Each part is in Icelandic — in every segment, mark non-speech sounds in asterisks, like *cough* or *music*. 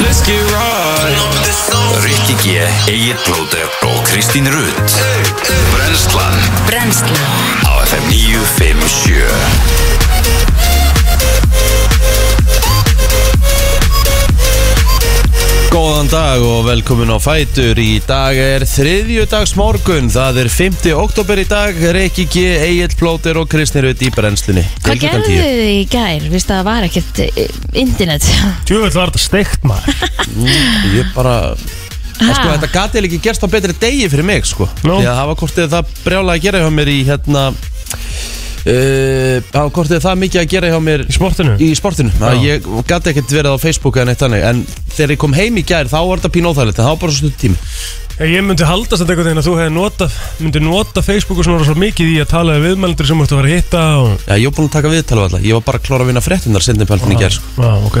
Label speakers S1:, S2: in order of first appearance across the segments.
S1: ekki right
S2: Rikki G, Egil Blóter og Kristín Rutt Brenslan
S3: Brennslan
S2: á FM 957
S1: Góðan dag og velkomin á Fætur Í dag er þriðjudags morgun Það er 5. oktober í dag Reykji G, Egil Plóter og Kristnir Rutt í brennslunni
S3: Hvað gerðu þið í gær? Vist að það var ekkert eh, internet
S4: Tjöfull var þetta steikt maður
S1: Mm, Ég bara Það sko,
S3: Ha?
S1: þetta gati ekki gerst á betri degi fyrir mig sko
S4: Nú.
S1: Því að hafa kortið það brjálega að gera hjá mér í hérna uh, Hafa kortið það mikið að gera hjá mér
S4: Í sportinu
S1: í sportinu að ég gæti ekkert verið á Facebook eða neitt þannig en þegar ég kom heim í gær þá var þetta pín óþægilegt en þá var bara stutt tími
S4: Ég myndi haldast þetta einhvern veginn að þú hefði nota, myndi nota Facebook og svona svo mikið í að tala við viðmælendur sem þú ert að fara að hitta og...
S1: Já, ég var búin að taka viðtalið alltaf ég var bara að klára að vinna fréttunar sendinpæltin í gær sko.
S4: Já, ok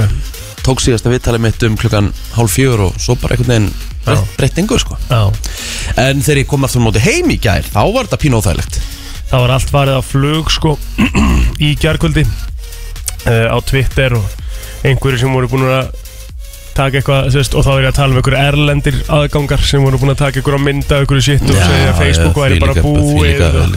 S1: tók síðasta viðtalið mitt um klukkan hálf fjör og svo bara einhvern
S4: Já.
S1: veginn breytt engu sko.
S4: Já
S1: en þegar ég kom aftur á móti heim í gær þá var þetta pín óþægilegt
S4: Það var allt farið á flug sko í gærkvöldi uh, á Twitter og einhverju sem voru búin að taka eitthvað, þú veist, og þá er ég að tala um einhverju erlendir aðgangar sem voru búin að taka einhverju að mynda einhverju sitt og segja að Facebook væri bara búið og...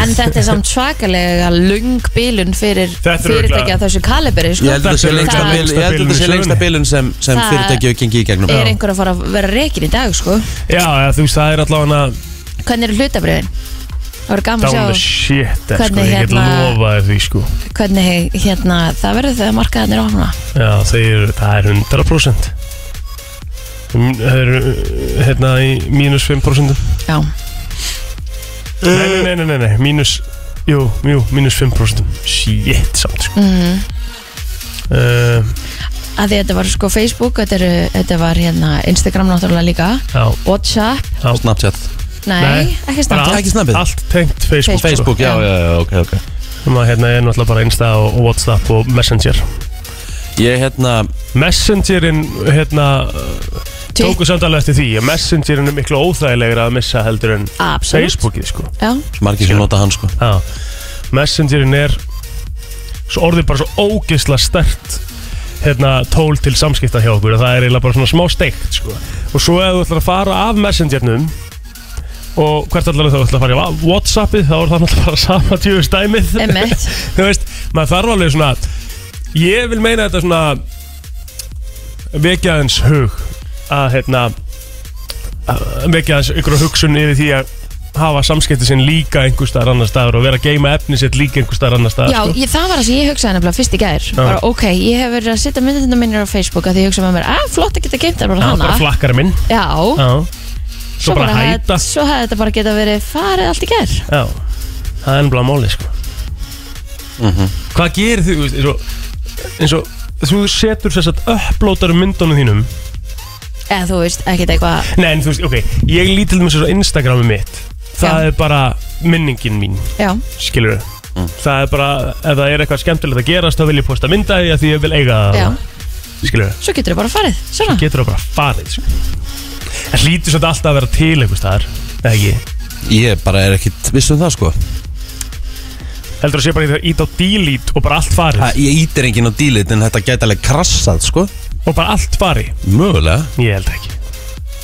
S3: En þetta er samt svakalega lung bilun fyrir
S4: Þetta er
S3: fyrirtæki
S4: örugglega-
S3: af þessu kaliberi
S1: Ég
S3: sko.
S1: held að þetta sé
S4: Þetta er
S1: lengsta
S3: örugglega
S1: bilun- ég held að þetta sé
S4: lengsta
S1: lengsta bilun sem, sem
S3: Það-
S1: fyrirtæki hefur gengið í gegnum
S3: Er einhver að fara að vera reikin í dag sko
S4: Já, ja, þú veist, það er allavega
S3: Hvernig eru hlutabriðin? Það voru gaman
S4: down
S3: að
S4: the
S3: sjá
S4: shit eh, sko,
S3: Hvernig
S4: ég get
S3: hérna-
S4: lofa þér því sko
S3: hvernig hérna það verður þegar markaðarnir ofna
S4: Já, þeir, það er 100% Mm, Það er uh, hérna í mínus 5%
S3: Já,
S4: Nei, nei, nei, nei, nei, nei, mínus Jú, jú, mínus 5% Shit, samt sko Eh, mm
S1: Mhm.
S3: að því þetta var sko Facebook, þetta, eru, þetta var hérna Instagram náttúrulega líka
S4: Já,
S3: Whatsapp,
S4: já
S1: Snapchat
S3: nei,
S4: Nei,
S3: ekki
S4: bara
S3: snart
S1: allt. Ekki snabbið?
S4: Allt tengt Facebook, Facebook.
S1: Facebook, já, já, já, ok, ok
S4: Sko. Sem að hérna er náttúrulega bara Insta og og Whatsapp og Messenger
S1: Ég hérna,
S4: Messengerin, hérna, tóku samt alveg eftir því að Messengerin er miklu óþægilegra að missa heldur en
S3: Absolutt,
S4: Facebookið, sko
S3: já,
S1: margir sem nota hann sko
S4: Já, Messengerin er svo orðið bara svo ógeðsla stert hérna tól til samskipta hjá okkur og það er eiginlega bara svona smá steikt sko. og svo ef þú ætlar að fara af Messengernum og hvert allar þú ætlar að fara í Whatsappið þá er það náttúrulega bara sama tjóðu stæmið
S3: Einmitt.
S4: *laughs* þú veist, maður þarf alveg svona ég vil meina þetta svona vekja hans hug að hérna að vekja hans ykkur hugsun yfir því að hafa samskipti sinn líka einhver staðar annar staðar og vera að geima efni sitt líka einhver staðar annar staðar
S3: já
S4: sko.
S3: ég, það var það sem ég hugsaði nefnilega fyrst í gær bara ok, ég hef verið að setja myndina minnir á Facebook að því ég hugsaði með mér, að flott að geta geimt það bara
S4: Já, bara
S3: hana,
S4: flakkar minn
S3: já
S4: Já, svo bara
S3: hefði-
S4: hæta
S3: Svo hefði þetta bara geta verið farið allt í gær
S4: Já, það er ennblá máli sko Hvað gerir þú, veist, eins og, eins og þú setur þess að upplótar myndunum þínum
S3: Eða þú veist, ekkert eitthvað
S4: Nei, en þú veist, ok, ég lít til þess að Instagrami mitt Það
S3: Já.
S4: er bara minningin mín,
S3: Já,
S4: skilur við Það er bara, ef það er eitthvað skemmtilegt að gerast þá vil ég posta mynda því að því ég vil eiga
S3: já,
S4: það Skilur við
S3: svo getur þau bara farið Svona,
S4: Getur það bara farið sko. En hlýtur svolítið alltaf að vera til einhvers staðar Eða ekki
S1: Ég bara er ekkit viss um það sko
S4: Heldur þú að sé bara í það ít á delete og bara allt farið
S1: Ha, Ég ítir enginn á dílit en þetta gæti alveg krassað sko
S4: Og bara allt farið
S1: Mögulega
S4: Ég held ekki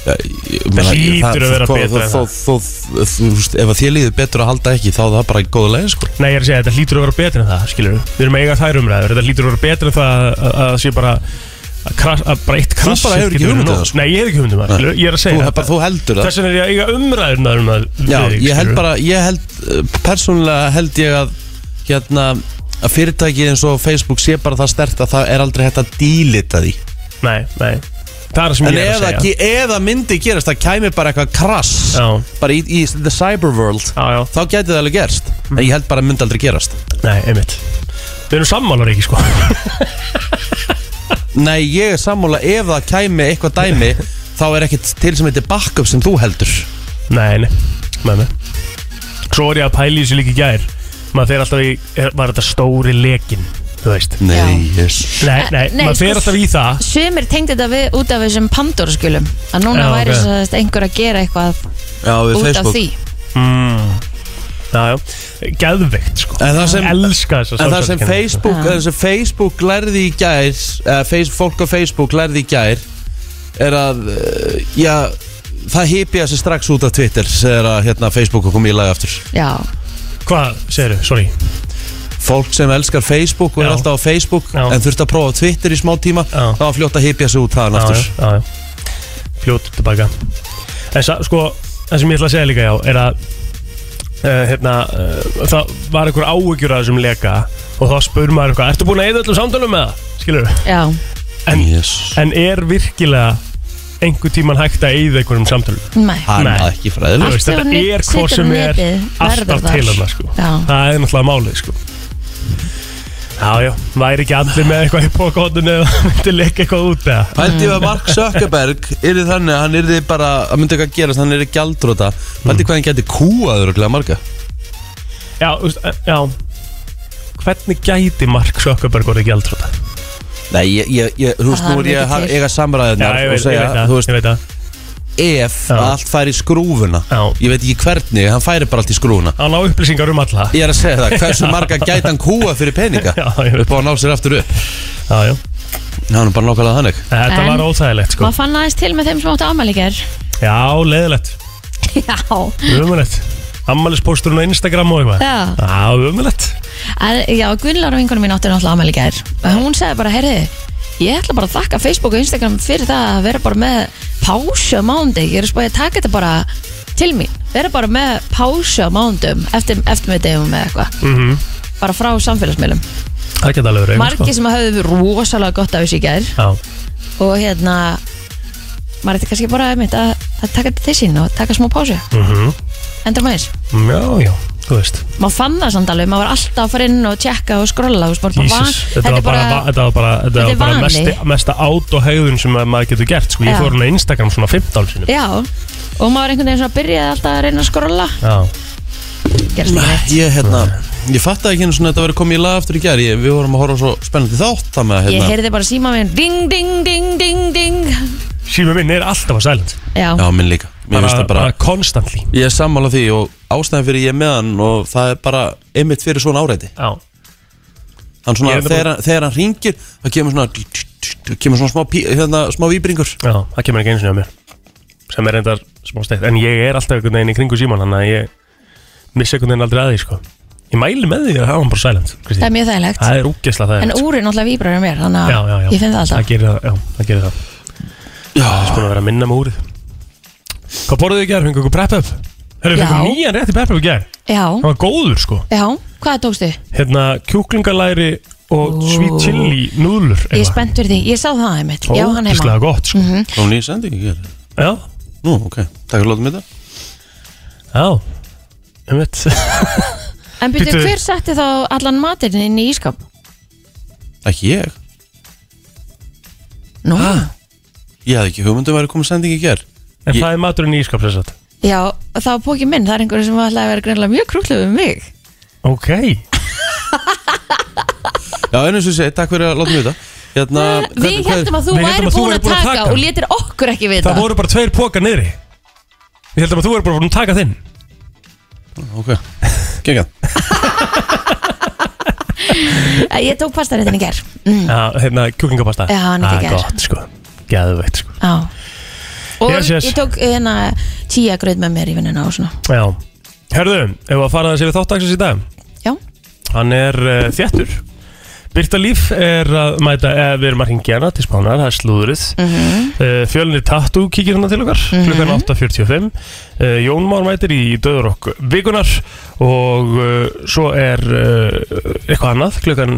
S1: Já, ég meina,
S4: hlýtur
S1: það-
S4: að vera
S1: þó-
S4: betra en
S1: þó-
S4: það.
S1: þó- þó- Þú veist, ef að þér líður betur að halda ekki þá er það bara í góðu leið sko
S4: Nei, ég er að segja, þetta hlýtur að vera betur en það, skilur við Við erum að eiga þær umræður, þetta hlýtur að vera betur en það að, að, að sé bara að, kras, að bara eitt krass
S1: bara hefur ekki hugmynd um það, sko.
S4: Nei, ég hef ekki hugmynd um það,
S1: Nei.
S4: skilur við, ég er að
S1: Þú,
S4: segja
S1: bara, þú heldur það
S4: Þess vegna er ég að eiga umræðurnar um það
S1: Já, ég held bara, ég held uh, persónulega held ég að hérna að fyrirtæki eins og Facebook sé bara það stert að það er aldrei hægt að dílita því
S4: Nei, nei, það er það sem
S1: En
S4: ég er að
S1: eða,
S4: segja
S1: ge- eða myndi gerast, það kæmi bara eitthvað krass
S4: Já.
S1: bara í, í the cyber world
S4: Já, já,
S1: þá gæti það alveg gerst en ég held bara að myndi aldrei gerast
S4: nei, einmitt Við erum sammálar ekki, sko
S1: Nei, ég er sammála ef það kæmi eitthvað
S4: *laughs*
S1: dæmi þá er ekkert til sem heitir backup sem þú heldur
S4: Nei, nei, með mig Svo er ég að pæla í þessu líka í gær Maður fer alltaf í, er, var þetta stóri lekin Þú veist
S1: Nei, yes.
S4: Nei, nei,
S3: Nei,
S4: Eh, maður
S3: sko,
S4: fer alltaf í það
S3: Sumir tengdi þetta við, út af þessum Pandora skjölum að núna
S4: Já,
S3: væri
S4: ok.
S3: okay. einhver að gera eitthvað
S1: Já, við
S3: út af því
S4: Mm. Já, já, geðveikt, sko
S1: En það sem,
S4: Elska þess
S1: en það sem Facebook,
S3: Já.
S1: það sem Facebook lærði í gær eða face, fólk á Facebook lærði í gær er að uh, já, það hýpja sig strax út af Twitter þegar að hérna, Facebook kom í lagi aftur
S3: Já,
S4: Hvað segirðu, sorry
S1: fólk sem elskar Facebook og
S4: Já.
S1: er alltaf á Facebook
S4: Já.
S1: en þurft að prófa Twitter í smá tíma
S4: Já.
S1: þá var fljótt að hýpja sig út þaðan aftur
S4: já, já, já. Fljót tilbaka En sa, sko, það sem ég ætla að segja líka já Er að uh, hérna, uh, Það var einhver áhyggjur að þessum leka Og þá spurði maður eitthvað Ertu búin að eyða öllum samtölum með það? Skilur
S3: já,
S4: En-
S1: yes.
S4: En er virkilega einhver tíman hægt að eyða einhverjum samtölum?
S3: mæ
S1: hann
S4: Nei.
S1: er ekki fræðileg
S4: Allt. veist, þetta er hvort sem er alltaf til hana, sko.
S3: Já,
S4: Það er náttúrulega málið sko Já, já, væri ekki allir með eitthvað í pókóttinu eða *laughs* myndi leika eitthvað út eða
S1: Pældi að Mark Zuckerberg yrði þannig að hann yrði bara að myndi eitthvað gerast, hann yrði gjaldróta Pældi hvað hann geti kúaður og glæða marga
S4: Já, þú veist, eh, já Hvernig gæti Mark Zuckerberg orðið gjaldróta?
S1: Nei, ég, ég, ég, þú veist, nú er
S3: Það er
S1: ég
S3: mikið
S1: að
S3: til.
S1: eiga
S4: Já,
S1: samræðunar
S4: ég
S1: og
S4: veit, ég
S1: segja,
S4: veit það,
S1: þú veist,
S4: ég veit það
S1: ef
S4: Já.
S1: að allt fær í skrúfuna
S4: Já.
S1: Ég veit ekki hvernig, hann færi bara allt í skrúfuna
S4: Hann á upplýsingar um alla
S1: Ég er að segja það, hversu marga gæti hann kúa fyrir peninga
S4: *laughs* Já, ég veit
S1: upp á að ná sér aftur upp
S4: Já, já Eh.
S1: Hann er bara nákvæmlega þannig
S4: Þetta
S3: En-
S4: var óþægilegt sko
S3: maður fann aðeins til með þeim sem áttu afmæli í gær.
S4: Já, leiðilegt
S3: Já,
S4: Ömulegt Ammælispósturinn á Instagram og eitthvað
S3: já
S4: Já, ömulegt
S3: En, já, Gunnlaur vinkunum mín átti náttúrulega afmæli í gær og hún segði bara, heyrðu, ég ætla bara að þakka Facebook og Instagram fyrir það að vera bara með pásu á mándi, ég er að spáði að taka þetta bara til mín, vera bara með pásu á mándum eftir, eftir með degum eða eitthvað,
S4: Mhm.
S3: bara frá samfélagsmiðlum
S4: Það geta alveg verið
S3: margir
S4: eitthvað,
S3: sem hafðu rosalega gott af þessu í gær
S4: sko. Já
S3: og hérna maður ætti kannski bara einmitt að, að taka þetta til sín og taka smá pásu
S4: Mhm.
S3: endur maður eins,
S4: Já, já, þú veist
S3: maður fann það samt alveg maður var alltaf að fara inn og tjekka og skrolla og spara,
S4: Jesus, þetta var bara, þetta var bara, þetta
S3: Þetta
S4: var
S3: er
S4: bara
S3: vani.
S4: mesti, mesta át og hegðun sem að maður getur gert sko. Ég
S3: Já.
S4: fór hann á Instagram svona 15 sinum
S3: Já, og maður einhvern veginn svona byrjaði alltaf að reyna að skrolla
S4: Já,
S3: Gerst ekki neitt
S1: Ég, hérna, ég fattaði ekki einu svona að þetta verið komið í lag aftur í gær ég, Við vorum að horfa á svo spennandi þátt Það með að
S3: Ég
S1: hérna,
S3: heyrði bara síma minn Ding, ding, ding, ding, ding
S4: síma minn er alltaf að silent
S3: Já,
S1: já, minn líka Mér finnst það bara,
S4: constantly
S1: ég er sammála því og ástæðan fyrir ég er með hann og það er bara einmitt fyrir svona áreiti
S4: Já,
S1: Hann
S4: Ég
S1: svona,
S4: er þetta
S1: þegar, hann- þegar hann ringir það kemur svona það kemur svona smá, pí, hérna, smá výbringur
S4: já, það kemur ekki einu sinni á mér sem er reyndar smá steikt en ég er alltaf einhvern veginn í kringu síman þannig að ég missa einhvern veginn aldrei að því sko. Ég mæli með því að hafa hann bara silent
S3: það er
S4: Kristín.
S3: mjög þægilegt
S4: Það er úkisla það er
S3: En úrið náttúrulega víbrar er mér Þannig
S4: já, já, já.
S3: að ég finn það
S4: Það
S3: alltaf
S4: gerir það, já, það gerir það
S1: Já,
S4: Búin að vera að minna með úrið Hvað borðuðu í gerð? Fengu ykkur prep-up? Hörru,
S3: Já.
S4: fengu nýjan rétt í prep-up í gerð
S3: Já,
S4: Það var góður sko
S3: já, hvað tókstu?
S4: Hérna kjúklingalæri og
S3: Ó.
S4: sweet chili núðlur
S3: Ég er spennt fyrir því, ég sá það einmitt Já, hann heima Mhm.
S4: Ógislega gott sko
S1: hún er í sendingu hér
S4: Já,
S1: Nú, ok, takk fyrir lótum þetta
S4: já Ég veit *laughs*
S3: En byrju,
S4: Bíddu.
S3: hver setti þá allan matirinn inn í ískap?
S1: Ekki ég,
S3: Nú,
S1: ég hafði ekki hugmyndum að vera komið sendingu í gær
S4: En
S1: Ég-
S4: það er maturinn í ískap þess að
S3: já, það var pókið minn Það er einhverjum sem ætlaði að vera greinlega mjög krúkluð um mig
S4: Ok
S1: Já, en eins og ég segi, takk fyrir að látum þetta hérna,
S3: Við
S1: hvernig-
S3: heldum að þú
S4: Við héldum að
S3: væri
S4: þú
S3: búin
S4: værir
S3: að taka og létir okkur ekki vita
S4: Það voru bara tveir póka niðri Ég heldum að þú er bara búin að taka þinn
S1: Ok, geggjað
S3: Ég tók pastaréttin í ger mm.
S4: Já, hérna kjúklingapasta
S3: Já, hann er
S4: Það
S3: geggjær.
S4: gott sko Geðveitt sko
S3: Já Og
S4: Yes, yes.
S3: ég tók hérna tíja gröð með mér í vinnina og svona
S4: Já Herðu, ef við að fara þessi við þáttaksins í dag
S3: Já,
S4: Hann er uh, þjættur Birta Líf er að mæta eða við erum að ringja hana til spánar, það er slúðrið mm Fjölnir Tattoo kíkir hana til okkar klukkan 8.45 uh, Jón Már mætir í döður okkur vikunar og uh, svo er uh, eitthvað annað klukkan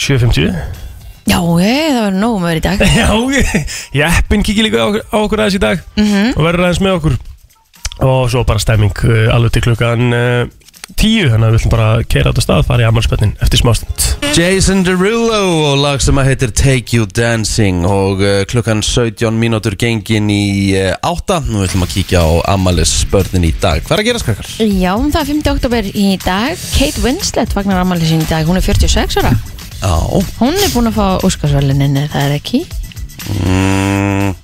S4: 7.50
S3: já, ég, það verður nóg með þér í dag
S4: *laughs* Já, jeppin kíkir líka á, okkur- á okkur aðeins í dag
S3: Mhm.
S4: og verður aðeins með okkur og svo bara stemming uh, alveg til klukkan uh, 10 þannig að við ætlum bara að keira á þetta stað fara í ammálspönnin eftir smástund
S1: Jason Derulo og lag sem að heitir Take You Dancing og uh, klukkan 17 mínútur gengin í uh, 8 Nú ætlum að kíkja á Amalis spörnin í dag Hvað er að gera skakkar?
S3: Já, um það er 5. oktober í dag Kate Winslet fagnar ammali sín í dag Hún er 46 ára
S1: Já
S3: Hún er búin að fá Óskarsvölunin er það ekki
S1: mm,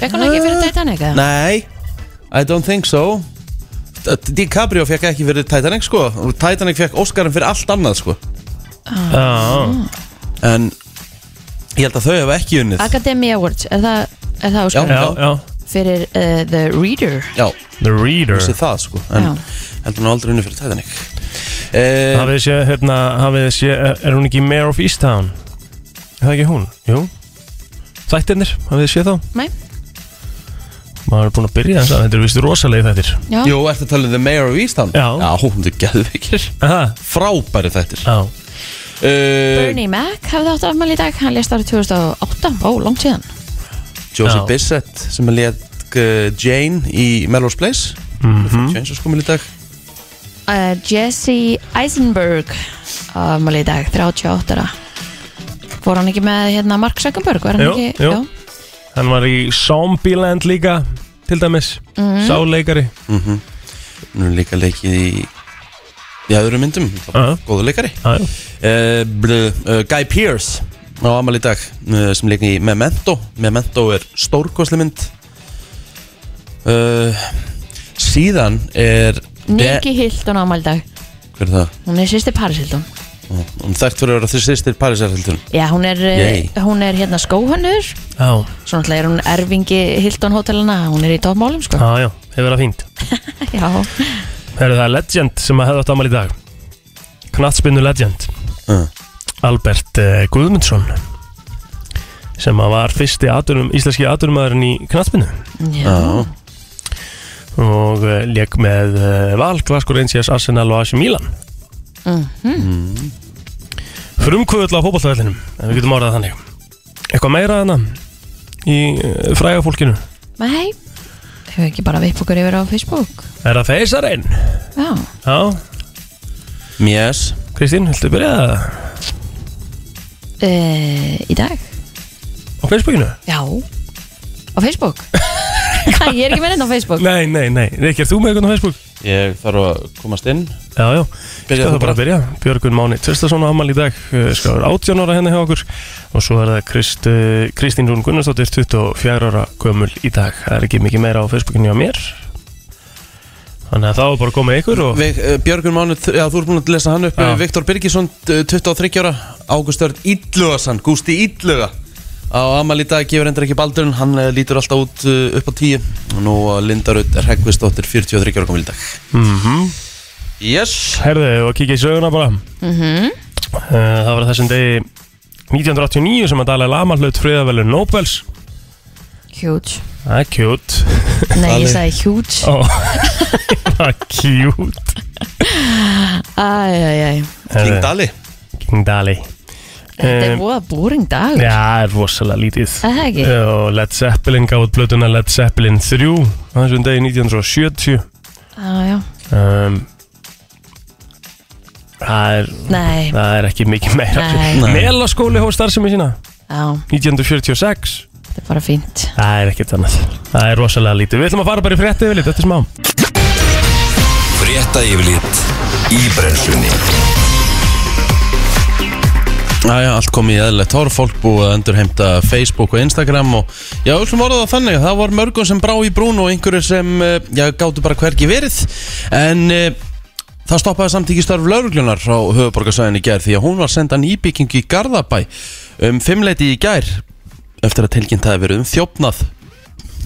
S3: Fekk hún ekki fyrir Titanic eða?
S1: Nei, I don't think so D- DiCaprio fekk ekki fyrir Titanic sko og Titanic fekk Óskarinn fyrir allt annað sko
S4: Já,
S3: Ah.
S1: En ég held að þau hefur ekki unnið
S3: Academy Awards, er það er það
S1: Já.
S3: úrskur
S4: Já, já
S3: fyrir uh, The Reader
S1: Já,
S4: The Reader
S1: þessi það sko En
S3: Já.
S1: heldur hún aldrei unni fyrir Titanic eh,
S4: Hafið þið séð, hérna, hafið þið séð eh, Er hún ekki Mayor of Easttown? Er það ekki hún? Jú Þættirnir, hafið þið séð þá?
S3: Nei,
S4: Maður er búin að byrja þess að þetta eru vist rosalegi þættir
S3: já,
S1: Jú, ertu að tala um The Mayor of Easttown?
S4: Já.
S1: Já, hún er geðveikir
S4: Aha,
S1: Frábæri þættir
S4: já
S1: uh,
S3: Bernie Mac hafði átt afmæli í dag hann lést árið 2008, ó, langt síðan
S1: Joseph
S4: Já.
S1: Bissett sem er létt uh, Jane í Melrose Place
S4: Mhm.
S1: mm -hmm. Jane sem skoðum í dag
S3: uh, Jesse Eisenberg uh, afmæli í dag, 38 ára. Fór hann ekki með hérna Mark Zuckerberg, var hann
S4: Jú,
S3: ekki?
S4: jú. Hann var í Zombieland líka Til dæmis
S3: Mhm.
S4: Sáleikari
S1: Hún Mhm. er líka leikið í í öðrum myndum,
S4: Já.
S1: góðu leikari
S4: Já, já.
S1: uh, bl- uh, Guy Pearce á amal í dag uh, sem leikir í Memento Memento er stórkosli mynd uh, síðan er
S3: Nikki Hilton afmæli í dag
S1: hver er það?
S3: hún er sýsti Paris Hilton
S1: Hún er þekkt fyrir að vera því sýstir Parísarhildun
S3: Já, hún er,
S1: Yay.
S3: eh, hún er hérna skóhönnur
S4: Já,
S3: Svo náttúrulega er hún erfingi Hilton hótelana Hún er í toppmálum, sko
S4: Ah, já, já, hefur það fínt
S3: *laughs* Já,
S4: Herðu það er legend sem að hefði átt afmæli í dag Knatsbynnu legend
S1: uh.
S4: Albert uh, Guðmundsson sem að var fyrsti aturnum, íslenski aturumæðurinn í knatsbynnu
S3: já.
S1: Já,
S4: og uh, lék með uh, Val, Glasgow Rangers, Arsenal og AC Milan
S3: Mhm.
S4: Frumkvöðl á hópallavellinum en við getum orðað það þannig Eitthvað meira þarna í uh, fræga fólkinu
S3: Nei, hefur ekki bara vipp okkur yfir á Facebook
S4: Er það feysarinn?
S3: Já,
S4: Já,
S1: Mjess
S4: Kristín, viltu byrja það
S3: e, í dag
S4: á Facebookinu?
S3: Já, á *laughs* Facebook Hæ, ég er ekki með neitt Hérna á Facebook
S4: Nei, nei, nei, Rikki, er þú með eitthvað á Facebook?
S1: Ég þarf að komast inn
S4: Já, já, skal
S1: Byrja þú
S4: það bara
S1: bara.
S4: að byrja Björgun Máni Tvistason á amal í dag eh, Skáður 18 ára henni hjá okkur Og svo er það Krist, eh, Kristín Rún Gunnarsdóttir 24 ára gömul í dag Það er ekki mikið meira á Facebookinu hjá mér Þannig að þá er bara að koma ykkur og...
S1: Vig, uh, Björgun Mánu, já þú ert búin að lesa hann upp
S4: Já.
S1: já. Viktor Birgisson, eh, 23 ára Ágúst Örn Illugasan, Gústi Illuga Á amal í dag gefur endur ekki baldurinn Hann eh, lítur alltaf út eh, upp á 10 Nú eh, Lindarud er Hegvistóttir 43 ára komil í dag
S4: mm -hmm.
S1: Yes
S4: Herðu, og kíkja í söguna bara
S3: mm
S4: Eh, Það var á þessum degi 1989 sem að Dalai Lama hlaut friðavellu Nobels
S3: Huge
S4: Það er cute
S3: Nei,
S1: Dali.
S3: ég sagði huge
S4: Ó, *laughs* Það er cute
S3: Æ, æ, æ
S1: King
S4: Herðu,
S1: Dali
S4: King Dali
S3: Þetta er
S4: Em,
S3: voða búring dag
S4: Já, það er rosalega lítið
S3: Er Það ekki
S4: og Led Zeppelin gaf út blötuna Led Zeppelin 3 á þessum degi 1970
S3: Já, já
S4: um, það, er,
S3: Nei,
S4: það er ekki mikið meira
S3: Nei.
S1: Nei.
S4: Melaskóli hóf starfsemi sína
S3: já,
S4: 1946
S3: þetta er bara fínt
S4: það er ekkert annað það er rosalega lítið við ætlum að fara bara í frétti yfir lítið þetta er smá
S2: Frétta yfirlit í brennslunni
S1: Já, já, allt komið í eðlilegt horf, fólk búið að endurheimta Facebook og Instagram og já, öllum orðað það þannig, það var mörgum sem brá í brún og einhverjir sem, eh, já, gáttu bara hvergi verið, en eh, það stoppaði samt ekki störf lauruglunar frá höfuborgarsæðin í gær því að hún var senda nýbyggingu í Garðabæ um fimmleiti í gær eftir að tilkynnt hafi verið um þjófnað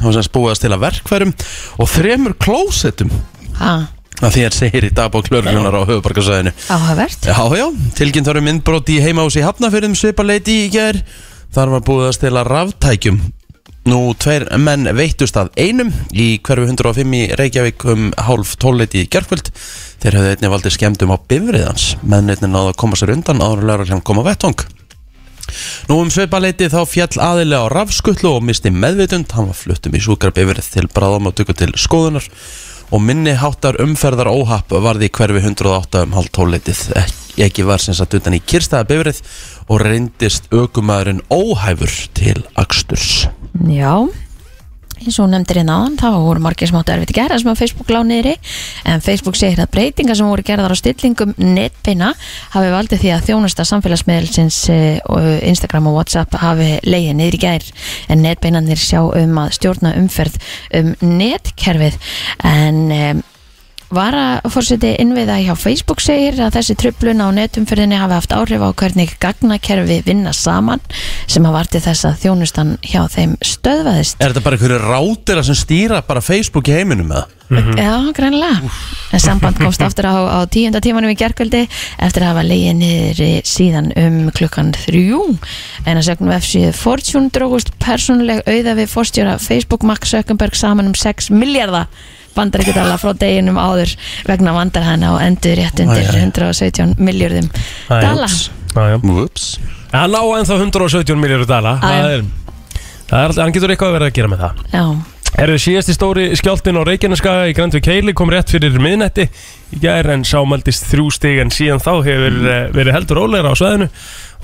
S1: þá sem spúiðast til að verkfærum og þremur klósettum
S3: Ha,
S1: að því að segir í dagbók lauruglunar á höfuborgarsæðinu
S3: áhugavert
S1: Já, já, tilkynnt var um innbrot í heimahús í Hafnafjörðum svipaleiti í gær Þar var búið að stela ráftækjum Nú, tveir menn veittust að einum í hverfi 105 í Reykjavík um hálf tóleiti í gerkvöld Þeir höfðu einnig valdið skemmtum á bifriðans Mennirni náðu að koma sér undan áður lögreglan kom á vettvang Nú um sveipaleiti þá fjall aðilega á rafskullu og misti meðvitund Hann var fluttum í sjúkrabifrið til bráðamáttöku til skoðunar og minni háttar umferðar óhapp varði í hverfi 108 um hálftóleitið Ek- ekki var sem sagt utan í kyrstaða bifrið og reyndist ökumæðurinn óhæfur til aksturs
S3: Já eins og hún nefndir hérna áðan, þá voru margir smáttu erfitt að gera sem að Facebook lá niðri en Facebook segir að breytingar sem voru gerðar á stillingum netbeina hafi valdið því að þjónusta samfélagsmiðelsins eh, og Instagram og Whatsapp hafi leiðið niður í gær en netbeinanir sjá um að stjórna umferð um netkerfið en um, Varaforseti innviða hjá Facebook segir að þessi tröflun á netumferðinni hafi haft áhrif á hvernig gagnakerfi vinna saman sem hafa artið þess að þjónustan hjá þeim stöðvaðist.
S1: Er þetta bara einhverju rátera sem stýra bara Facebook í heiminum eða?
S4: Mhm.
S3: Já, greinlega. En samband komst aftur á, á tíunda tímanum í gerkvöldi eftir að hafa leiðið niður síðan um klukkan þrjú. En að sögnum F7 Fortune drógust persónuleg auða við forstjóra Facebook Mark Zuckerberg saman um 6 miljardar bandaríkudala frá deginum áður vegna vandar hann á endur rétt undir
S1: Æ, æ.
S3: 117 miljardum
S4: Æ,
S3: dala.
S4: Jájá
S1: Whoops
S4: Hann á ennþá 117 miljóru dala Það
S3: já.
S4: er, það er, hann getur eitthvað að vera að gera með það
S3: Já,
S4: Herðu síðasti stóri skjáltin á Reykjaneskaga í Grandvik Keili kom rétt fyrir miðnætti í gær en sámaldist þrjú stig en síðan þá hefur mm. verið heldur óleira á sveðinu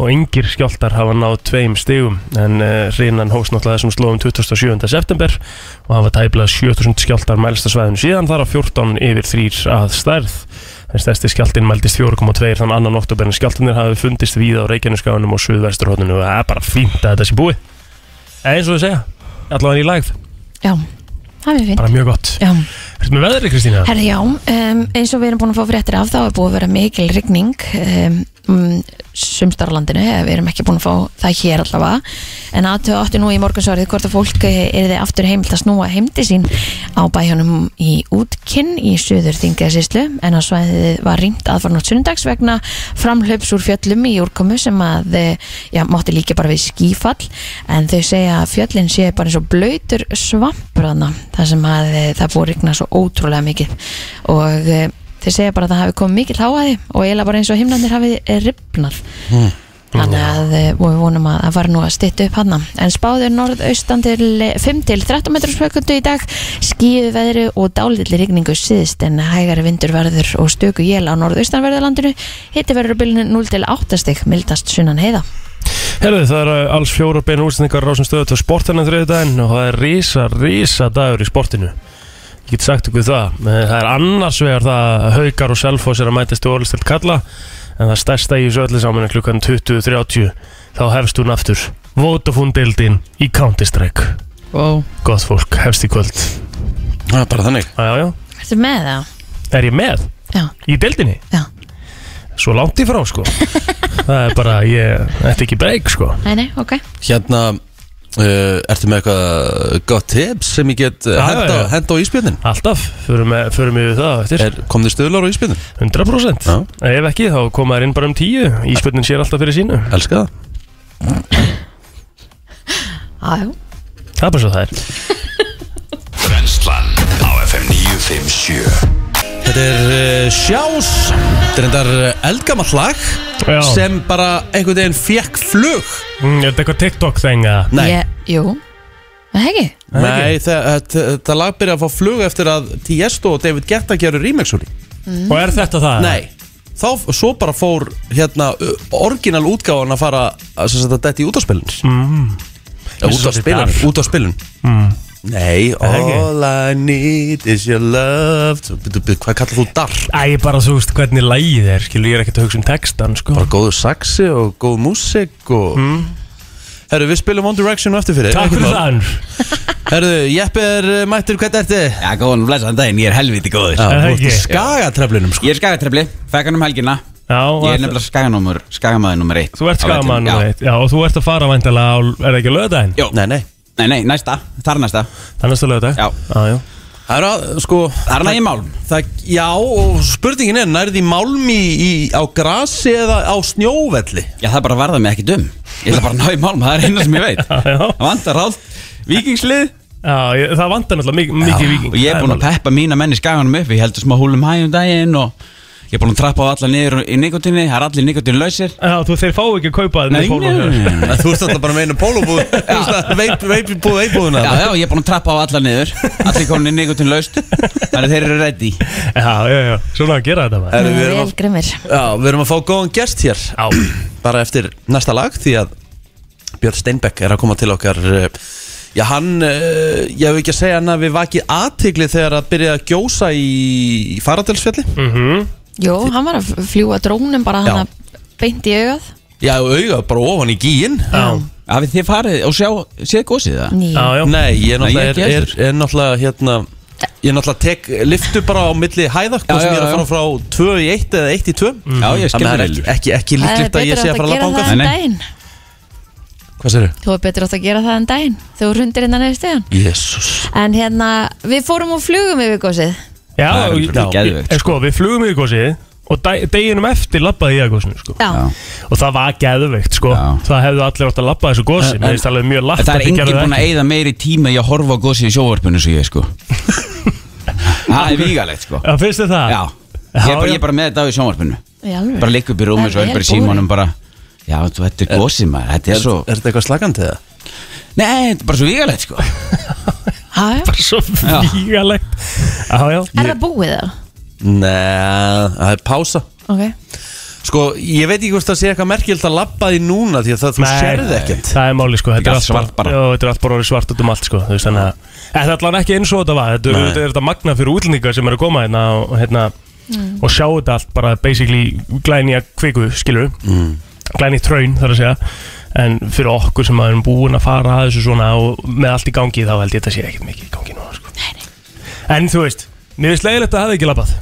S4: og yngir skjáltar hafa náð tveim stigum en uh, hrinan hóst náttúrulega þessum slóðum 27. september og hafa tæplað 7000 skjáltar mælst á sveðinu síðan þar á 14 yfir 3 að stærð en stærsti skjáltin mældist 4,2 þann annan oktober en skjáltinir hafi fundist víða á Reykjaneskaganum og suðvesturhóttinu og það er bara fínt að þetta sé búið eins og þau segja, allavega í lægð
S3: já, það er fínt.
S4: bara mjög gott
S3: Já.
S4: Ertu með veðri Kristína?
S3: Herði já, um, eins og við erum búin að fá fréttir af þá er búið að vera mikil rigning um, um, sumstar á landinu, eh, við erum ekki búin að fá það hér allavega en aðtöðu áttu nú í morgunsvarið hvort að fólk er þið aftur heimilt að snúa heimdi sín á bæjónum í útkinn í söður þingasíslu en að svæðið var rýmt aðfarnótt sundags vegna framhlaups úr fjöllum í úrkomu sem að eh, já, mátti líka bara við skífall en þau segja að fjöllin sé bara eins og blöytur svampraðna þar sem að eh, það búið að rigna svo ótrúlega mikið og eh, þau segja bara að það hafi komið mikið háaði og eiginlega bara eins og himnandir hafi eh, ripnað Þannig að eh, og við vonum að það var nú að stytta upp hann En spáður norðaustan til eh, 5 til 13 metrur spökundu í dag Skíðu veðri og dálitli rigningu síðst En hægari vindur verður og stöku jél á norðaustanverðalandinu Hitti verður á bylunu 0 til 8 stig Mildast sunnan heiða
S4: Herðu það eru alls fjóra beina útsendingar rásum stöðu til sportinu þriðu daginn og það er rísa, rísa dagur í sportinu Ég get sagt ykkur það Eh, Það er annars vegar það að haukar og selfos er að mætast í orðlistilt kalla en það stærsta í þessu öllu saman er klukkan 20.30 þá hefst hún aftur Vodafone deildin í Counter-Strike
S3: wow.
S4: Gott fólk, hefst í kvöld
S1: Það er bara þannig
S4: Jájá,
S3: Ertu með það?
S4: er ég með?
S3: Já,
S4: Í deildinni?
S3: já,
S4: Svo langt í frá
S3: *laughs*
S4: sko Það er bara, ég, þetta er ekki breyk sko
S3: nei, nei, ok
S1: Hérna uh, Ertu með eitthvað gott tips sem ég get
S4: Já,
S1: henda,
S4: já, já.
S1: henda á íspjöndin?
S4: Alltaf, förum við- förum við það á eftir
S1: Er, kom þið stöðlar á íspjöndin?
S4: 100%
S1: Já.
S4: Ef ekki, þá koma þær inn bara um 10 Íspöldin sér alltaf fyrir sínu
S1: Elska það
S3: Á, jú.
S4: Það er bara svo það er
S2: Brennslan á FM 957
S1: Þetta er uh, Sjás Þetta er endar eldgamall lag
S4: Já.
S1: sem bara einhvern veginn fekk flug
S4: mm, Er þetta eitthvað TikTok þenga?
S1: Nei,
S3: Ég, Jú, það hegi
S1: Nei þe- þetta þetta lag byrja að fá flug eftir að Tiesto og David Guetta gerur remix úr því
S4: Og
S3: Mm.
S4: er þetta það?
S1: Nei, þá, svo bara fór hérna ö, orginal útgáðan að fara að sem sagt að detti í útáspilun mm.
S4: Eins og
S1: Út á
S4: svolítið Mm.
S1: spilun,
S4: darf.
S1: út á spilun Nei,
S4: ekki?
S1: all I need is your love Svo, byrju, byrju, Hvað kallar þú darf?
S4: Æ, bara þú veist hvernig lægið er Skilur ég er ekkert að hugsa um textan sko
S1: Bara góðu saxi og góð músik og... Mm. Herru, við spilum One Direction á eftir fyrir
S4: Hmm? Takk
S1: ekkert
S4: fyrir
S1: mál.
S4: það Ann.
S1: Herru, Jeppe er uh, mættur, hvernig ertu?
S5: Já, góðan og blessaðan daginn, ég er helviti góður
S1: Já, þú
S4: það
S1: ert í
S4: ekki?
S1: skagatreflinum sko
S5: Ég er skagatrefli, fekk hann um helgina
S4: Já,
S5: Ég er
S4: að-
S5: nefnilega skaganómur, skagamaður nummer eitt
S4: Þú ert
S5: Á vellinum,
S4: skaman
S5: já.
S4: já. já, og þú ert að fara væntalega á, er það ekki lögdæðin?
S5: Jó,
S1: Nei, nei
S5: nei, nei, næsta, þar næsta
S4: Þannig að lögdæg?
S5: Já.
S4: Ah, já, já.
S1: Það er að, sko
S5: Það er nægir málm
S1: Það, já, og spurningin er, nærði málmi í, á grasi eða á snjóvelli?
S5: Já, það er bara að verða mig ekki dum Ég ætla bara að ná í málm, það er eina sem ég veit
S4: *laughs* Já, já.
S5: Það vantar allt, vikingslið
S4: já ég, það vandar náttúrulega mikið, mikið viking
S5: Og ég er búin að peppa mína menn í skaganum upp Ég heldur smá húlum hæ um daginn og Ég er búin að trappa á alla niður í nikotinni Það er allir nikotin lausir
S4: Já, þú þeir fá ekki að kaupa það
S5: Nei, nei, nei, nei, nei.
S1: En Þú ert alltaf bara með einu pólubúð, þú veist *laughs* að veip- veipbúð veipbúðuna.
S5: Já, já, ég er búin að trappa á alla niður Allir komin í nikotin laust Þannig að þeir eru ready
S4: Já, já, já, svona að gera þetta maður
S1: Herru, við erum
S3: Vel
S1: að-
S3: grimmir
S1: Já, við erum að fá góðan gest hér,
S4: Já,
S1: *clears throat* bara eftir næsta lag, því að Björn Steinbeck er að koma til okkar. eh, Já, hann, eh, ég hef ekki að segja hann að við vakið aðtigli þegar að byrja að gjósa í faradelsfjalli.
S4: Mhm.
S3: Jú, hann var að fljúa drónum bara hann að beint í augað
S1: Já, og auga bara ofan í gíin.
S4: já,
S5: Hafið þið farið og sjá, séð gósið það?
S3: Ný.
S4: já, já.
S1: Nei, ég er
S5: Nei, ég
S1: náttúrulega,
S5: ekki
S1: er, er, er náttúrulega hérna, Ég náttúrulega tek liftu bara á milli hæða Hvað
S5: Já,
S1: sem ég er
S5: já,
S1: að
S5: já.
S1: fara frá 2 í 1 eða 1 í 2
S5: Já, ég
S1: Þannig að
S5: skil
S1: það
S5: það
S1: er ekki, ekki, ekki líklegt að ég sé að fara að
S3: Eh, gera
S1: labba
S3: það
S1: ánga
S5: Nei,
S3: en
S5: nei.
S3: daginn
S1: Hvað sér þau?
S3: Þú er betur átt að gera það en daginn Þú hérna er hundir innan eða stegan
S1: Jésús
S3: En hérna, við fórum og flugum yfir gósið
S4: Já,
S5: Það er
S4: og-
S5: alveg
S4: já,
S5: geðveikt,
S4: en sko, við flugum í gósið og dæ- deginum eftir labbaði ég að gósinu sko.
S3: Já,
S5: Já.
S4: og það var geðveikt sko.
S5: Já.
S4: það hefðu allir átt að labba þessu gósi
S5: En-
S4: mér finnst alveg mjög
S5: En
S4: látt
S5: það er enginn búin að eyða meiri tíma í að horfa á gósið í sjóvarpunum svo ég sko Það er vígalegt sko
S4: Já, finnst þið það?
S5: Já, ég er bara,
S4: já.
S5: ég er bara með þetta á í sjóvarpunum
S3: í alvöru.
S5: Bara ligg upp í rúmi
S3: Það
S5: svo er
S3: er
S5: bara í
S3: búið.
S5: símanum bara Já, þú, þetta er gósið maður, þetta er
S1: Er,
S5: svo
S1: er þetta eitthvað slagandi eða?
S5: Nei, þetta er bara svo vígalegt sko
S3: Já, já.
S4: Bara svo
S5: Já.
S4: fígalegt Já, já
S3: Er það búið það?
S1: Nei, það er pása
S3: Ok
S1: Sko, ég veit ekki hvort það sé eitthvað merkilt að labba því núna Því að það, þú
S4: Nei,
S1: sérð ekkert
S4: Það er máli sko, þetta
S5: Líka
S4: er allt
S5: allt svart bara.
S4: Jó, þetta er allt bara orðið svart út um allt sko þú veist, þannig að En það er allan ekki eins og þetta var Þetta er,
S1: Nei.
S4: þetta er þetta magna fyrir útlendingar sem eru að koma hérna og, hérna,
S3: Mm.
S4: og sjá þetta allt bara basically glænýja kviku, skilur mm. Glænýja traun þar að segja En fyrir okkur sem erum búin að fara að þessu svona og með allt í gangi þá held ég þetta sé ekkert mikið í gangi núna sko.
S3: Nei, nei
S4: En þú veist, mér veist leiðilegt að hafa ekki labbað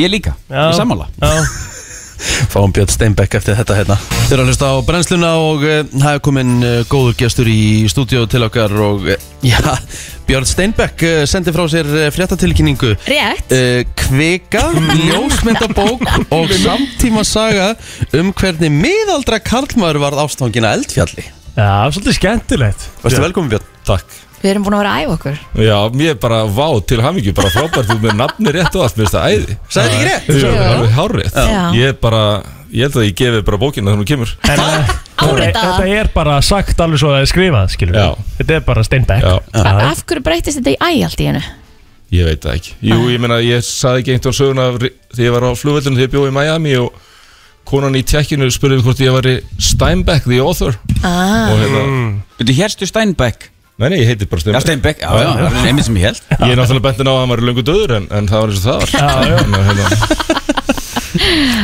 S5: Ég líka,
S4: Já.
S5: ég sammála
S4: Já,
S1: Fáum Björn Steinbeck eftir þetta hérna Þeir eru að hlusta á brennsluna og eh, það er komin eh, góður gestur í stúdíó til okkar og eh, já, Björn Steinbeck eh, sendi frá sér eh, fréttatilkynningu
S3: Rétt
S1: uh, kvika, ljósmyndabók og samtíma saga um hvernig miðaldra karlmaður varð ástangin að eldfjalli
S4: já svolítið skemmtilegt
S1: Værstu velkomin Björn?
S6: Takk
S3: Við erum búin að vera að æfa okkur
S6: Já, mér er bara vá til hamingju Bara frábært, þú með nafni rétt og allt Mér finnst það æði
S1: Sæði ekki rétt?
S6: Það
S3: Já.
S6: er alveg hárrétt
S3: Já.
S6: Ég er bara, ég held að ég gefi bara bókina þegar hún kemur
S4: En, eh,
S3: Áritaða.
S4: Þetta er bara sagt alveg svo að það er skrifað skilur
S6: Já.
S4: Þetta er bara steinbæk
S6: Já,
S3: A- Af hverju breytist þetta í æ allt í hennu?
S6: ég veit það ekki Jú, ég meina, ég saði ekki einhvern söguna af ri- Þegar ég var á flugvöldinu þegar ég bjóði í Miami Og konan í tekkinu spurði hvort ég væri Steinbeck, the author
S3: Ah,
S6: Og hérna,
S5: Þetta hérstu Steinbeck
S6: nei, nei, ég heiti bara
S5: Já,
S6: Steinbeck
S5: Steinbeck, já, já, það er einmitt sem ég held
S6: Ég er náttúrulega bentin á að maður er löngu döður en, en það var eins og það var já, já. Hérna.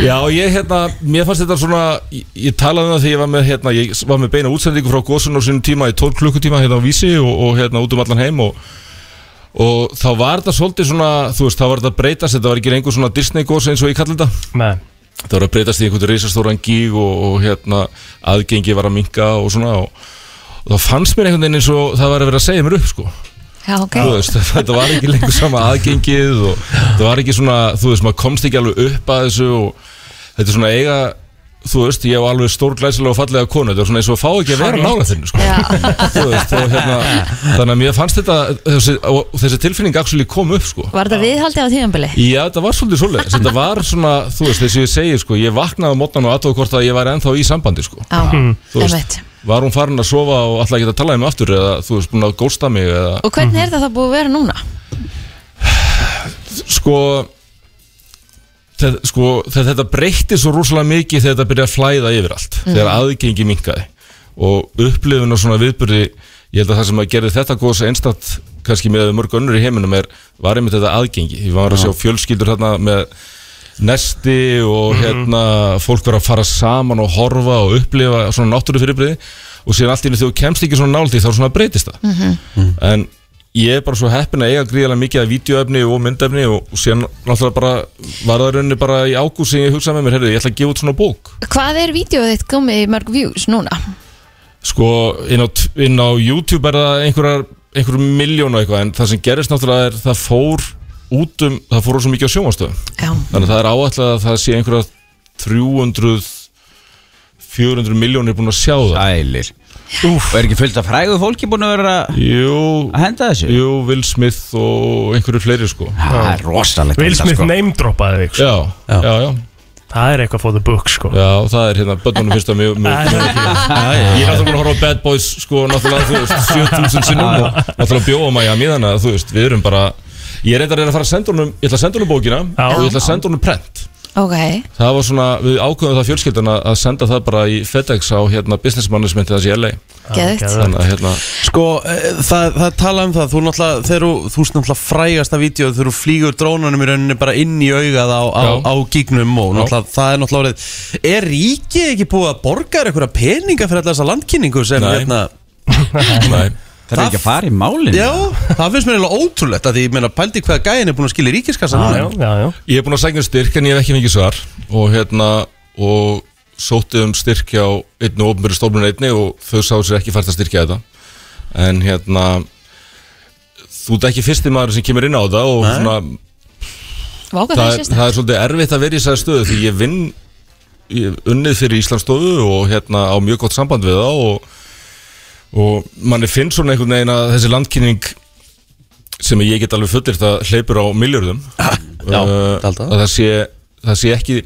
S6: já, og ég hérna mér fannst þetta svona, ég, ég talaði um það þegar ég var með hérna, ég var með beina útsendingu frá gósun á sínum tíma í 12 klukkutíma hérna á Vísi og, og hérna út um allan heim og og þá var þetta svolítið svona þú veist, þá var þetta að breytast, þetta var ekki lengur svona Disney gós eins og ég kalli þetta
S4: Nei.
S6: það var að breytast í einhvern reisastóran gíg og, og hérna, aðgengi var að minka og svona og, og þá fannst mér einhvern veginn eins og það var að vera að segja mér upp sko
S3: já, ok
S6: þú veist, *laughs* þetta var ekki lengur sama aðgengið og það var ekki svona, þú veist, maður komst ekki alveg upp að þessu og þetta er svona eiga, þú veist, ég hef alveg stór glæsilega og fallega konu, þetta er svona eins og að fá ekki að vera nála þinni, sko,
S3: Já,
S6: þú veist, og hérna, þannig að mér fannst þetta, þessi, og þessi tilfinning actually kom upp, sko.
S3: var þetta viðhaldið á tímanbili?
S6: Já, þetta var svolítið svolítið, þetta var svona, þú veist, þessi ég segi, sko, ég vaknaði á mótnan og aðtóð hvort að ég væri ennþá í sambandi, sko.
S3: Já,
S6: Þú veist.
S3: einmitt
S6: Var hún farin að sofa og alltaf ekki að tala um aftur eða, þú veist, búin að gósta mig eða
S3: Og hvernig
S6: Hmm.
S3: er þetta þá búið að vera núna?
S6: sko þetta, sko, þetta, þetta breytti svo rúslega mikið þegar þetta byrjaði að flæða yfir allt þegar aðgengi minkaði og upplifun og svona viðburði ég held að það sem að gerði þetta góðs einstakt kannski með mörg önnur í heiminum er var einmitt þetta aðgengi, ég var að sjá fjölskyldur hérna með nesti og hérna fólk var að fara saman og horfa og upplifa svona náttúru og síðan allt í einu þegar þú kemst ekki svona náldi þá svona breytist það en ég er bara svo heppin að eiga gríðarlega mikið af videoefni og myndefni og, og síðan náttúrulega bara var það í rauninni bara í ágúst sem ég hugsaði með mér, heyrðu, ég ætla að gefa út svona bók
S3: Hvað er vídeoð þitt komið í mörg views núna?
S6: sko, inn á, t- inn á YouTube er það einhverjar einhverjum miljón og eitthvað, en það sem gerist náttúrulega er það fór út um, það fór svo mikið á sjónvastöðum,
S3: Já,
S6: þannig að það er áætlað að það sé einhverjar 300 400 miljónir búin að sjá það
S5: Sælir Og er ekki fullt af frægu fólki búin að vera
S6: Jú,
S5: að henda þessu?
S6: jú, Will Smith og einhverju fleiri sko
S5: Það er rosalegt
S4: Will
S5: þetta,
S4: Smith
S5: sko.
S4: neymdroppaði þig sko.
S6: Já,
S1: Já.
S6: já, já
S4: Það er eitthvað for the book sko.
S6: Já, það er hérna, börnunum finnst það mjög, mjög, mjög Ég er náttúrulega búin að horfa á Bad Boys sko, náttúrulega, þú veist, 7000 sinnum og náttúrulega bjóða maður í að miðana, þú veist, við erum bara Ég er eitthvað að reyna að fara að senda honum, ég ætla að senda honum bókina
S4: Já.
S6: og ég ætla að senda honum prent
S3: ok
S6: Það var svona, við ákveðum það fjölskyldan að að senda það bara í FedEx á hérna business management þess í LA
S3: Geðvitt
S4: geðveikt.
S6: Þannig að hérna,
S1: Sko, eh, það, það tala um það, þú náttúrulega, þegar þú- þú ert náttúrulega frægast að vídeo þegar þú flýgur drónunum í rauninni bara inn í augað á, á,
S6: Já.
S1: á gígnum og náttúrulega, það er náttúrulega orðið, er ríkið ekki búið að borga þér einhverja peninga fyrir alltaf þessa landkynningu sem
S6: Nei.
S1: hérna,
S6: nei
S5: Það er ekki að fara í málinu
S1: Já, það finnst mér eiginlega ótrúlegt að því ég meina pældi hvað gæðin er búin að skilja ríkiskassa
S4: Já, já, já,
S1: núna
S4: já.
S6: Ég hef búin að sækja um styrk en ég hef ekki fengið svar og hérna og sótti um styrk hjá einu ofnbjörðu stofnun einni og þau sáu sér ekki fært að styrkja þetta en hérna þú ert ekki fyrsti maður sem kemur inn á það og svona,
S3: Váka
S6: það,
S3: það
S6: er,
S3: sést
S6: það er svolítið erfitt að vera í þessari stöðu því ég vinn ég hef unnið fyrir Íslandstofu og hérna á mjög gott samband við það og, og manni finnst svona einhvern veginn að þessi landkynning sem ég get alveg fullir það hleypur á miljörðum
S1: *laughs* Já,
S6: uh,
S1: taldi
S6: að
S1: það
S6: það sé, það sé ekki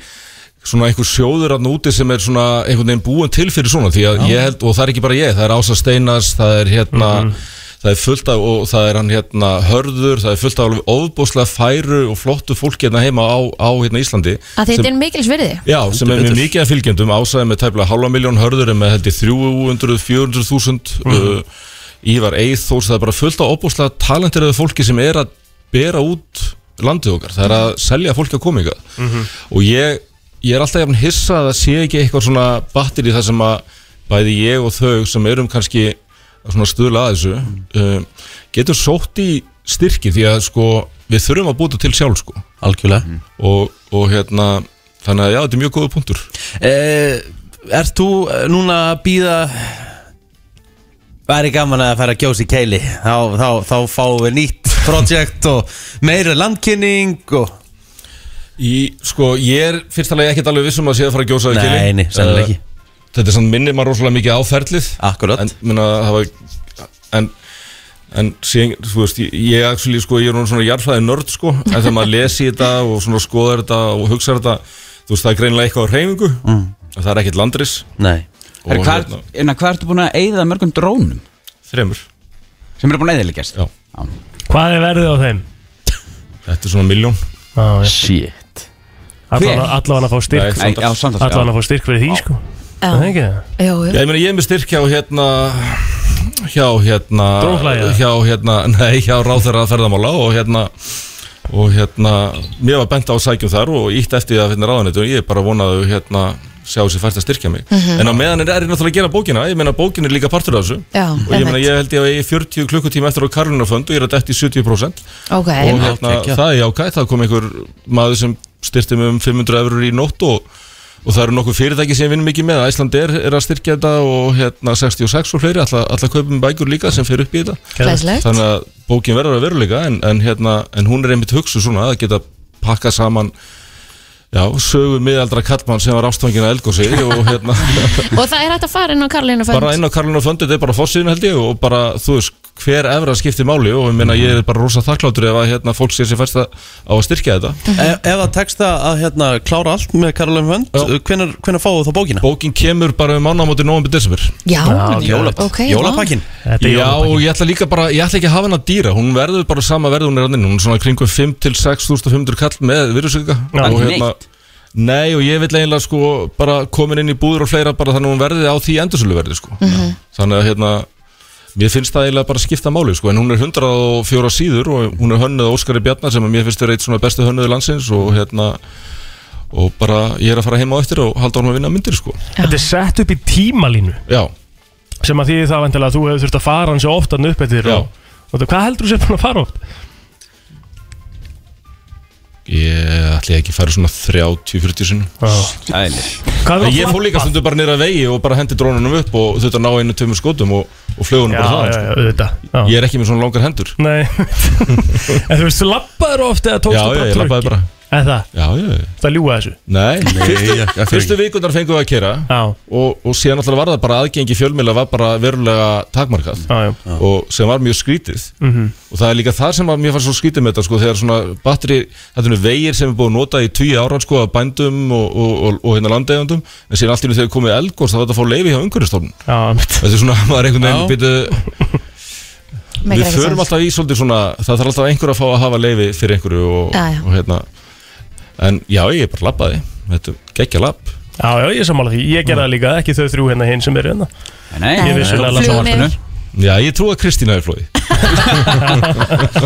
S6: svona einhver sjóður að núti sem er svona einhvern veginn búin til fyrir svona því að ég held, og það er ekki bara ég, það er Ása Steinas það er hérna
S1: Mhm.
S6: það er fullt af, og það er hann hérna hörður, það er fullt af alveg ofbúslega færu og flottu fólk hérna heima á, á hérna Íslandi
S3: Að
S6: sem-
S3: þetta er mikils virði
S6: Já, sem er með mikið af fylgjendum ásaði með tæplega halva miljón hörður en með held ég 300-400 þúsund uh, Ívar Eithors það er bara fullt af opbúslega talentiröðu fólki sem er að bera út landið okkar, það er að selja fólki að kominga
S3: Mhm.
S6: mm
S4: Mhm.
S6: og ég, ég er alltaf jafn hissa að það sé ekki eitthvað svona battir í það sem að bæði ég og þau sem erum kannski að svona stuðla að þessu uh, getum sótt í styrki því að sko við þurfum að búta til sjálf sko
S1: Algjörlega
S6: og, og hérna þannig að já, þetta er mjög góða punktur
S1: Eh, Ert þú eh, núna að býða Væri gaman að fara að kjósa í keili Þá, þá, þá fáum við nýtt projekt og meira landkynning og...
S6: í, sko, ég er fyrst alveg ekkert alveg vissum að sé að fara að gjósa í
S1: Nei,
S6: Kili.
S1: nei, sennilega ekki.
S6: Eh, þetta er samt minnir maður rosalega mikið á ferlið
S1: Akkurat.
S6: en, minna, hafa, en, en síðan, þú veist, ég, ég, actually, sko, ég er nú svona jarfræði nörd sko, en þegar maður lesi þetta og svona skoðar þetta og hugsa þetta þú veist, það er greinilega eitthvað á reyfingu mm. það er ekkert landris
S1: Nei
S5: Herra,
S6: og
S5: hvað,
S6: hérna,
S5: hérna, hvað ertu búin að eyða mörgum drónum
S6: þremur
S5: sem eru búin að eyðileggjast?
S6: Já.
S4: Hvað er verðið á þeim?
S6: þetta er svona miljón
S4: Já, já.
S5: Shit
S4: Allavega- Allavega að fá styrk
S6: Nei,
S5: Já, samtals
S4: Allavega
S5: já.
S4: að fá styrk fyrir því, sko Er Það er ekki það
S3: Jú, jú
S6: Já, ég meina, ég er með styrk hjá hérna hjá hérna
S4: Drónflagi, eða?
S6: hjá hérna, nei, hjá ráðherra ferðamála og hérna og hérna, mér var bent á að sækjum þar og ítt eftir það hérna ráðanettu og ég bara vonaði hérna sjá sér fært að styrkja mig en á meðan er er ég náttúrulega að gera bókina ég meina bókin er líka partur af þessu
S3: Já,
S6: og ég meina,
S3: einmitt.
S6: ég held ég að ég er 40 klukkutíma eftir á Karlunarfönd og ég er að detti 70%
S3: Ok,
S6: og hérna,
S1: geggjað.
S6: það er jákvæð, það kom einhver maður sem styrti mig um 500 eurur í nótt og, og það eru nokkuð fyrirtæki sem ég vinn mikið með, Æsland er, er að styrkja þetta og hérna 66 og fleiri alltaf, alltaf kaupum um bækur líka sem fer upp í þetta
S3: hlæslegt
S6: þannig að bókin verður að veruleika en, en, hérna, en hún er einmitt hugsu svona að geta pakkað saman já, sögu miðaldra kallmann sem var ástfangin að elgósi og hérna *laughs*
S3: Og það er hægt að fara inn á Karlinu
S6: bara
S3: fund
S6: inn á Karlinu og Föndi, þetta er bara fórsýðin held ég og bara, þú veist, hver efra skiptir máli og ég meina, ég er bara rosa þakkláttur ef að hérna, fólk sé sér fæst að- á að styrkja þetta
S1: e Ef það tekst að að, hérna, klára allt með Karolum Vönd
S6: Já.
S1: hvenær, hvenær fáðu þá bókina?
S6: Bókin kemur bara um mánamóti nóvember desember
S3: Já,
S1: Jólap-
S3: ok,
S1: Jólapakkin
S4: Þetta er
S6: Já, og
S4: jólapakki.
S6: ég ætla líka bara, ég ætla ekki að hafa hana dýra hún verður bara sama verð hún er anninn hún er svona kringum 5-6.500 kall með virðsöka
S4: Já.
S6: og hérna,
S5: Ekki neitt.
S6: Nei, og ég vil eiginlega sko bara komin inn í búður og fleira bara þannig að hún verði á því endursölu verði sko
S3: Mhm.
S6: þannig að hérna Mér finnst það eiginlega bara skipta máli sko, en hún er 104 síður og hún er hönnuð af Óskari Bjarnar sem að mér finnst vera eitt svona bestu hönnuði landsins og hérna og bara ég er að fara heima á eftir og halda honum að vinna myndir sko.
S4: Þetta er sett upp í tímalínu
S6: Já,
S4: sem að því það vantilega að þú hefur þurft að fara hans ofta upp eftir
S6: Já.
S4: og, og þú- hvað heldur þú sér búin að fara oft?
S6: ég ætli ekki að fara svona 30-40 sinni.
S5: Æli
S4: Hvað Ah.
S6: Ég fór líka stundu bara niður að vegi og bara hendi drónunum upp og þurfti að ná einu tveimur skotum og, og flögunum
S4: Já,
S6: bara það
S4: já, já, auðvitað Já.
S6: sko. Ég er ekki með svona langar hendur
S4: Nei *laughs* En þú veist, þú labbaður oft eða
S6: Já,
S4: tókstu
S6: já,
S4: bara
S6: ég lappaði bara
S4: En það,
S6: Já, já, já
S4: það ljúga þessu
S6: Nei, fyrstu, fyrstu vikundar fengum við að kera
S4: Já,
S6: og, og síðan alltaf var það bara aðgengi fjölmiðla var bara verulega takmarkað
S4: já, já
S6: og sem var mjög skrítið og það er líka það sem var mér fannst svo skrítið með þetta sko, þegar svona batteri, þetta er vegir sem er búið að nota í tíu ára sko að bændum og, og, og, og hérna landeigandum en síðan allt í einu þegar komið elgórs þá var þetta að fá leifi hjá umhverjastofnun
S4: Já, mitt
S6: Þetta er svona, *laughs* maður einhvern
S1: Já.
S6: veginn býtu
S3: Megar
S6: Við
S3: ekki
S6: förum
S3: sens.
S6: alltaf í svolítið svona Það þarf alltaf einhver að fá að hafa leiði fyrir einhverju og,
S3: Já, já.
S6: og hérna En já, ég bara labbaði Þetta er geggja labb
S4: Já, já, ég er sammála því Ég gerði það líka, ekki þau þrjú hérna hinn sem eru hérna
S5: Nei,
S4: Ég vissi vel að labba
S5: Flugum
S3: sjónvarpinu.
S5: yfir.
S6: Já, ég trú að Kristína er flóði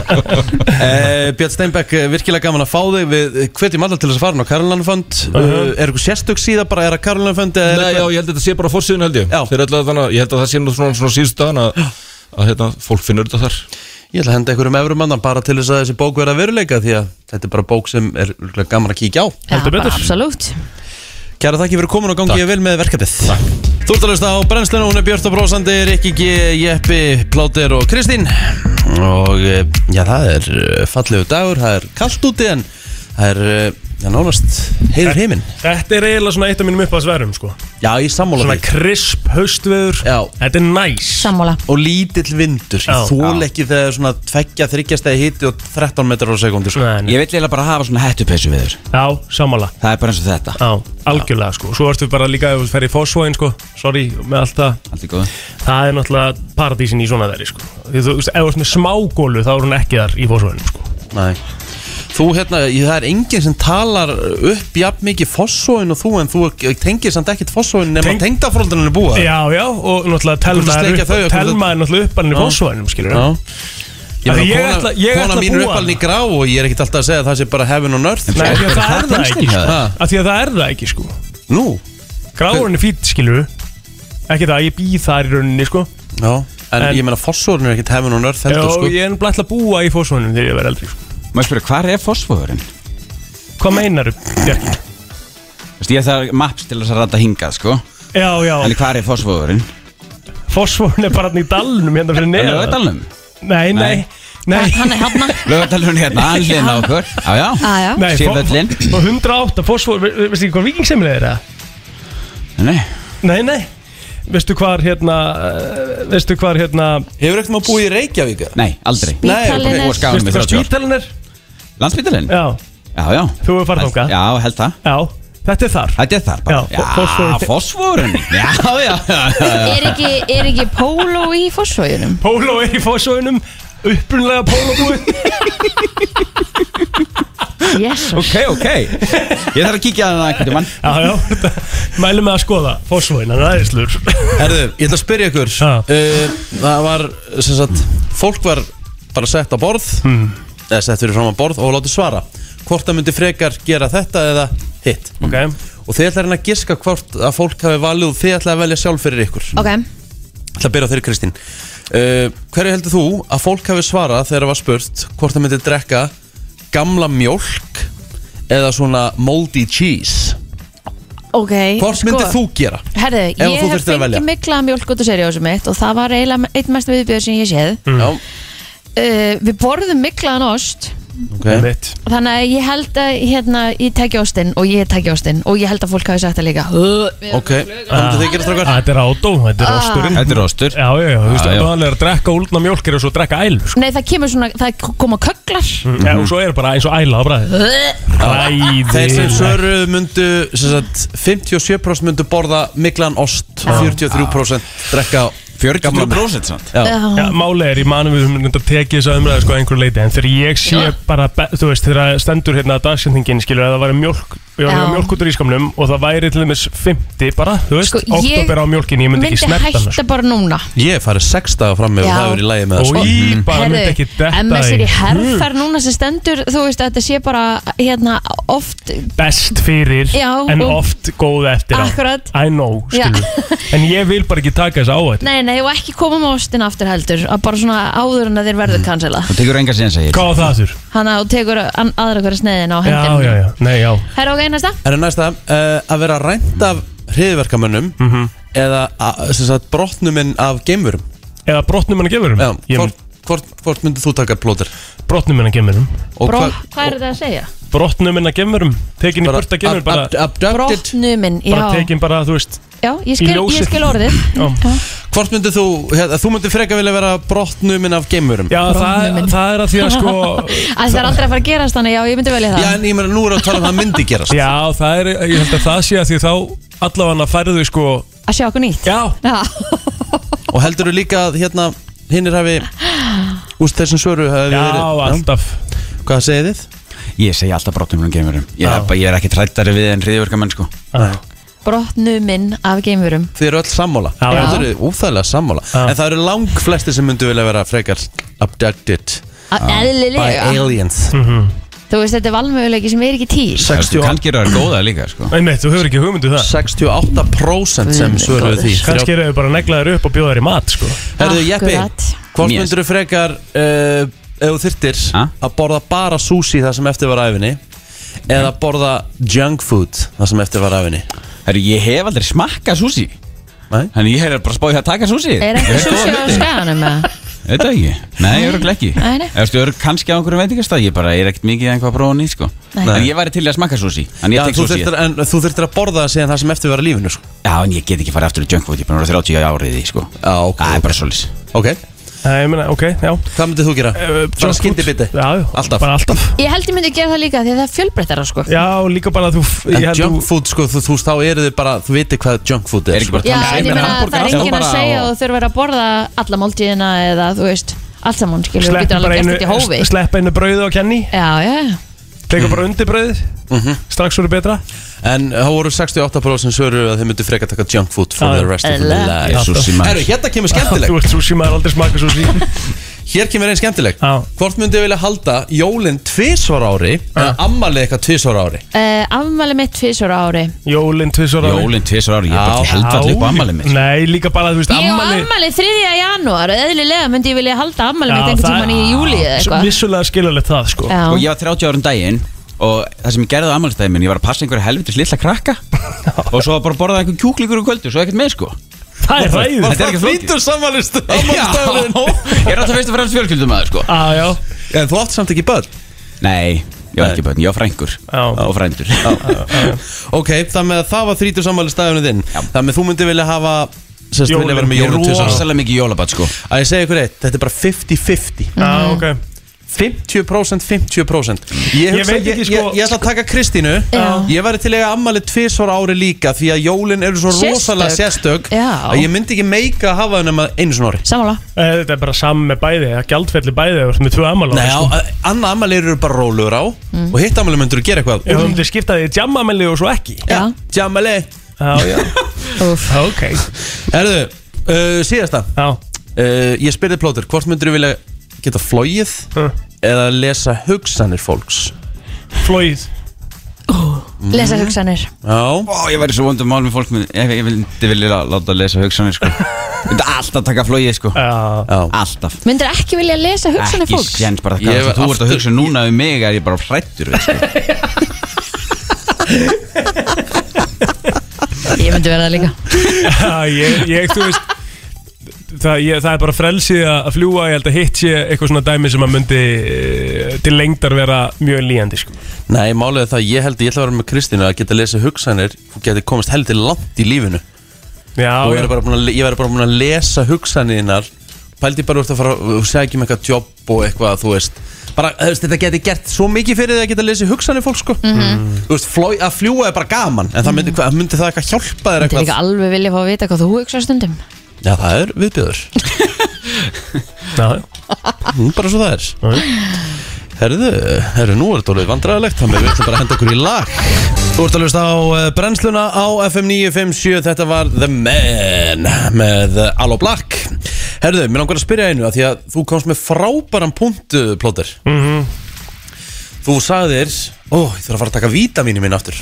S1: Eh, Björn Steinbeck, eh, virkilega gaman að fá þig Við eh, hvetjum alla til þess að fara inn á Karolanfönd uh Er eitthvað sérstök síða bara, er að Karolanfönd
S6: Nei, já, ég held að þetta sé bara fórsýðun held ég
S1: Já.
S6: Þeir ætla að þannig, að- ég held að það sé nú svona, svona síðust dagana að að hérna, fólk finnur þetta þar
S1: Ég ætla að henda einhverjum efrumanna bara til þess að þessi bók verða að veruleika því að þetta er bara bók sem er örugglega gaman að kíkja á.
S4: Heldur
S3: bara
S4: betur.
S3: Absolutt
S1: Kæra þakki fyrir komin og gangi ég vel með verkefnið. Takk. Þú ert að hlusta á brennsluna, hún er Björn og Brósandi, Rikki G, Jeppi, Plóter og Kristín. Og eh, já, það er eh, fallegu dagur, það er kallt úti en það er, eh, já, nánast heiður heiminn.
S4: Þetta er eiginlega svona eitt af mínum uppáðsverðum sko.
S1: Já, í sammála
S4: Svona
S1: því.
S4: krisp haustveður
S1: Já.
S4: Þetta er næs
S3: Sammála
S1: Og lítill vindur,
S4: Já.
S1: ég þól ekki þegar það er svona tveggja, þryggjastegi hiti og 13 metrar á sekundi. Sko.
S4: Nei, nei.
S5: Ég vil eiginlega bara hafa svona hettupeysu við þér
S4: Já, sammála
S5: Það er bara eins og þetta
S4: Já, algjörlega sko Svo ertu bara líka ef þú ferð í fósfóin sko Sorry með allt það
S5: Allt í góðu
S4: Það er náttúrulega paradísin í svona þeirri sko Því þú veist, ef þú veist með smágólu þá er hún ekki þar í fósfóin sko
S1: Nei Þú hérna, ég, það er enginn sem talar upp jafn mikið fossóin og þú en þú tengir samt ekkert fossóin nema Teng...
S4: Teng-
S1: tengdafróldunum er búa
S4: Já, já, og náttúrulega telma
S1: Þú ert að
S4: er
S1: sleikja
S4: upp
S1: þau og þú-
S4: Telma er náttúrulega uppalinn í
S1: Já.
S4: fósfóinum skilur
S1: Já. Ég
S4: Af því
S1: meina,
S4: ég
S1: kona,
S4: ætla- ég
S1: kona
S4: ætla að
S1: mín er
S4: búa
S1: uppalinn í
S4: hana.
S1: grá og ég er ekkert alltaf að segja að það sé bara heaven on earth
S4: Nei, af því að það
S5: Hvað
S4: er það
S5: finnst
S4: ekki
S5: þér
S4: sko
S5: það?
S4: Af því að það er það ekki sko
S1: Nú,
S4: Gráðurinn er fýtt skilur Ekki það, ég býð þar í rauninni sko
S1: já En,
S4: En-
S1: ég meina fossóin er ekkert heaven on earth
S4: Já,
S1: heldur sko
S4: ég er bara ætla að búa í fósfóinum þegar ég verð eldri sko
S5: Má ég spyrja, hvar er fósfóðurinn?
S4: Hvað meinar Bjarki?
S5: Vist, ég þarf maps til þess að rata hingað, sko
S4: Já, já,
S5: En hvar er fósfóðurinn?
S4: fósfóin er bara hann í dalnum hérna fyrir
S5: Er
S4: neðan
S5: lögadalum?
S4: Nei, nei, nei
S3: Hann er hafna
S5: Lögadalum hérna, hann hliðna á okkur Já, Ah, já
S3: Aja
S4: Nei, fó-
S5: Sérvöllin.
S4: fó- 108, fósfór, ve- ve- veistu ekki hvað vikingsemil er það?
S5: Nei
S4: Nei, nei Veistu hvar hérna eh, Veistu hvar hérna
S1: Hefur ekkert maður búið í Reykjavík eða?
S5: Nei, aldrei
S1: Nei,
S3: Bítalinn
S5: Og
S3: er
S5: skáðum
S4: Veistu
S5: við
S4: hvar
S5: 30 ár
S4: spítalinn er?
S5: Landspítalinn?
S4: Já,
S5: Já, já
S4: þú hefur farið þóka
S5: Já, held það
S4: Já, þetta er þar
S5: Þetta er þar bara
S4: Já, fósfórinn. *laughs*
S5: fósfórun Já, já, já
S3: Er ekki, er ekki póló í fórsvöginum?
S4: Póló er í fósfóinum Upprunlega pólóbúi
S3: Jésus
S5: Ok, ok Ég þarf að kíkja að það einhvern tímann
S4: Já, já, þetta- mælum við að skoða Fósfóin, hann er aðeinslur
S1: Herðu, ég ætla að spyrja ykkur
S4: Ha.
S1: uh, Það var, sem sagt, fólk var bara sett á borð
S4: Mhm.
S1: eða sett fyrir fram á borð og látið svara hvort það myndi frekar gera þetta eða hitt
S4: Ok,
S1: og þið ætla að reyna að giska hvort að fólk hafi valið og þið ætla að velja sjálf fyrir ykkur
S3: Ok,
S1: Það ætla að byrja á þeirri Kristín uh, Hverju heldur þú að fólk hafi svarað þegar það var spurt hvort það myndi drekka gamla mjólk eða svona moldy cheese
S3: ok sko,
S1: Hvort myndi þú gera?
S3: Herðu,
S1: þú
S3: ég hef
S1: þyrftir að velja.
S3: fengið mikla mjölk út á seriósum mitt og það var eiginlega eitt mest viðbjörn sem ég séð
S4: Mm.
S1: Já,
S3: uh, Við borðum miklaðan ost
S1: ok
S4: mitt
S3: Þannig að ég held að hérna, ég tekja ostinn og ég tekja ostinn og ég held að fólk hafi sagt það líka uh,
S1: Ok, hvað myndi þið gera strákar?
S4: Ah, Þetta er átó, þetta er ásturinn
S5: Ah. Þetta er rostur
S4: Já, já, já, þú veist,
S5: Já, já.
S4: það er að drekka úlna mjólkir og svo drekka ælu sko.
S3: Nei, það kemur svona, það koma köklar
S1: Mhm.
S4: Já, og svo er bara eins og æla á bræði
S1: Þeir sem
S4: Ræði
S1: svöruðu myndu sem sagt, 57% myndu borða miklan ost 43% drekka gamla mjólk.
S5: 43% samt
S1: Já,
S3: uh,
S4: Já, máli er, ég manum við höfum reyndar tekið þess að umræða sko að einhverju leiti En þegar ég sé bara, be- þú veist, þegar stendur hérna að dagsendingin skilur að það væri mjólk Ég var
S3: Já.
S4: með mjólk út úr ískamnum og það væri til dæmis 50 bara, þú veist,
S3: Sko,
S4: sko,
S3: ég
S4: oktober á mjólkin, ég myndi
S3: myndi
S4: ekki sko. snert hann
S3: hætta bara núna
S1: Ég fari sex daga fram með og
S3: Já. Mm.
S1: það er í lægi með það
S4: Og
S1: sko.
S4: ég bara myndi ekki detta
S3: MS er í herðferð núna sem stendur þú veist að þetta sé bara hérna oft
S4: best fyrir
S3: Já,
S4: en
S3: og-
S4: oft góð eftir á
S3: Akkurat.
S4: I know,
S3: Já.
S4: skilur En ég vil bara ekki taka þess áhætt
S3: Nei, nei, og ekki koma með ostin aftur heldur að bara svona áður en að þeir verður kansela
S5: Þú tekur enga síðan segir
S4: Hvað á það þurr?
S3: hann að þú tekur an, aðra hverja sneiðin á
S4: Já,
S3: hendin
S4: já, já, nei, já
S3: Herra ok, næsta
S1: Það er næsta uh, að vera rænt af hriðverkamönnum
S4: Mhm.
S1: eða að, sem sagt, brotnuminn af geimverum
S4: Eða brotnum en að gemurum
S1: Já, hvort, hvort, hvort myndu þú taka plóter?
S4: Brotnum en að gemurum
S1: Og
S3: Bró,
S1: hva-
S3: Hvað er þetta að segja?
S4: Brotnum en að gemurum Tekin í
S1: bara
S4: burt að gemur
S1: ab-
S4: bara,
S1: ab- abducted
S3: Brotnuminn, já,
S4: bara tekin bara, þú veist
S3: já ég, skil,
S4: ljósið.
S3: ég skil orðið
S1: *laughs*
S4: Já,
S1: Hvort myndu þú, hérna, þú myndu freka vilja vera brotnuminn af geimverum?
S4: já það, það er að því *laughs* að sko
S3: Æ, Það er aldrei að fara að gerast þannig, já, ég myndi velja það
S1: Já, en ég meina nú er að tala um að það myndi gerast
S4: Já, það er, ég held að það sé að því þá Allavega færðu sko
S3: Að sjá okkur nýtt
S4: Já,
S3: Já,
S1: Og heldur þú líka að hérna hinnir hafi Úst þessum svöru hafi
S4: já,
S1: verið
S4: alltaf
S1: Hvað segið þið?
S5: Ég segi alltaf brotum um geimurum Ég
S4: Já. Ah.
S5: er, bara- ég er ekki trættari við en hriðverkamenn sko
S4: Já.
S3: brotnuminn af geimurum
S1: Þið eru öll sammála
S4: Já.
S1: Þið eru úþægilega sammála
S4: Já.
S1: En það eru lang flesti sem myndu vilja vera frekar abducted by
S3: Eðlilega
S1: aliens
S4: Mhm.
S3: Þú veist, þetta er valmöguleiki sem er ekki til
S5: Þú
S1: 68
S5: kannski eru það góða líka sko
S4: Einmitt, þú hefur ekki hugmyndu það
S1: 68% sem
S3: Guð minn
S1: svöruðu því
S3: góður.
S4: Kannski eru þau bara neglaðir upp og bjóðar í mat sko
S1: Herðu, Jeppi,
S3: Akkurat.
S1: Hvort
S5: Mér-
S1: myndur þú frekar uh, ef þú þyrtir
S5: Ha?
S1: að borða bara sushi það sem eftir var af henni eða borða junk food það sem eftir var af henni
S5: Herru, ég hef aldrei smakkað sushi
S1: Nei.
S5: Þannig ég hef bara spáðið að taka sushi
S3: Er
S5: Ég
S3: ekki
S5: veit
S3: sushi
S5: góða
S3: á
S5: hluti.
S3: skaganum eða?
S5: Veit það ekki, nei, öruglega ekki
S3: Nei, nei.
S5: Eftir örug kannski á einhverju veitingastað Ég bara er ekkert mikið einhvað að prófa nýtt sko
S3: Nei.
S5: En ég væri til í að smakka sushi En ég
S1: Já,
S5: tek
S1: þú
S5: sushi
S1: þyrftir, en þú þyrftir að borða það síðan það sem eftir var af lífinu sko.
S5: Já, en ég get ekki farið aftur í junk food Ég er búin að vera 30 árið í því sko
S1: Já, ok,
S5: Það
S1: ok.
S5: er bara solis
S1: Ok,
S4: Nei, ég meina, ok, já
S1: hvað myndir þú gera?
S4: Eh,
S1: Fara
S4: junk food.
S1: skyndibiti?
S4: Já, já,
S1: Alltaf.
S4: Bara alltaf
S3: Ég held ég myndi gera það líka því að það er fjölbreyttara sko
S4: Já, líka bara að þú
S1: En
S4: ég held
S1: junk
S4: þú-
S1: food, sko, þú, þú veist, þá eru þið bara, þú veitir hvað junk food er, sko.
S5: Er ekki bara
S3: Já,
S5: Þannig að ég
S3: en ég
S5: meina,
S3: meina það
S5: hamborgara
S3: er
S5: alltaf
S3: enginn að
S5: bara
S3: segja
S5: og-
S3: og þurfa að borða alla máltíðina eða þú veist allt saman skilur, við getur
S4: Sleppa bara
S3: alveg gert þetta í hófi
S4: einu, sleppa einu brauðu á kenni
S3: Já, já, já.
S4: Tekur bara undir brauðið Strax voru betra
S1: sko. Mhm. En þá voru 68% svöru að þið myndir frekar taka junk food for
S4: Já,
S1: the rest of the
S3: eðlilega.
S1: life
S5: Sushi
S1: Herru,
S5: maður
S1: hérna kemur
S4: Þú
S1: skemmtileg
S4: ert sushi maður aldrei smaka sushi
S1: Hér kemur einn skemmtileg
S4: Já.
S1: Hvort myndið vilja halda jólinn tvisvar á ári eða ammalið eitthvað tvisvar á ári
S3: Uh, afmæli mitt tvisur ári
S4: Jólinn tvisvar ári
S5: Jólinn tvisar ári, ég er bara til helvall upp á ammalið mitt
S4: Nei, líka bara að þú veist
S3: Ég á
S4: ammali
S3: afmæli 3. janúar Eðlilega myndi ég vilja halda afmæli mitt einhvern
S4: það-
S3: tímann í júli eða eitthvað
S4: Vissulega skilulegt það sko
S3: Já.
S5: Og ég var 30 árum daginn Og það sem ég gerði á ammálistæði minn Ég var að passa einhverja helvitis litla krakka
S4: *laughs*
S5: Og svo bara borðaði einhver kjúklingur um kvöldu Svo ekkert með sko
S4: Það er ræðið
S5: Þetta er ekki flókið.
S1: Flýtur samanlist
S5: Ég er alltaf fyrst og fremst fjölskyldumæður sko
S4: Já, já
S1: En þú átt samt ekki börn
S5: Nei, ég var
S1: Nei.
S5: ekki bönn, ég var frængur
S4: Já.
S5: Og frændur *laughs*
S1: Ok, það með að það var þrítur samanlist dagurinn þinn
S5: Já.
S1: Það með þú myndi vilja hafa Sérst,
S4: Jólin.
S1: vilja vera með
S5: Ég er
S1: jólinn tvisvar á ári
S5: rosalega mikið jólabat sko
S1: Að ég segja ykkur eitt, þetta er bara Ah, 50-50
S4: Já, ok
S1: 50% 50% Ég, hugsa,
S4: Mhm. veit ekki,
S1: ég,
S4: sko-
S1: ég, ég ætla að taka Kristínu
S3: Já.
S1: Ég væri til að eiga ammali tvisvar á ári líka Því að jólinn eru svo
S3: Sérstök.
S1: rosalega sérstök
S3: Já.
S1: Að ég myndi ekki meika að hafa hennum einu svona ári
S3: Samála
S4: Eh, Þetta er bara saman með bæði Það gjaldfelli bæði Það er með tvö ammali
S1: Nei, á, eh,
S4: sko.
S1: annað ammali eru bara róluður á Og hitt ammali myndur gera eitthvað
S4: Ef Mhm. þú myndir skipta því jammameli og svo ekki
S3: Já,
S1: Jamali
S4: Já, já
S1: *laughs*
S3: úff
S4: Ok
S1: Herðu, uh, síðasta
S4: Já
S1: uh, Ég spyrði plótur, hvort myndur vilja geta flóið
S4: Huh.
S1: Eða lesa hugsanir fólks
S4: Flóið
S3: Mm. Lesa hugsanir
S1: Já
S5: Ó, ég væri svo vondum mál með fólk með, Ég, ég vildi vilja láta að lesa hugsanir
S4: *laughs*
S5: sko Ég Myndi alltaf taka flóið sko
S4: Já
S1: Já.
S5: Alltaf
S3: Myndir ekki vilja lesa hugsanir
S5: Ekki
S3: fólks?
S5: séns bara
S1: Ég
S5: hvað
S1: var
S5: þú ert
S1: aftur-
S5: að hugsa núna um mig er ég bara hrættur sko.
S3: Ég myndi vera það líka
S4: *laughs* Já, ég, ég, þú veist Það, ég, það er bara frelsið að að fljúa Ég held að hitt sé eitthvað svona dæmi sem að myndi eh, til lengdar vera mjög líjandi sko.
S1: Nei, málið er það, ég held að ég ætla að vera með Kristínu að geta lesið hugsanir og geti komist heldur langt í lífinu
S4: Já,
S1: og ég
S4: já.
S1: verði bara búin að, ég væri bara búin að lesa hugsaninnar pældi bara úr að fara og segja um eitthvað jobb og eitthvað, þú veist bara, þú veist, þetta geti gert svo mikið fyrir því að geta lesið hugsanir fólk, sko þú veist, flói, að fljúa er bara gaman en það myndi, hvað, myndi það eitthvað hjálpa þér
S3: Myndir
S1: eitthvað
S3: líka alveg vilja fá að vita hvað þú hugsa stundum
S1: Já, það er viðbjöður,
S4: Já,
S1: Mm, bara svo það er Herðu, herðu, nú er þetta alveg vandræðilegt þannig við ætlum bara að henda okkur í lag Þú ert að hlusta á eh, brennsluna á FM 957 Þetta var The Man með eh, Allo Black Herðu, mér langar að spyrja einu að því að þú komst með frábæran punktu, Plóter Þú sagðir, ó, ég þarf að fara að taka vítamínu mín aftur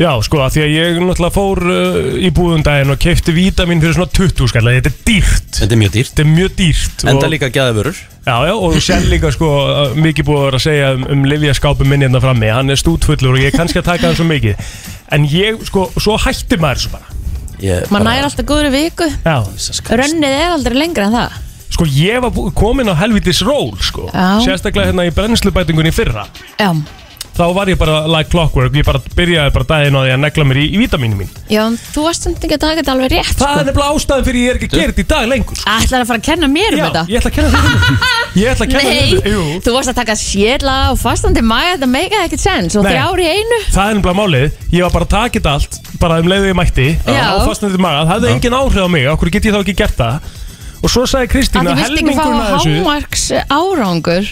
S4: já sko, af því að ég náttúrulega fór uh, í búðundaginn og kefti vítamin fyrir svona 20 skall Þetta er dýrt
S1: Þetta er mjög dýrt
S4: Þetta er mjög dýrt
S1: Enda
S4: og,
S1: líka gæðavörur
S4: Já, já, og þú sér líka sko að mikið búið að vera að segja um, um livjaskápum minn hérna frammi Hann er stútfullur og ég er kannski að taka hann svo mikið En ég, sko, svo hætti maður svo bara
S1: Ég
S3: Man
S1: bara-
S3: næri alltaf góðri viku
S4: Já,
S3: Rönnið er aldrei lengra en það
S4: Sko ég var bú- kominn á helvitis ról sko.
S3: Já.
S4: Sérstaklega hérna í brennslubætingunni í fyrra
S3: Já,
S4: Þá var ég bara like clockwork Ég bara byrjaði bara daginn á því að negla mér í, í vitamínu mín
S3: já, en þú varst samt ekki að taka þetta alveg rétt
S4: Það er nefnilega ástæðan fyrir ég er ekki að gera þetta í dag lengur sko.
S3: Ætlar að fara að kenna mér um
S4: Já,
S3: þetta
S4: ég ætla að kenna þér
S3: *laughs*
S4: um Ég ætla að kenna
S3: Nei,
S4: þér um Jú
S3: þú varst að taka sérla og fastandi maga Þetta meika ekkert sens og
S4: Nei.
S3: þrjár í einu
S4: Það er nefnilega málið, ég var bara að taka þetta allt bara um leiðu ég mætti
S3: Já.
S4: á fastnættið maga, það hefði engin áhrif á mig okkur get ég þá ekki gert það og svo sagði
S3: Að
S4: Kristín
S3: þú
S4: að
S3: vilt ekki fá
S4: helmingurinn að þessu
S3: hámarks árangur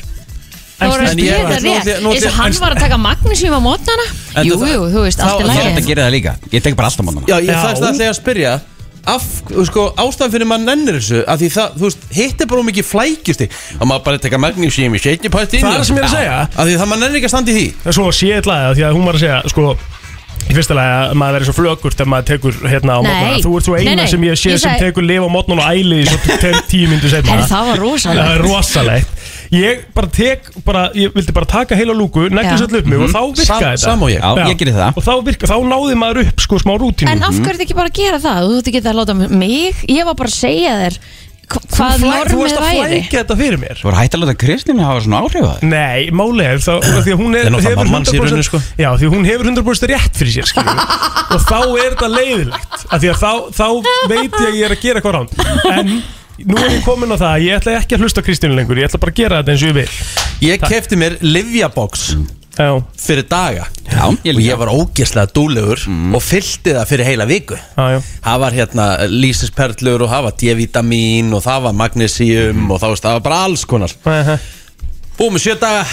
S3: Þá voru
S1: En ég-
S3: að spila þetta
S1: nú ætla ég-
S3: rétt
S1: nú ætla
S3: Eins og
S1: ég-
S3: hann
S1: en-
S3: var að taka magnusjum á mótnana
S1: En
S3: Jú,
S1: það-
S3: jú, þú veist,
S1: þá-
S3: allt í
S1: þá-
S5: Ég ætla
S3: lagi
S5: að gera það líka Ég tek bara alltaf mannana
S1: Já, ég
S4: Já.
S1: það er það ætla ég að spyrja af, þú sko, ástæðan fyrir maður nennir þessu að því það, þú veist, hitt er bara of mikið flækjusti að maður bara teka magnesium í shaking part
S4: Það er það sem ég er að segja.
S1: að því það maður nennir ekki að standa í því
S4: En svo sé ég eitthvað að því að hún var að segja sko, Í fyrsta lagi að maður verið svo flökurt ef maður tekur hérna á
S3: Nei.
S4: mótnana Þú ert svo eina
S3: Nei, nei.
S4: sem ég sé
S3: Ég
S4: sem
S3: sagði-
S4: tekur lif á mótnana og æli því
S3: *laughs*
S4: svo te- tíu myndu setna
S3: Herri, það var rosalegt.
S4: Það er rosalegt Ég bara tek, bara, ég vildi bara taka heila lúku, negla
S3: Já.
S4: sér upp mig og þá virka
S1: Sam-
S4: þetta
S1: sam og ég.
S5: Já, ég geri það.
S4: Og þá virka, þá náði maður upp sko smá rútínu
S3: En af hverju ertu ekki bara að gera það? Þú ætti ekki að láta mig Ég var bara að segja þér hva- hvað
S4: Þú varst
S3: normið
S4: að
S3: væri
S4: flækja þetta fyrir mér
S5: Þú voru hægt að láta Kristínu hafa svona áhrif að það
S4: Nei, máli er þá af því að hún er,
S1: Það er náttúrulega
S4: hefur
S1: mamman hans í
S4: 100%
S1: rauninni, sko.
S4: Já, því að hún hefur 100% rétt fyrir sér skilur við. og þá er þetta leiðilegt af því að þá, þá veit ég að ég er að gera eitthvað ránd en nú er ég komin á það að ég ætla ekki að hlusta á Kristínu lengur ég ætla bara að gera þetta eins og ég vil
S1: Ég kefti mér Livjabox
S4: Já,
S1: fyrir daga
S5: Já, ég
S1: og
S5: líka
S1: ég var ógeðslega dúlegur og fyllti það fyrir heila viku
S4: já, já
S1: það var hérna lýsisperlur og það var D-vitamin og það var magnesium og það, veist, það var bara alls konar
S4: Aha.
S1: búið með sjö daga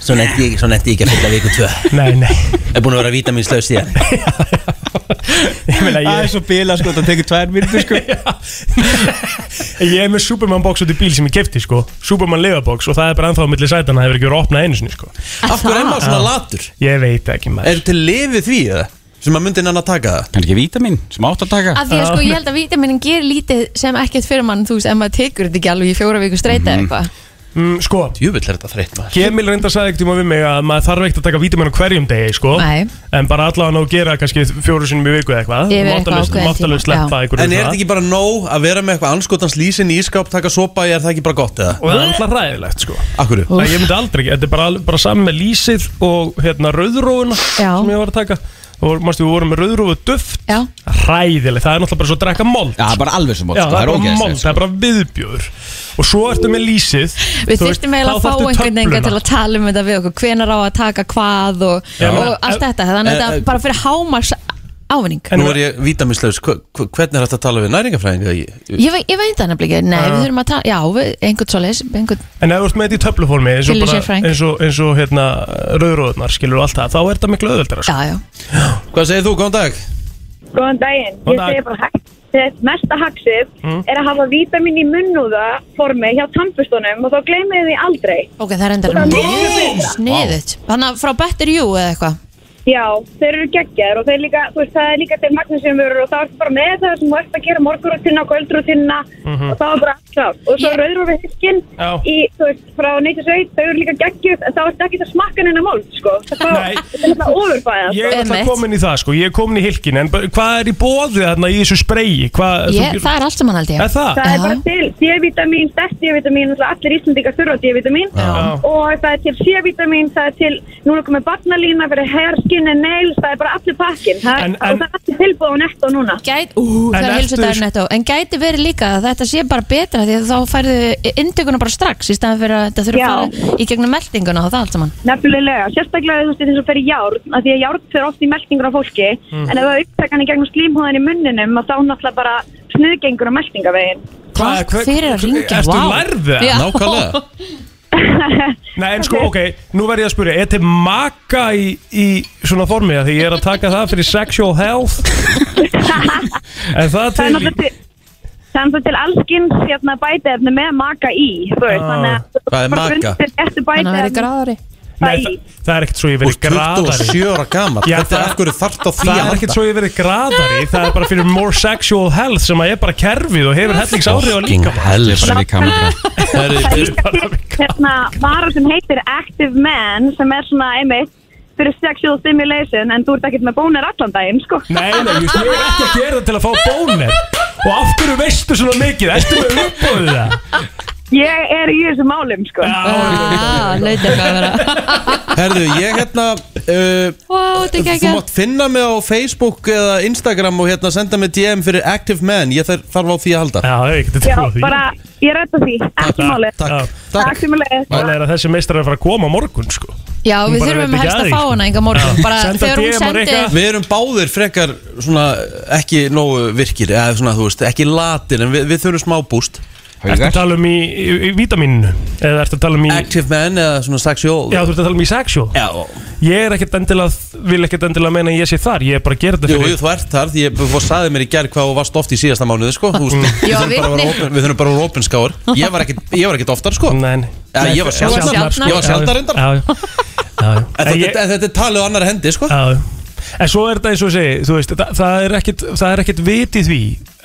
S1: svo netti ég, svo nennti ég ekki að fylla viku tvö
S4: Nei, nei
S1: er búin að vera vítaminslaus síðan
S4: Ég meina,
S5: Það er
S4: ég,
S5: svo bila sko, það tekur tvær myndir
S4: *laughs*
S5: sko
S4: ég er með Superman box út í bíl sem ég kefti sko Superman lifabox og það er bara ennþá á milli sætana það hefur ekki verið opnað einu sinni sko
S1: af hverju er maður svona latur?
S4: Ég veit ekki maður
S1: er til lifið því eða? sem að myndi nann að taka það?
S5: Kannski vítamin, sem átt að taka
S3: Af því að sko
S1: *laughs*
S3: ég held að vítaminin ger lítið sem ekkert fyrir mann Þú veist, ef maður tekur þetta ekki alveg í fjóra viku streyta
S4: Mhm.
S3: eða eitthvað
S4: mm, Sko,
S1: djúvill er þetta þreytt maður
S4: Kemil reynda sagði ekkert um að við mig að maður þarf ekkert að taka vítaminn á hverjum degi sko
S3: Nei.
S4: En bara allavega að gera kannski fjóru sinum í viku eða eitthvað
S3: Yfir eitthvað
S4: Máttalaust-
S3: ákveðinn
S4: máttalaust
S3: tíma,
S4: sleppa einhverju
S1: en er
S4: það.
S1: þetta ekki bara nóg að vera með eitthvað anskotans lýsin í ískáp taka sopa, er það ekki bara gott eða?
S4: Og það er alltaf ræðilegt sko
S1: akkurru?
S4: Nei, ég myndi aldrei ekki, þetta er bara, bara saman með lýsið og hérna rauðrófuna
S3: Já.
S4: sem ég var að taka og mástu við vorum með rauðrófu duft
S3: Já.
S4: Ræðilegt, það er náttúrulega bara svo að drekka mold
S5: Já, það er bara alveg sem átt
S4: Já,
S5: sko,
S4: það er bara
S5: ógeðslegt,
S4: mold, það
S5: sko.
S4: er bara viðbjóður Og svo ertu með lýsið
S3: Við þurftum eiginlega að fá einhvern veginn til að tala um þetta við okkur Hvenar á að taka hvað og,
S4: Já.
S3: og
S4: Já.
S3: allt þetta
S1: Eh,
S3: Þannig að
S1: eh,
S3: þetta bara fyrir hámars ávinning
S1: Nú er ég vítaminslaus, hva- hva- hvernig er þetta að tala við næringafræðinga?
S3: Ég, vei- ég veit það nefnilega ekki, nei
S4: Já.
S3: við þurfum að tala Já, við, einhvern svoleiðis einhvern,
S4: En ef þú ert með þetta í töflufólmi eins og,
S3: Billy
S4: bara,
S3: Sjöfræng.
S4: eins og, eins og hérna, rauðróðunar skilur og allt það, þá er þetta miklu sko. öðvöldara
S3: Já, já
S1: Hvað segir þú, góðan dag?
S7: Góðan daginn,
S4: Góðan dag.
S7: ég
S4: Mm.
S7: segi bara hægt Þess mesta haksið er að hafa vítamin í munnúða formi hjá tampustunum og þá gleymið þið því aldrei.
S3: Ok, það er endar Sniðut Þannig að frá Better You eða eitthvað
S7: Já, þeir eru geggjar og þeir líka, þú veist, það er líka til magnesiumvörur og þá ertu bara með það sem þú ert að gera morgunrutinna og kvöldrutinna og þá er bara allt klárt. Og svo
S3: Ég-
S7: rauður við hiskin
S4: Mhm. Já.
S7: í, þú veist, frá 97, þau eru líka geggjuð en þá ertu ekki það smakkan en að mál, sko. Það
S4: Nei.
S7: er það ofurfæðast.
S4: Ég er alltaf
S3: Einmitt.
S4: komin í það sko, ég er komin í hilkin En bara- hvað er í bóði þarna í þessu spreyi? Hvað,
S3: ég, Það er allt sem hann held ég
S4: Eh, Er það?
S7: Það er
S3: Já.
S7: bara til C-vitamin, sterkt C-vitamin, náttúrulega allir Íslandingar þurfa C-vitamin og það er til C-vitamin, það er til, núna komið barnalína fyrir hair, skin and nails, það er bara allir pakkin það,
S4: En-
S7: en,
S4: en-
S7: og það er allir tilbúið á netto núna.
S3: Gæt, ú,
S4: En
S3: það er
S4: ertu-
S3: heilsutaður nettó En gæti verið líka að þetta sé bara betra Því að þá færðu induguna bara strax Í staðan fyrir að þetta þurfa
S7: Já.
S3: að fara í gegnum meldinguna og það allt saman
S7: Nefnilega, sérstaklega þú veist eins og fyrir járn, af því að járn fyrir oft í meltingur á fólki,
S4: Mm.
S7: en ef það upptaka hann í gegnum slímhóðan í munninum, að þá náttúrulega bara snuðgengur á meltingavegin.
S4: Hvað-
S3: Takk fyrir að ringja,
S4: Ertu
S3: vá.
S4: lærð það?
S3: Já.
S1: *laughs* Nákvæmlega
S7: *laughs*
S4: *laughs* Nei en sko, ok, nú verð ég að spyrja Er til maka í, í svona formi af Því ég er að taka það fyrir sexual health En það
S7: Það er
S4: til
S7: náttúrulega til, það er náttúrulega til allskins hérna, bæteefni með maka í, þú veist,
S4: Já.
S7: þannig að
S1: Hvað er
S7: bara
S1: maka?
S7: undir Eftir
S3: Þannig að verði
S7: bæteefni
S3: gráðari
S4: Nei, það, það er ekkert svo ég
S1: Þú
S4: verið
S1: ert
S4: gradari
S1: 27 ára gammal
S4: Já,
S1: Þetta er
S4: það-
S1: af hverju þart á því
S4: Það
S1: að
S4: er ekkert
S1: halda
S4: svo ég verið gradari Það er bara fyrir more sexual health Sem að er bara kerfið og hefur hellings áhrif á líka
S5: Það er
S1: helst
S5: bara við kameran
S7: *laughs* hérna vara sem heitir Active Man sem er svona einmitt fyrir sexual stimulation en þú ert ekkert með bónir allan daginn sko
S4: Nei, nei, just, ég er ekki að gera það til að fá bónir Og af hverju veistu svona mikið? Ertu með umbúðið það?
S7: ég er í þessum málum sko
S3: Ah, laut eitthvað að vera
S1: Herðu, ég hérna uh,
S3: Vá, þetta er
S1: Þú
S3: geggja
S1: mátt finna mig á Facebook eða Instagram og hérna senda mig DM fyrir Active Man Ég þarf, þarf á því að halda
S4: Já, ég geti
S7: Já,
S4: trúið því
S7: bara ég rætta því, ekki málið
S4: Já.
S1: Takk,
S7: Takk
S1: takk
S7: sem leið
S4: Mál er að þessi meistrar er að fara að koma á morgun sko.
S3: Já, við
S4: bara
S3: þurfum
S4: veit ekki
S3: helst
S4: að
S3: að
S4: því,
S3: fá
S4: sko.
S3: hana enga morgun
S4: Já.
S3: Bara
S4: Senda
S3: þegar hún
S4: DM og
S3: sendi
S4: Rikka.
S1: Við erum báðir frekar svona ekki nógu virkir eða svona þú veist, ekki latir en við, við þurfum smá búst
S4: Ertu að
S5: Haugar,
S4: tala um í, í, í vítaminu Eða ertu að tala um í
S1: Active Man eða svona sexual
S4: Já, þú ert að tala um í sexual
S1: Já,
S4: Ég er ekkert endilega, vil ekkert endilega meina að ég sé þar Ég er bara að gera þetta
S1: Jú,
S4: fyrir
S1: jú, þú ert þar, því ég þú sagði mér í gerð hvað þú varst oft í síðasta mánuði, sko Þú
S4: Mm.
S1: veist, við
S3: Já,
S1: þurfum bara að vera
S3: vitni.
S1: opin- Við þurfum bara að vera opinskáður Ég var ekkit- ég var ekkit oftar, sko
S4: Nei, nei.
S1: Ja,
S4: Nei,
S1: ég var
S4: sjaldnar,
S1: sjaldnar,
S4: sko.
S1: ég var
S4: Já,
S1: sjaldnar reyndar
S4: já, já, já.
S1: En
S4: En
S1: þetta,
S4: ég-
S1: þetta er talið á annar hendi, sko
S4: já, já. En svo er þetta eins og ég segi, þú veist, það, það er ekkit, það er ekkit vitið því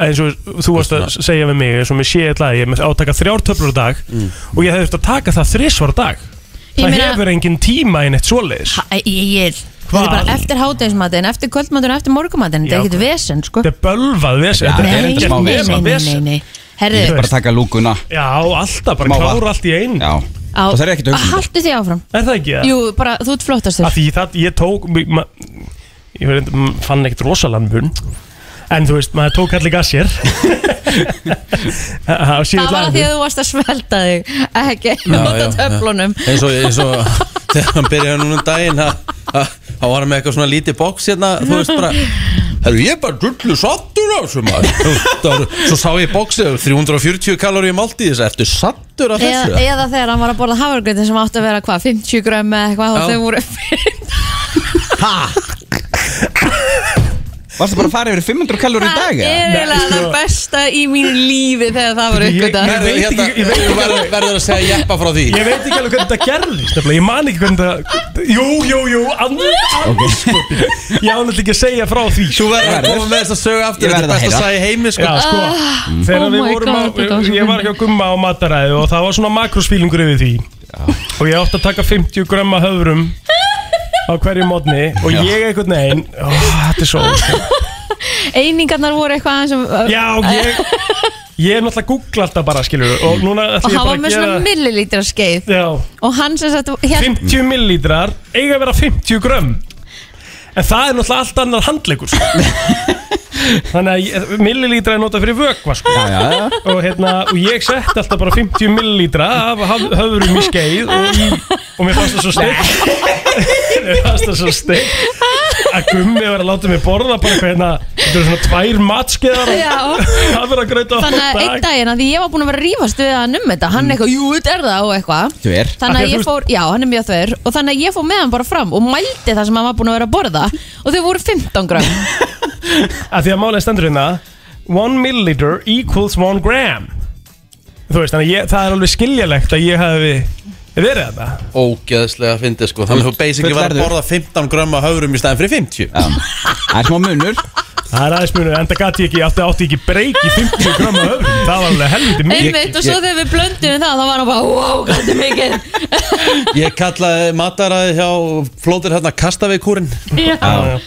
S4: eins og þú varst að segja við mig eins og mér sé eitthvað að ég er með átaka þrjár töflur á dag og ég hefði þurft að taka það þrisvar á dag
S3: Ég
S4: Það
S3: meina-
S4: hefur engin tíma í neitt svoleiðis
S3: Æ, ég, ég, þetta er bara eftir hátegismatin, eftir kvöldmatin og eftir morgumatin, þetta
S4: Já.
S3: er ekkert vesen, sko.
S4: Þetta er bölvað vesen
S5: Já,
S4: þetta
S5: þetta er
S4: ekkert
S5: enda smá
S3: nei,
S5: vesen.
S4: nema
S3: nei, nei, nei.
S5: Ég er
S3: Herðu,
S5: bara að taka lúkuna
S4: Já, alltaf, bara
S5: Smá vatn.
S4: klára allt í einu
S5: Já
S3: á,
S5: Það er ekkert
S3: að
S5: auðvitað
S3: haltu því áfram.
S4: Er það ekki það?
S3: Jú, bara, þú ert
S4: að
S3: flottastur.
S4: því það, ég tók m- ma, ég verið, m- fann ekkert rosalega mun en þú veist, maður tók allir *laughs* gassir það var
S3: Það var að því að þú varst að svelta þig, ekki, nota töflunum.
S1: eins og, eins og *laughs* þegar hann byrjaði núna um daginn að- að- þá var hann með eitthvað svona lítið bóks hérna, þú veist bara Herru, ég er bara drullu sattur á þessu maður Það var- Svo sá ég bóksið 340 kalóri í máltíð Þess að ertu sattur af
S3: Eða,
S1: þessu?
S3: eða þegar hann var að borða hafragröðin sem átti að vera hvað, 50 grömm eða eitthvað og
S1: Já.
S3: þau voru fyrir.
S5: Varstu bara að fara yfir 500 kalóri í dag eða?
S3: Það er eiginlega það besta í mínu lífi þegar það voru
S4: sko, Ég-
S3: uppgötað.
S4: ég-
S1: Herru,
S4: veit
S1: hérna,
S4: ekki- ég veit
S1: þú verður- verður að segja jeppa frá því
S4: ég veit ekki alveg hvernig þetta gerðist nefnilega, ég man ekki hvernig þetta jú, jú, jú, andskoti okay. *laughs* ég ánætti ekki að segja frá því
S1: Þú verður að koma með þess að sögu aftur
S5: Ég
S1: Þetta er
S5: verð að
S1: best að
S5: heyra.
S1: segja heimi sko.
S4: Já, sko, þegar
S3: Oh
S4: við
S3: my
S4: vorum á,
S3: God, þetta var svo
S4: ég var ekki að gumma á mataræði og það var svona makrosfílingur yfir því og ég átti að taka 50 grömma höfrum á hverju mótni og ég einhvern veginn, ó, þetta er svo óskil
S3: Einingarnar voru eitthvað aðeins um, sem...
S4: Já, ég Ég er náttúrulega að googla alltaf bara, skilur Og núna
S3: Og
S4: ætlum ég bara
S3: hann var
S4: að
S3: með
S4: gera
S3: svona millilítra skeið
S4: Já,
S3: Og hann sem sagt hér,
S4: 50 millilítrar Eiga að vera 50 grömm En það er náttúrulega allt annar handleikur sko. Þannig að ég- millilítra er notað fyrir vökva sko.
S5: Já, já, já
S4: og, hérna, og ég setti alltaf bara 50 millilítra Af haf- höfrum í skeið Og, í, og mér *laughs* fannst það svo stygg *laughs* Mér fannst það svo stygg Að gummi var að láta mig borða Bara hvað hérna, þetta eru svona tvær matskeiðar
S3: já,
S4: *laughs* Það verður að gröta á
S3: Þannig að einn
S4: dag
S3: daginn að Því ég var búin að vera að rífast við hann um þetta
S4: Mm.
S3: Hann eitthvað, jú, þetta er það og eitthvað
S5: Þú er
S3: Þannig
S4: Af því að
S3: að ég
S4: þú-
S3: fór, já, hann er mjög þver Og þannig að ég fór með hann bara fram Og mældi það sem hann var búin að vera að borða Og þau voru 15 gram
S4: að því að málega stendur hérna one milliliter equals one gram þú veist, þannig að ég, það er alveg skiljalegt að ég hefði verið þetta
S1: Ógeðslega fyndið sko Þannig að þú basically verður að
S5: Fullærður.
S1: borða 15 grömm af höfrum í staðin fyrir 50
S5: Já. Það er smá munur
S4: það er aðeins munur, enda gæti ég ekki átti, átti ég ekki breyk í 50 gram af öfrum, það var alveg helviti mikið
S3: Einmitt, og svo þegar við blöndum það Þá var hann bara, wow, hvað þetta er mikið
S1: Ég kallaði mataræði hjá Flóðir hérna kastaveikúrin
S3: Já,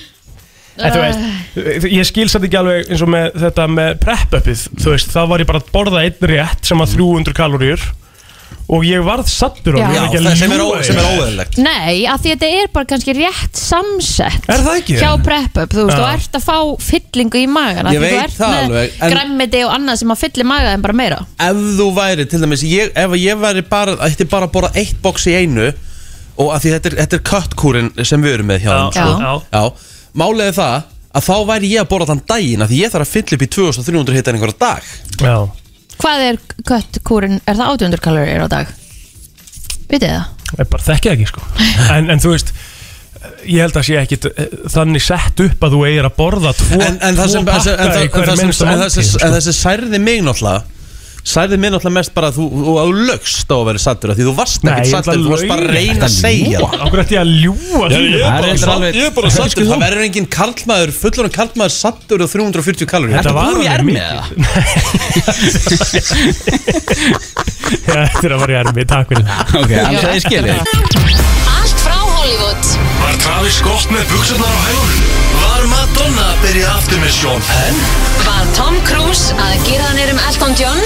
S4: en þú veist, ég skil satt ekki alveg eins og með þetta með prep-uppið þú veist, þá var ég bara að borða einn rétt sem að 300 kalóriur og ég varð sattur
S3: Já.
S4: og ég
S1: Já,
S4: er ekki
S1: það
S4: að
S1: sem er,
S4: ljúga
S1: ó-
S4: þér.
S1: sem er óeðlilegt
S3: Nei, að því þetta er bara kannski rétt samsett
S4: Er það ekki?
S3: Hjá prep-up, þú
S4: Já.
S3: veist, þú ert að fá fyllingu í magan
S1: Ég veit það alveg, en-
S3: Græmmiti og annað sem að fyllir magan bara meira
S1: Ef þú væri, til dæmis, ég, ef ég væri bara ætti bara að borða eitt box í einu og að því þetta er, þetta er köttkúrin sem við erum með hjá þeim,
S4: Já,
S1: sko.
S4: já.
S1: Já, málið er það að þá væri ég að borða þann daginn að því ég þarf að fylla upp í 2300 hitar einhverja dag
S4: Já.
S3: Hvað er köttkúrin, er það 800 kalorir á dag? Vitið þið það?
S4: ég bara þekki það ekki sko en, en þú veist ég held að sé ekki eh, þannig sett upp að þú eigir að borða tvo,
S1: en, en það
S4: tvo
S1: sem, en,
S4: pakka
S1: það- en,
S4: í
S1: það- en, það
S4: hverju sko.
S1: sem,
S4: minnstu
S1: en, það sem, en
S4: máltíð
S1: það sem særði mig náttúrulega særði mig náttúrulega mest bara að þú, þú, þú lögst á að vera sattur af því þú varst
S4: Nei,
S1: ekkert
S4: ég
S1: sattur,
S4: ætla
S1: þú varst bara að
S4: laug.
S1: reyna að segja það.
S4: okkur ætti ég að ljúa því
S5: er bara
S4: Þetta
S5: satt-
S1: Ég er bara sattur, það verður enginn karlmaður, fullur karlmaður sattur á 340 kalóri
S4: Þetta var
S5: Þú
S4: alveg
S5: er með
S4: mikið. *laughs*
S5: það
S4: Já, Þetta er að vera í ermi, takk fyrir það
S5: Ok, annars að ég skilji
S8: Allt frá Hollywood
S2: Var Travis gott með buksunar á hægunum? Var Madonna að byrja aftur með Sean Penn?
S8: Var Tom Cruise að gera hann um Elton John?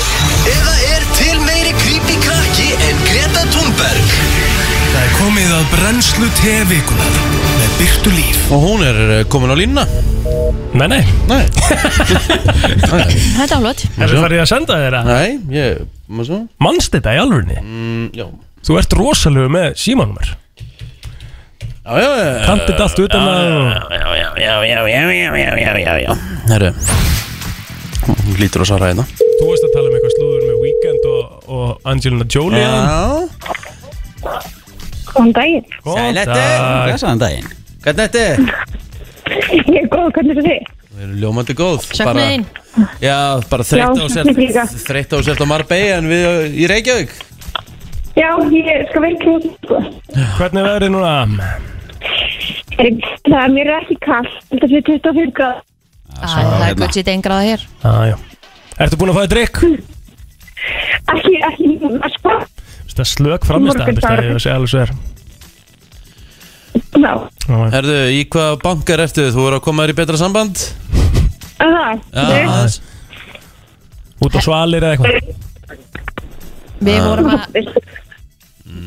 S2: Eða er til meiri creepy krakki en Greta Thunberg? Það er komið að brennslu tevikunar með byrtu líf
S1: Og hún er eh, komin á línuna
S4: Nei, nei,
S1: Nei,
S3: Þetta er flott
S4: er það farið að senda þér að
S1: nei, ég, maður svo
S4: Manst þetta í alvörni?
S1: Mm, Já,
S4: Þú ert rosalegu með símanumar
S1: já, já, já
S4: Tant þetta allt utan að
S1: Herru Hún lítur að svara hérna
S4: Þú veist að tala um eitthvað slúður með Weekend og, og Angelina Jolie
S7: Góðan daginn. *laughs*
S4: Góðan
S1: Sælættu.
S4: dag.
S5: Blessaðan daginn
S1: Hvernig þetta er?
S7: Ég er góð, hvernig er þið?
S1: Við erum ljómandi góð
S3: Söknum þín
S1: bara- Já, bara þreytt á
S7: Já,
S1: sér
S7: líka.
S1: Þreytt á sér á Marbei en við eh, í Reykjavík
S7: Já, ég skal vel knúta, sko.
S4: Hvernig verður núna?
S9: Það er mér ekki kallt, þetta er 25 gráð.
S3: Æ, Það er
S5: hérna.
S3: gutt sýtt eingrað hér
S4: Aðjá Ertu búin að fá þér drikk?
S9: Ekki, ekki, núna, sko,
S4: Það er slök framist að
S9: Morgundagur.
S4: ég sé alveg svo er
S9: ná,
S4: Já, já.
S1: Herðu, í hvað bankar ertu? Þú voru að koma þér í betra samband?
S9: að það,
S1: Já,
S9: þú-
S1: aðeins.
S4: Út á svalir eða eitthvað
S3: Við vorum að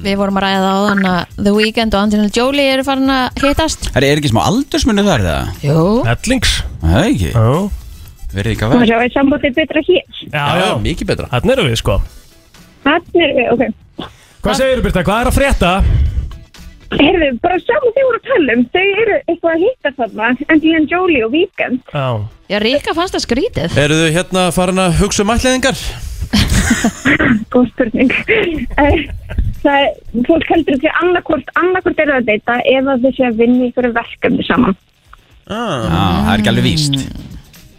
S3: Við vorum að ræða áðan að The Weeknd og Angelina Jolie eru farin að hittast
S5: Herri, er ekki smá aldursmunni þar það?
S3: Jú
S4: Hellings
S5: Það er ekki,
S4: Já,
S5: verði ekki að
S9: þú
S5: vera
S9: sjá, er sambandið betra hér?
S4: já,
S1: já,
S4: já
S1: mikið betra
S4: Þannig erum við sko
S9: Þannig erum við, eh, ok.
S4: Hvað segirðu Birta, hvað er að frétta?
S9: Heyrðu, bara saman þau voru að tala um, þau eru eitthvað að hitta þarna, Angelina Jolie og Weekend.
S4: Já
S3: Já, Ríka fannst það skrítið
S1: Eru þau hérna farin að hugsa um ætliðingar?
S9: Góð spurning. *laughs* Eh, það er, fólk heldur því annarkvort, annarkvort eru að deyta eða þau sé að vinna í einhverju verkefni saman.
S1: Ah.
S5: Já, það er ekki alveg víst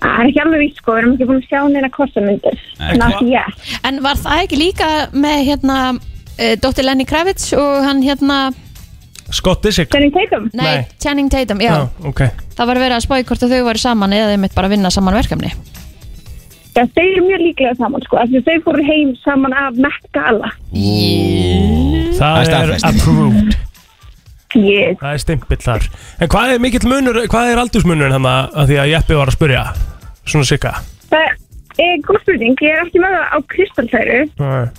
S9: Það er ekki alveg víst, sko, við erum ekki búin að sjá neina kortamyndir.
S3: Eh,
S5: Nei.
S9: Not yet.
S3: En var það ekki líka með hérna uh, Dóttir Lenny Kravitz og hann hérna
S4: Skotti sig
S9: Þannig teitum.
S3: Nei,
S4: Nei.
S3: Channing Tatum, já,
S4: ok
S3: Það var verið að spáði hvort að þau varu saman eða þau mitt bara að vinna saman verkefni
S9: Já, þau eru mjög líklega saman, sko, af því þau fóru heim saman af Met Gala.
S4: Það
S5: Það er
S4: er
S5: staðfest.
S4: approved
S9: Yes.
S4: Það er stimpill þar En hvað er mikill munur, hvað er aldursmunurinn hann að því að Jeppi var að spyrja Svona sigga
S9: Það er góð spurning, ég er ekki með það á kristaltæru.
S4: Nei,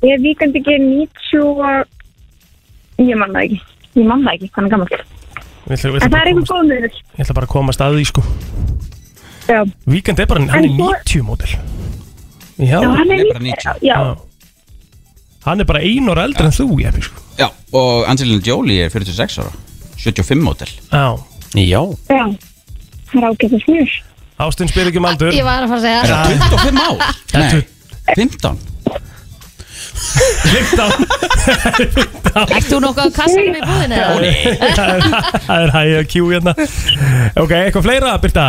S9: Ég er vikandi ekki 90 og... Ég man það ekki. Ég man það ekki, hann er gammal.
S4: ég ætla, ég
S9: En
S4: ætla,
S9: það er
S4: bara að
S9: einhver
S4: komast,
S9: góð munur.
S4: ég ætla bara að komast að því sko
S9: Já,
S4: Víkend er bara, hann er
S9: En
S4: 90
S9: svo-
S4: mótil Já,
S9: Já, hann er
S5: Hann er bara
S9: líka.
S5: 90.
S9: Já,
S4: Já. Hann er bara ein ára eldri en þú, Jeppi sko
S5: Já, og Angelina Jolie er 46 ára 75 mótel
S4: Já
S1: Já
S9: já. Það er ágætt að smjur.
S4: Ástin spyr ekki um aldur
S3: Ég var að fara að segja
S5: Er það 25 ár? Nei, 15
S4: 15
S3: *laughs* Ert þú nokkuð á kassanum í búðinu eða?
S4: Það er hæg að kjú hérna Ok, eitthvað fleira, Birta?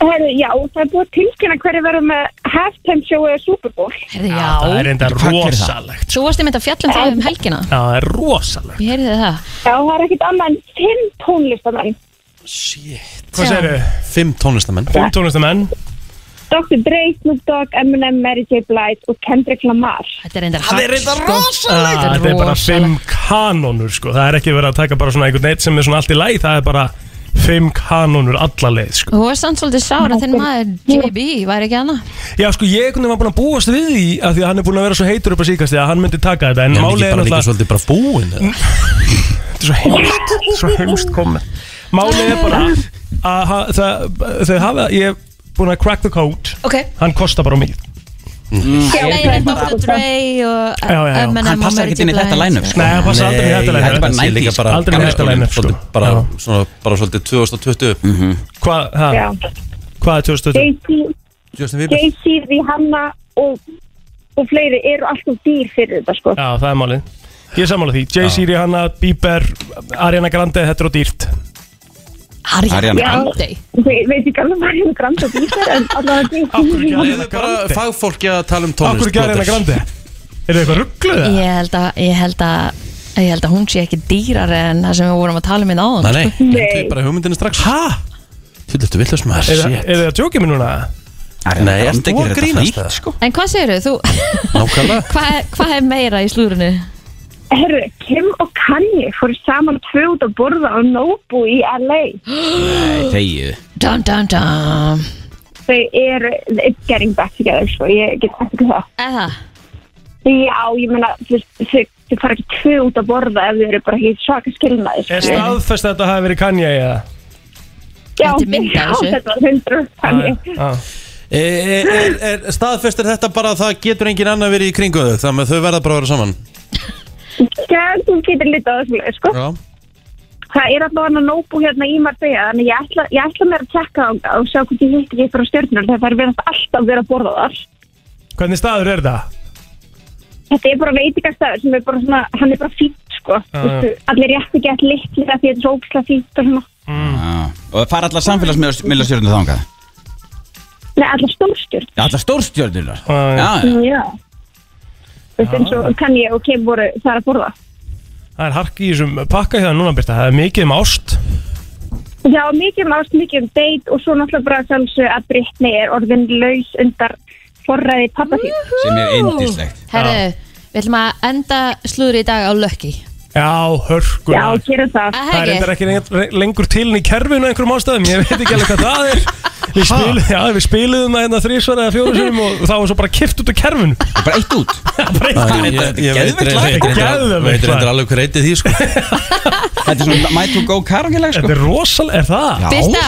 S9: Herru, já, það er búið að tilkynna hverju verður með halftime show eða Super Bowl.
S3: Herði,
S4: Það
S3: já
S4: er enda
S5: Hvað gerir það?
S4: rosalegt
S3: Svo varst ég mynd að fjalla um það um helgina
S4: Já, það er rosalegt
S3: Ég heyrði það
S9: Eh. Já, það er ekkit annað en fimm tónlistamenn.
S4: Hvað
S3: Já.
S4: segirðu?
S1: Fimm tónlistamenn
S4: Fimm tónlistamenn
S9: Dr. Dre, Snoop Dogg, Eminem, Mary J. Blige og Kendrick Lamar.
S3: Þetta er enda Það er enda
S4: Ah,
S3: rosalegt
S4: Þetta er bara fimm kanónur sko. Það er ekki verið að taka bara svona einhvern eitt sem er svona allt í læg Það er bara fimm kanónur alla leið sko.
S3: Þú var samt svolítið sár að þinn maður JB væri ekki hana
S4: Já sko ég einhvern veginn var búin að búast við því að Því að hann er búin að vera svo heitur upp að síkast Því að hann myndi taka þetta En
S1: En
S4: málið er
S1: ekki bara líka
S4: náttúrulega
S1: svolítið bara búin eða?
S4: Þetta er svo heimst, *laughs* svo heimst komið Málið er bara að ha- það, Þau hafa Ég er búin að crack the code
S3: Ok
S4: Hann kostar bara mikið
S3: Fleiri Dr. Dre og
S4: Já, já, já.
S3: Eminem
S5: Hann
S3: og
S5: passar
S3: Mary
S5: ekkert inn í
S3: J.
S5: þetta
S3: Blige.
S5: line-up sko.
S4: Nei, hann passa aldrei í þetta
S5: Nei, þetta er
S4: leið
S1: þetta
S5: bara
S1: sé
S5: 90s,
S1: líka bara
S4: aldrei í
S1: gamla
S4: þetta
S1: skólinn,
S4: line-up, sko.
S1: svolítið bara,
S4: Já.
S1: svona, bara svolítið 2020
S4: Hvað ha,
S9: Já,
S4: hvað er 2020?
S9: Jay-Z,
S1: Justin Bieber
S9: Jay-Z, Rihanna og, og fleiri eru alltaf dýr fyrir þetta, sko.
S4: Já, það er málið Ég er sammála því Jay-Z, Rihanna, Bieber, Ariana Grande Þetta er á dýrt
S5: Ariana
S3: Ariana
S5: Grande.
S3: Grande
S9: Ve veit ekki alveg hvað hefur grand og dýr, en allavega
S4: Akkur ekki
S9: dýr.
S1: Leyfðu
S4: Ariana
S1: bara
S4: Grande
S1: fagfólki að tala um tónlist
S4: Akkur ekki Ariana
S1: Blóter.
S4: Grande Er það eitthvað ruggluð?
S3: Ég held að Ég held að Ég held að hún sé ekki dýrar en það sem við vorum að tala um í náðan
S1: Nei, nei, glemtu
S9: Nei.
S1: bara hugmyndinu strax
S4: Hæ?
S1: Þú ertu villast maður,
S4: Er það
S1: Ah, shit
S4: er það að tjókið mér núna?
S5: Ariana
S1: Nei,
S5: Grande
S1: ertu
S5: gerir
S1: að
S5: þetta
S1: grínast
S5: frítt,
S1: eða?
S5: sko.
S3: En hvað segirðu? Þú
S1: Nákvæmlega
S3: *laughs* Hvað er, Eh, hvað er meira í slúrunu?
S9: Herru, Kim og Kanye fóru saman tvö út að borða á Nobu í
S3: *gasps*
S9: LA.
S5: Nei, þegið
S3: Dum, dum, dum
S9: Þau eru it's getting back together, sko, ég get ekki það.
S3: Eða?
S9: Já, ég meina, þú veist, þau þau fara ekki tvö út að borða ef þau eru bara ekki svaka skilnaði, sko.
S4: Er staðfest að þetta hafi verið Kanye eða?
S9: Já,
S3: Þetta er mynd af
S9: já,
S3: þessu.
S9: þetta var hundru Kanye.
S4: Ah, Já.
S1: E- e- Er er- staðfestir þetta bara að það getur engin annar verið í kringu þau Þannig að þau verða bara að vera saman
S9: Já, þú getur litið á þessu, leið, sko.
S1: Já
S9: Það er alltaf hann að nóbú hérna í Marbella þannig ég ætla, ég ætla mér að tekka á og sjá hvort ég hitt ekki frá stjórnur þegar það er verið alltaf verið að borða þar
S4: Hvernig staður er það?
S9: Þetta er bara veitingastæður sem er bara svona hann er bara fýtt sko
S4: Já,
S9: Vistu, allir rétt ekki allir litlir af því þetta er svo ógislega fýtt og svona
S4: Mm.
S5: Og það fara allar samfélagsmiðlastjörnur þangað
S9: Nei, allar stórstjórn
S5: Já, allar stórstjörnurnar
S4: Já, já.
S5: Já, já
S9: Já Þú veist eins og kann ég og kem voru þar að borða
S4: Það er harki í þessum pakka hérna núna Birta Það er mikið um ást
S9: Já, mikið um ást, mikið um date og svo náttúrulega bara sjálfsög að Brittany er orðin laus undar forræði pappa sín.
S5: sem er indislegt
S3: Herru, við ætlum að enda slúður í dag á lökki
S4: Já, hörkur
S9: Já, gera það.
S3: Það
S4: Það er
S3: er
S4: endur ekki lengur- lengur til inn í kerfinu á einhverjum ástæðum, ég veit ekki alveg hvað það er Við, spil, já, við spiluðum það hérna þrísvar eða fjórusunum og þá var svo bara kift út úr kerfinu
S5: Það er bara eitt
S4: *laughs*
S5: út
S4: Bara eitt
S1: Æ, ég-
S5: þetta er
S1: ég veit
S5: geðveikt lag.
S1: reyndar-
S4: Geðveikt
S1: veit reyndar
S4: lag.
S1: alveg hver eitthvað því sko
S5: Þetta er svona my to go karaoke lag
S4: Þetta
S5: sko
S4: er rosal, er það?
S5: Já.
S3: Birta,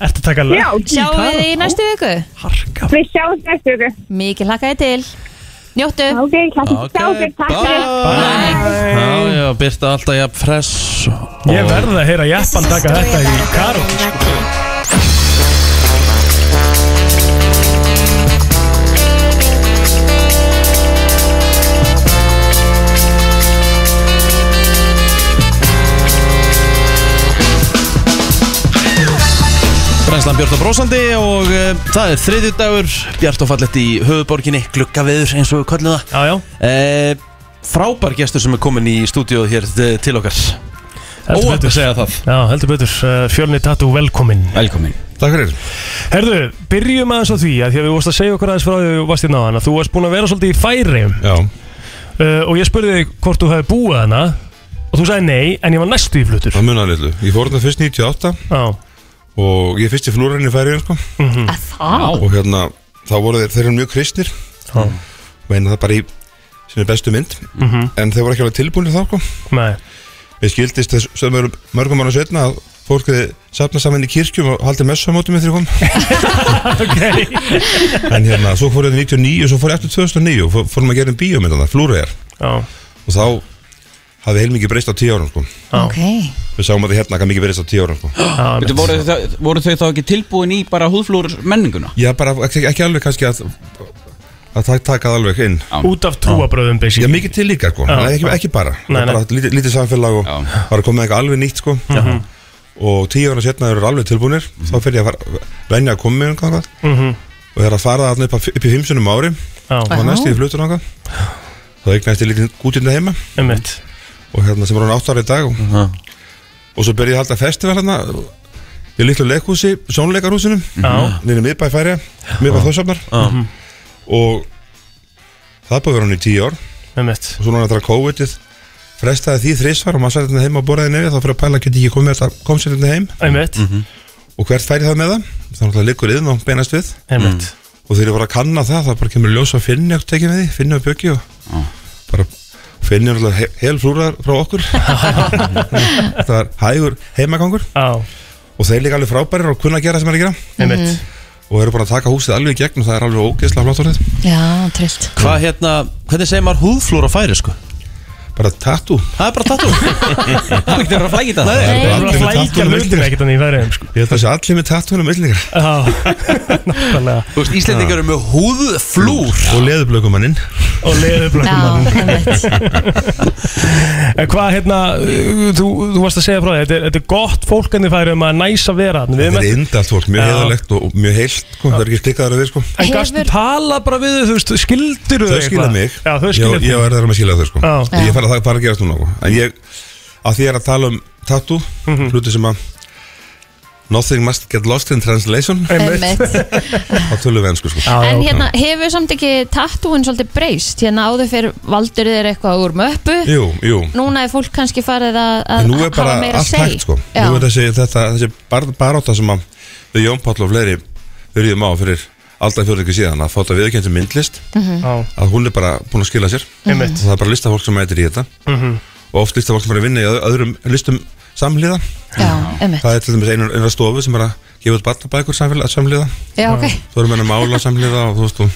S4: Ertu að taka lag?
S9: Já,
S3: sjáum við þig í næstu viku
S4: Harka
S9: Við sjáum næstu ykkur.
S3: Mikið hlakkaði til Njóttu
S9: Ok, klart.
S1: Ok,
S9: Sjáum við, takk fyrir.
S1: Já, já, byrta alltaf jafn fress
S4: Ég verði að heyra Jeppan taka þetta í karo
S1: Brænslan Björn og Brósandi og uh, það er þriðju dagur Bjart og fallett í höfuborginni, gluggaveður eins og við köllum það
S4: Já, já,
S1: uh, Frábær gestur sem er komin í stúdíóð hér eh, til okkar
S4: heldur
S1: Óhætt að
S4: betur
S1: segja það
S4: Já, heldur betur, Uh, Fjölni Tatú, velkomin
S5: Velkomin
S10: Takk fyrir
S4: Herðu, byrjum aðeins á því að því að við vorst að segja okkur aðeins frá því að við varst í náðan að þú varst búin að vera svolítið í færiðum
S10: Já,
S4: uh, og ég spurði þig hvort þú hefði búið hana og þú sagði nei, en ég var næstu í flutur
S10: það munar litlu Ég fór hérna fyrst 98
S4: Já, Mhm.
S10: og ég er fyrst í flúrarinn í færiðin sko.
S3: Að Það
S10: og hérna, þá voru þeir, þeir eru mjög kristnir
S4: Já. Mhm.
S10: meina það bara í sinni bestu mynd en þeir voru ekki alveg tilbúinir þá sko.
S4: nei,
S10: Mér skildist þess sem eru mörgum ára setna að fólk hefði safnað saman í kirkjum og haldið messamótum með þeir kom
S4: *laughs* ok
S10: en hérna, svo fór ég til 99 og svo fór ég eftir 2009 og fór- fórum að gera um bíómyndan það, flúrarinn
S4: Já,
S10: og þá hafði heilmikið breyst á 10 árum sko.
S3: Ok
S10: við sáum að það hérna hvað mikið breyst á 10 árum sko.
S4: já,
S5: Veitu,
S4: einmitt.
S5: voru, þau- voru þau þá ekki tilbúin í bara húðflúr menninguna?
S10: Já, bara ekki, ekki alveg kannski að að það taka það alveg inn
S4: Út af trúabröðum,
S10: Já,
S4: basically
S10: mikið til líka, sko, en ekki, ekki bara
S4: Nei, nei.
S10: bara lítið, lítið samfélag og
S5: Já.
S10: bara komið eitthvað alveg nýtt, sko og tíu ára setna eru alveg tilbúinir þá fyrir ég að fara, venja að koma með einhvern veginn
S4: Mhm.
S10: og það er að fara þarna upp, að- upp í fimm sunnum ári
S4: Já,
S10: og næstu í flutur náttúrulega þá eignast ég lítið gútinda heima
S4: einmitt
S10: og hérna sem er hann átt ára í dag og, og svo byrja ég að halda festival hérna í litlu leikhúsi, sónleikarhúsinu
S4: Já, Mhm.
S10: nýri miðbæ færi, miðbæ þossafnar og það er búið að vera hann í tíu ár
S4: einmitt
S10: og svo núna þetta COVID-ið frestaði því þrísvar og maður sætti þetta heim á borðið nefið þá fyrir að pæla geti ég komið þetta kom sér þetta heim
S4: Einmitt,
S10: og hvert færi það með það þannig að það liggur yðn og beinast við
S4: einmitt
S10: og þegar ég var að kanna það þá bara kemur ljós að finni og tekið með því, finni og bjöggi og
S1: Ah.
S10: bara finni alltaf he hel flúrar frá
S4: *laughs*
S10: okkur það var hægur heimagangur
S4: Já,
S10: og þeir líka alveg frábærir og kunna að gera það sem er að gera
S4: einmitt
S10: og eru bara að taka húsið alveg í gegn og það er alveg ógeðslega flott orðið
S3: Já, trillt
S1: Hvað hérna, hvernig segir maður húðflúr á færi sko?
S10: bara tattoo
S1: Það er bara tattoo
S5: Það er ekki verið að flækja þetta
S10: Það
S4: Það
S10: eru
S4: er
S10: allir með
S4: bara að flækja
S10: tattoo um
S4: hlutin
S10: millingar.
S4: ekkert hann í færiðum, sko
S10: Ég held að það sé allir með tattoo um millingar
S4: Já, nákvæmlega
S1: Þú veist, Íslendingar eru með húðflúr
S10: og leðublökumanninn
S4: og leiðu
S3: Já,
S4: blökkum
S3: einmitt
S4: *laughs* En hvað, hérna, uh, þú, þú varst að segja frá því Þetta er, þetta er gott fólk en þið færi um að næsa vera þarna. Við
S10: Þetta er
S4: með-
S10: indalt fólk, mjög
S4: Já.
S10: heiðalegt og og mjög heilt sko. það er ekki stikkaður að við sko.
S4: En gastu
S3: Hefur-
S4: tala bara við þau, þú veist, skildir
S10: þau skilja mig
S4: Já, þau skilja
S10: ég, ég er það með að skilja þau sko.
S4: Já.
S10: ég fara það bara að gerast núna sko. en ég, að því ég er að tala um tattoo
S4: Mhm.
S10: hluti sem að nothing must get lost in translation
S3: Einmitt
S10: á tölum við ennsku sko.
S4: Já, já,
S3: En
S4: ok.
S3: hérna, hefur samt ekki tattúin svolítið breyst? Hérna áður fyrir valdur þér eitthvað úr möppu
S10: jú, jú
S3: Núna er fólk kannski farið að, að
S10: en nú er bara
S3: hafa meira
S10: allt
S3: seg
S10: hægt sko.
S3: Já,
S10: nú er þessi, þetta, þessi bar, baráta sem að við Jón Páll og fleiri verðum á fyrir alltaf fjörðingi síðan að fóta viðkjöntum myndlist
S4: Já,
S10: að hún er bara búin að skila sér
S4: Einmitt. Mhm.
S10: og það er bara listafólk sem mætir í þetta og oft listafólk sem er að vinna í öð- öðrum listum samlíða
S3: já einmitt
S10: það er til dæmis einu, einu stofu sem er að gefa út barnabækur samfélag- samlíða
S3: Já, ok
S10: þú erum enn að mála samlíða og þú veist þú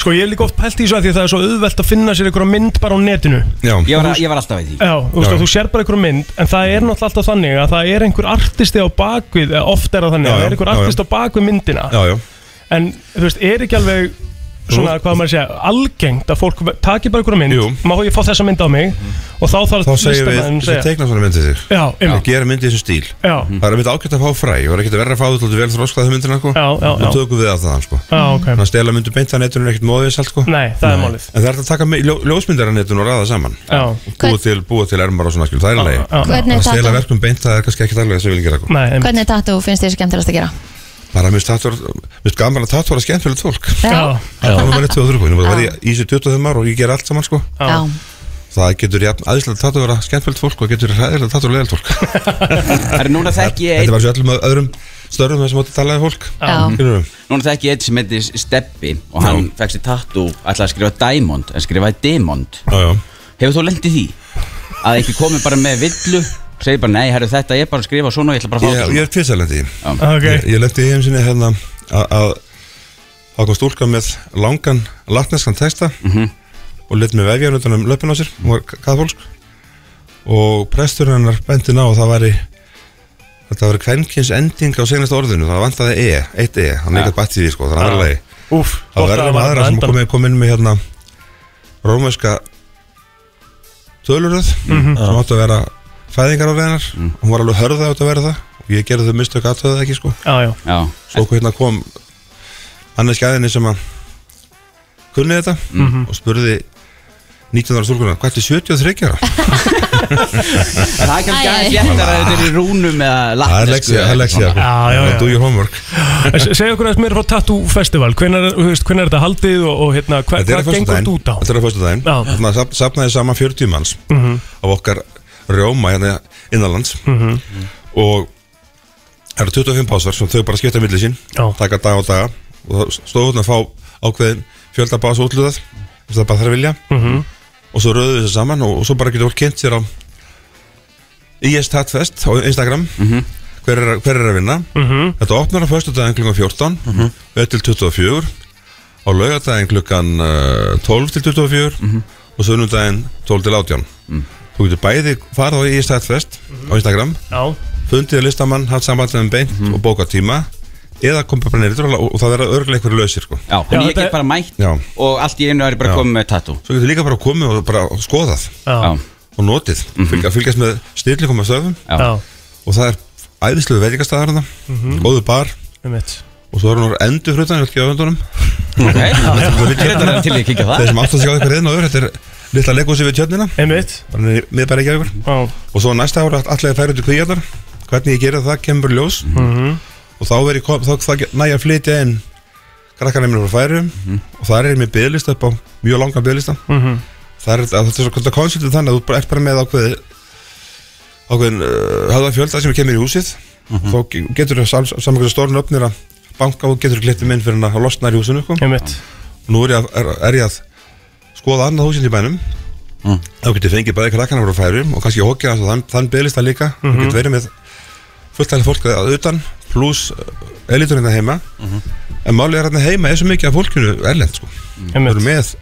S4: Sko ég hef líka oft pælt í þessu að því að það er svo auðvelt að finna sér einhverja mynd bara á netinu
S10: já,
S5: Ég var, ég var alltaf í því
S4: Já, þú veist
S10: Já.
S4: að þú sér bara einhverja mynd en það er náttúrulega alltaf þannig að það er einhver artisti á bakvið eða oft er það þannig
S10: Já,
S4: að það
S10: já,
S4: er einhver
S10: já, já.
S4: artist á bakvið myndina
S10: já, já
S4: en þú veist, er ekki alveg svona, hvað maður segja, algengt að fólk taki bara einhverja mynd,
S10: Jú.
S4: má ég fá þessa mynd á mig og þá þarf
S10: Þá segjum við,
S4: listamaðurinn að
S10: þessi teikna svona myndið þig
S4: Já,
S10: Og
S4: einmitt.
S10: gera myndið þessu stíl
S4: Já.
S10: Það er myndið ágætt að fá fræ Og það er ekkert að verra að fá þú til vel þróskaðu myndina sko.
S4: Já, já, já.
S10: Og tökum við að það sko.
S4: Já, ok.
S10: Þannig að stela myndu beint að netinu er ekkert móðis allt sko.
S4: Nei, það er málið
S10: En það er hægt að taka mi- ljó, ljósmyndar að netinu og ræða saman
S4: Já.
S10: Búa til, búa til ermar og svona skil, það er leið
S4: já.
S3: Hvernig
S10: Að
S3: er
S10: stela
S3: tattoo?
S10: verkum beint það er kannski ekkert alveg þess að við gera sko.
S4: Nei, einmitt.
S3: Hvernig tattoo finnst þér skemmtilegast að gera?
S10: Bara mist tattur, mist gaman að tattur að skemmtilegt fólk
S3: Já,
S10: Það er með nettu og þurrkvinn Ég var í þessu 25 ára og ég ger allt saman sko.
S3: já,
S10: Það getur jafn aðeinslega tattur að vera skemmtilegt fólk og getur hræðilega tattur að leiðilegt fólk
S5: *laughs* Það er núna þekki ég
S10: Þetta
S5: einn
S10: var svo öllum öðrum störfum þessum átti talaði fólk
S3: já.
S10: Skilurðu?
S5: Núna þekki ég einn sem heitir Steppi og hann fekk sér tattoo ætlaði að skrifa Diamond en skrifaði Demond
S10: Já, já
S5: Hefur þú lendið því? Að einhver komi bara með villu segir bara nei, herru þetta ég er bara að skrifa svona og ég ætla bara að
S10: Ég,
S5: fá þetta
S10: ég
S5: svona."
S10: er tvisalandi
S4: Ok,
S10: Ég, ég lendi í heimsinni hérna að- að það kom stúlka með langan latneskan texta og lit með vefjan utan um löpun á sér hún var kathólsk og prestur hennar benti ná og það væri þetta var kvenkins ending á segnasta orðinu, það vantaði e, eitt e hann er
S5: Ja.
S10: ekkert bætt í því sko, þannig að verða leið
S4: úf
S10: það verður um aðra sem kom, kom inn með hérna rómverska töluröð
S4: Mhm.
S10: sem áttu að vera fæðingar á reynar
S4: Mm.
S10: hún var alveg hörða átt að vera það og ég gerði þau mistök aðtöðu það ekki sko
S4: Já, já,
S5: Já,
S10: svo okkur hérna kom annars gæðinni sem að kunni þetta
S4: Mhm.
S10: og spurði 19 ára stúlkunar, hvað er 73 ára?
S4: *laughs*
S5: En *laughs* það er kannski
S3: Æ, æ.
S5: aðeins léttar að þetta er í rúnum eða
S10: Það er
S5: latnesku
S10: leksja, það er leksja
S4: Já, já, já.
S10: Do your homework
S4: En se- Segðu okkur aðeins mér frá Tattoo Festival Hvernig er þetta haldið og, og hérna, hva,
S10: Þetta er
S4: hvað
S10: að
S4: gengur
S10: föstudaginn
S4: þetta út á?
S10: Þetta er að fyrstu daginn
S4: Já. Mhm.
S10: Þannig að sap- safnaði saman 40 manns Af okkar rjóma hérna innanlands
S4: Mhm.
S10: Og Það eru 25 pásar sem þau bara skipta milli sín
S4: Já.
S10: Taka dag og daga Og það stóðu hérna að fá ákveðin fjölda pása útlutað Ef það bara þarf vilja
S4: Mhm.
S10: Og svo röðuðu þessu saman og, og svo bara getur fólk kynnt sér á IS Tatfest á Instagram hver, er, hver er að vinna
S4: Mhm.
S10: Þetta opnar á föstu daginn klukkan 14 mm -hmm. til 24 á laugardaginn klukkan uh, 12 til 24
S5: Mhm.
S10: og sunnudaginn 12 til 18 þú getur bæði farið á í Stæðfest
S5: Mhm.
S10: á Instagram,
S4: Já,
S10: fundið listamann haft samband með þeim beint og bókað tíma eða komið bara neyri og, og það verða örglega einhverju lausir sko.
S5: Já,
S4: Já,
S5: en ég
S4: þetta er-
S5: get bara mætt
S10: Já.
S5: og allt í einu er ég bara
S10: Já.
S5: komið með tattoo
S10: svo getur líka bara komið og bara skoðað
S4: já,
S5: Já, Mhm.
S10: og notið, mm fylgjast með styrlikum og stöfum
S5: já,
S4: já,
S10: og það er æðislegu veitingastæðarna mm
S5: Mhm.
S10: góðu bar
S4: einmitt
S10: og svo er hún endur hrutan í öllkjöðavöndunum
S5: *laughs* ok Þetta er þetta til ég kíkja á
S10: þeir
S5: það
S10: sem átt að sjá eitthvað reyðin og öður þetta er litla leikúsi við tjörnina
S4: Einmitt,
S10: bara niður miðbæri ekki
S4: já,
S10: og svo næsta ára allir færi út í kvíjarnar hvernig ég gera það kemur ljós
S4: Mhm.
S10: og þá verið kom, þá, þá næja að flytja inn krakkarna mér frá færum
S5: Mhm.
S10: og það er ég með bygglista upp á mjög langan bygglista
S4: Mhm.
S10: það er að þetta er svona konsultið þannig að þú bara ert bara með ákveði ákveðin uh, höfða fjölda sem kemur í húsið þá ge- getur það sam, saman hverju stórn öfnir að banka og getur glittum inn fyrir hann að losna í húsinu kom.
S4: einmitt
S10: nú er ég að, er, er ég að skoða annað húsinn í bænum þá getur fengið bæði krakkana frá færum og kannski hókja hans og þann, þann bygglista líka mm getur verið með fullt af fólk að utan pluss eliturinn það heima en málið er hérna heima er svo mikið af fólkinu erlend sko við erum
S4: Einmitt,
S10: með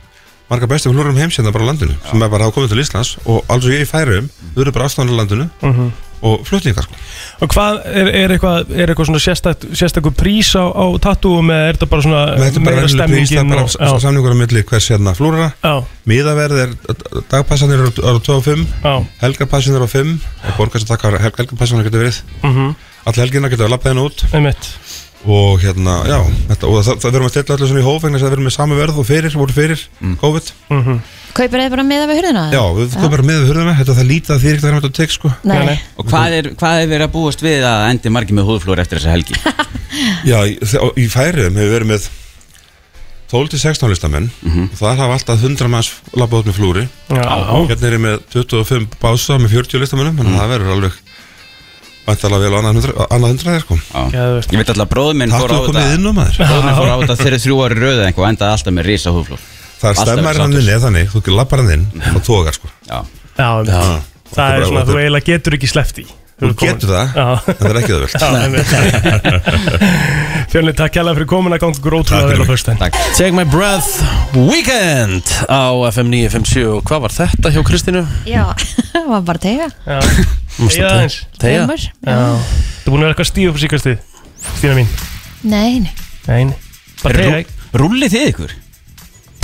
S10: marga bestu flórum heimsenda hérna bara á landinu sem er bara hafa komið til Íslands og alls og ég í færum við erum bara afstæðan á landinu
S4: Mhm.
S10: og flutningar sko
S4: og hvað er, er, eitthvað, er eitthvað svona sérstakt, sérstakur prís á, á tattoo með er þetta bara svona
S10: þetta er bara
S4: meira
S10: venjuleg prís, það er
S4: stemmingin
S10: bara
S4: og-
S10: s- samningur á milli hvers hérna flúrara
S4: Já,
S10: miðaverð er, dagpassanir eru eru á 2 og 5
S4: já,
S10: helgarpassanir á 5 og borgar sem takkar helgarpassanir getur verið
S4: mhm,
S10: all helgina getur að lappa henni út
S4: einmitt
S10: og hérna, já, þetta, og það, það verðum að stilla allir svona í hóf vegna þess að það verðum með samu verð og fyrir, voru fyrir
S4: Mm.
S10: COVID,
S4: Mhm.
S3: Kaupir þið bara meða við hurðina?
S10: já, við komum bara með við hurðina, þetta er það lítið að því ekkert að verðum að tek sko
S3: Nei,
S4: Nei, nei.
S5: Og hvað er, hvað er verið að búast við að endi margi með húðflór eftir þessa helgi?
S10: Já, í, þe- í færiðum hefur verið með 12-16 listamenn og þar hafa alltaf 100 manns labbað út með flúri
S4: Já, já,
S10: Hérna er ég með 25 bása með 40 listamennum þannig að það verður alveg vantalega vel á annað 100 annað sko. 100 þér kom
S5: Já.
S4: geðvögt
S5: Ég veit alltaf að bróður minn
S10: Takk
S5: fór á
S10: fyrir að komið
S5: þetta
S10: inn á maður
S5: Bróður minn fór á þetta þegar þrjú ári röðu eitthvað og endaði alltaf með risa húðflór
S10: Það er
S5: Alltaf
S10: stemmar
S5: verið
S10: hann
S5: sáttur.
S10: inn eða þannig, þú labbar hann inn og tókar sko
S5: Já,
S4: Já, einmitt.
S10: Ah, Þetta
S4: það
S10: bara-
S4: er svona,
S10: þetta-
S4: þú eiginlega getur ekki sleppt í
S10: Þú getur það,
S4: Já.
S10: en það er ekki það vel
S4: Fjölni, takk kjærlega fyrir komin að ganga
S10: Takk
S4: grótrúlega
S10: fyrir
S4: vel á
S10: mig.
S4: föstudaginn
S5: takk
S1: Take my breath Weekend á FM 957 og hvað var þetta hjá Kristínu?
S3: Já, *laughs* var bara tega
S4: Já. Eyja aðeins.
S1: Tegja
S3: Reimur.
S4: Já. Þú búin að vera eitthvað stíð upp á síkastið Stína mín
S3: Nei, nei
S4: Nein
S5: Rú, Rúllið þið ykkur?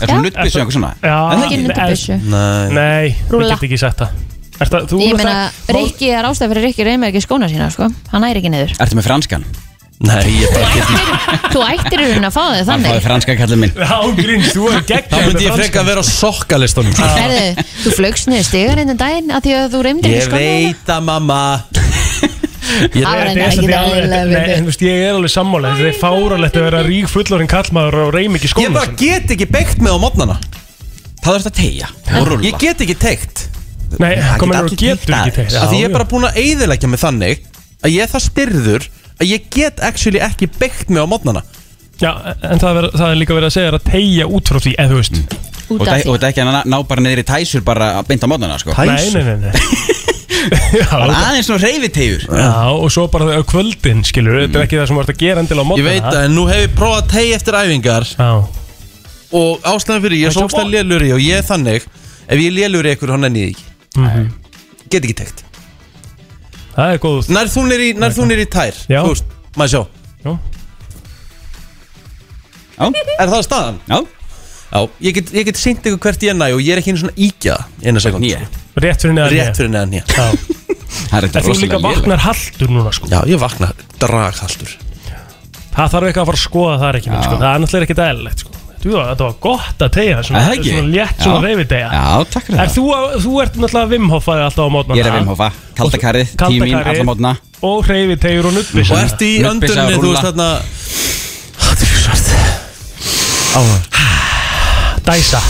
S5: Er það nuttbyssu eitthvað svona?
S4: Já,
S5: Er það
S3: Ekki nuddbyssu.
S1: Nei.
S4: Nei, ég
S3: Rúlla.
S4: get ekki sagt það Er það, þú
S3: Ég
S4: ert
S3: meina,
S4: að-
S3: Rikki er ástæð fyrir Rikki reymir ekki skóna sína, sko Hann æri ekki niður
S5: Ertu með franskan?
S1: Nei, ég bara get
S5: hérna.
S3: Þú ættir í raunin að fá þig
S5: Hann fáið
S3: þannig
S5: franska kallið minn
S4: Já, grins, þú er gegn
S1: Þá myndi ég frekka að vera á sokkalistunum
S5: sko.
S3: Herðu, þú flögst niður stigar einn daginn að því að þú reymdir ekki
S1: Ég
S3: skóna þína
S1: veit að mamma
S3: *laughs*
S1: Ég
S3: hérna.
S4: Þetta er samt
S3: Það var reyna ekki
S4: í alveg-
S3: dæla
S4: Nei, en þú veist, ég er alveg sammála Þetta er fáralegt að vera rík fullorinn kallmaður og reym ekki
S1: Ég
S4: skóna
S1: bara get ekki beikt með á mótnana
S5: Það þarf þetta að tegja og rúlla
S1: Ég get ekki teikt
S4: Nei,
S5: Það
S4: komið
S5: geta
S4: og
S5: allir
S4: getur
S5: teygt
S4: ekki teygt
S5: aðeins.
S1: Af því ég er bara búin að eyðileggja mig þannig Að ég er það styrður Að ég get actually ekki beikt mig á mótnana
S4: Já, en það, ver, það er líka verið að segja þér að tegja út frá því, eða þú
S1: Mm.
S4: veist
S5: Og
S3: út af
S5: þetta- og
S3: því
S5: þetta ekki að ná- ná bara niður í tæsur bara að bynda mótnana sko
S4: Nei, nei, nei, nei
S5: Bara
S4: Já,
S5: Aðeins svona reyfitegjur
S4: já, og svo bara þau á kvöldin, skilur Þetta er ekki það sem þú ert að gera endilega á
S1: Mm. Ég
S4: mótana
S1: veit að en nú hef ég prófað að tegi eftir æfingar
S4: Já,
S1: Og ástæðan fyrir, ég er svo ógstæðan lélur í Og ég er þannig, ef ég lélur í ykkur hann enni ég ekki
S4: Mhm.
S1: Get ekki teikt
S4: það er góð
S1: Nær þú nýr í, nær þú nýr í tær
S4: Já.
S1: Þú veist, maður sjá
S4: Já.
S5: Já.
S1: Er það staðan?
S5: Já,
S1: Já, ég get, ég get sýnt ykkur hvert ég næ og ég er ekki einu svona íkja einu sekund
S5: nýja
S4: Rétt fyrir neðan
S1: Rétt fyrir neðan ég
S4: Já,
S5: Það er
S4: en
S5: þetta
S4: þú líka
S5: rosalega lélega
S4: vaknar haldur núna, sko
S1: Já, ég vakna draghaldur
S4: Það þarf eitthvað að fara að skoða það er ekki minn, sko Það er náttúrulega ekki dæðilegt, sko Þú, þetta var gott að tegja svona,
S5: Er það ekki?
S4: svona létt, svona
S5: Já.
S4: reyfitegja
S5: Já, takk fyrir
S4: Er
S5: það
S4: þú, að- þú ert náttúrulega vimhoffaði alltaf á mótnana
S5: Ég er að vimhofa Kaldakarið, tímin,
S4: Kaldakarið.
S5: alla mótna
S4: Og hreyfitegjur og nuttbis
S1: Og ertu í
S5: Nubbis
S1: öndunni,
S5: að
S1: þú
S5: rúlla.
S1: veist þarna Þetta er svart Áður
S4: Dæsa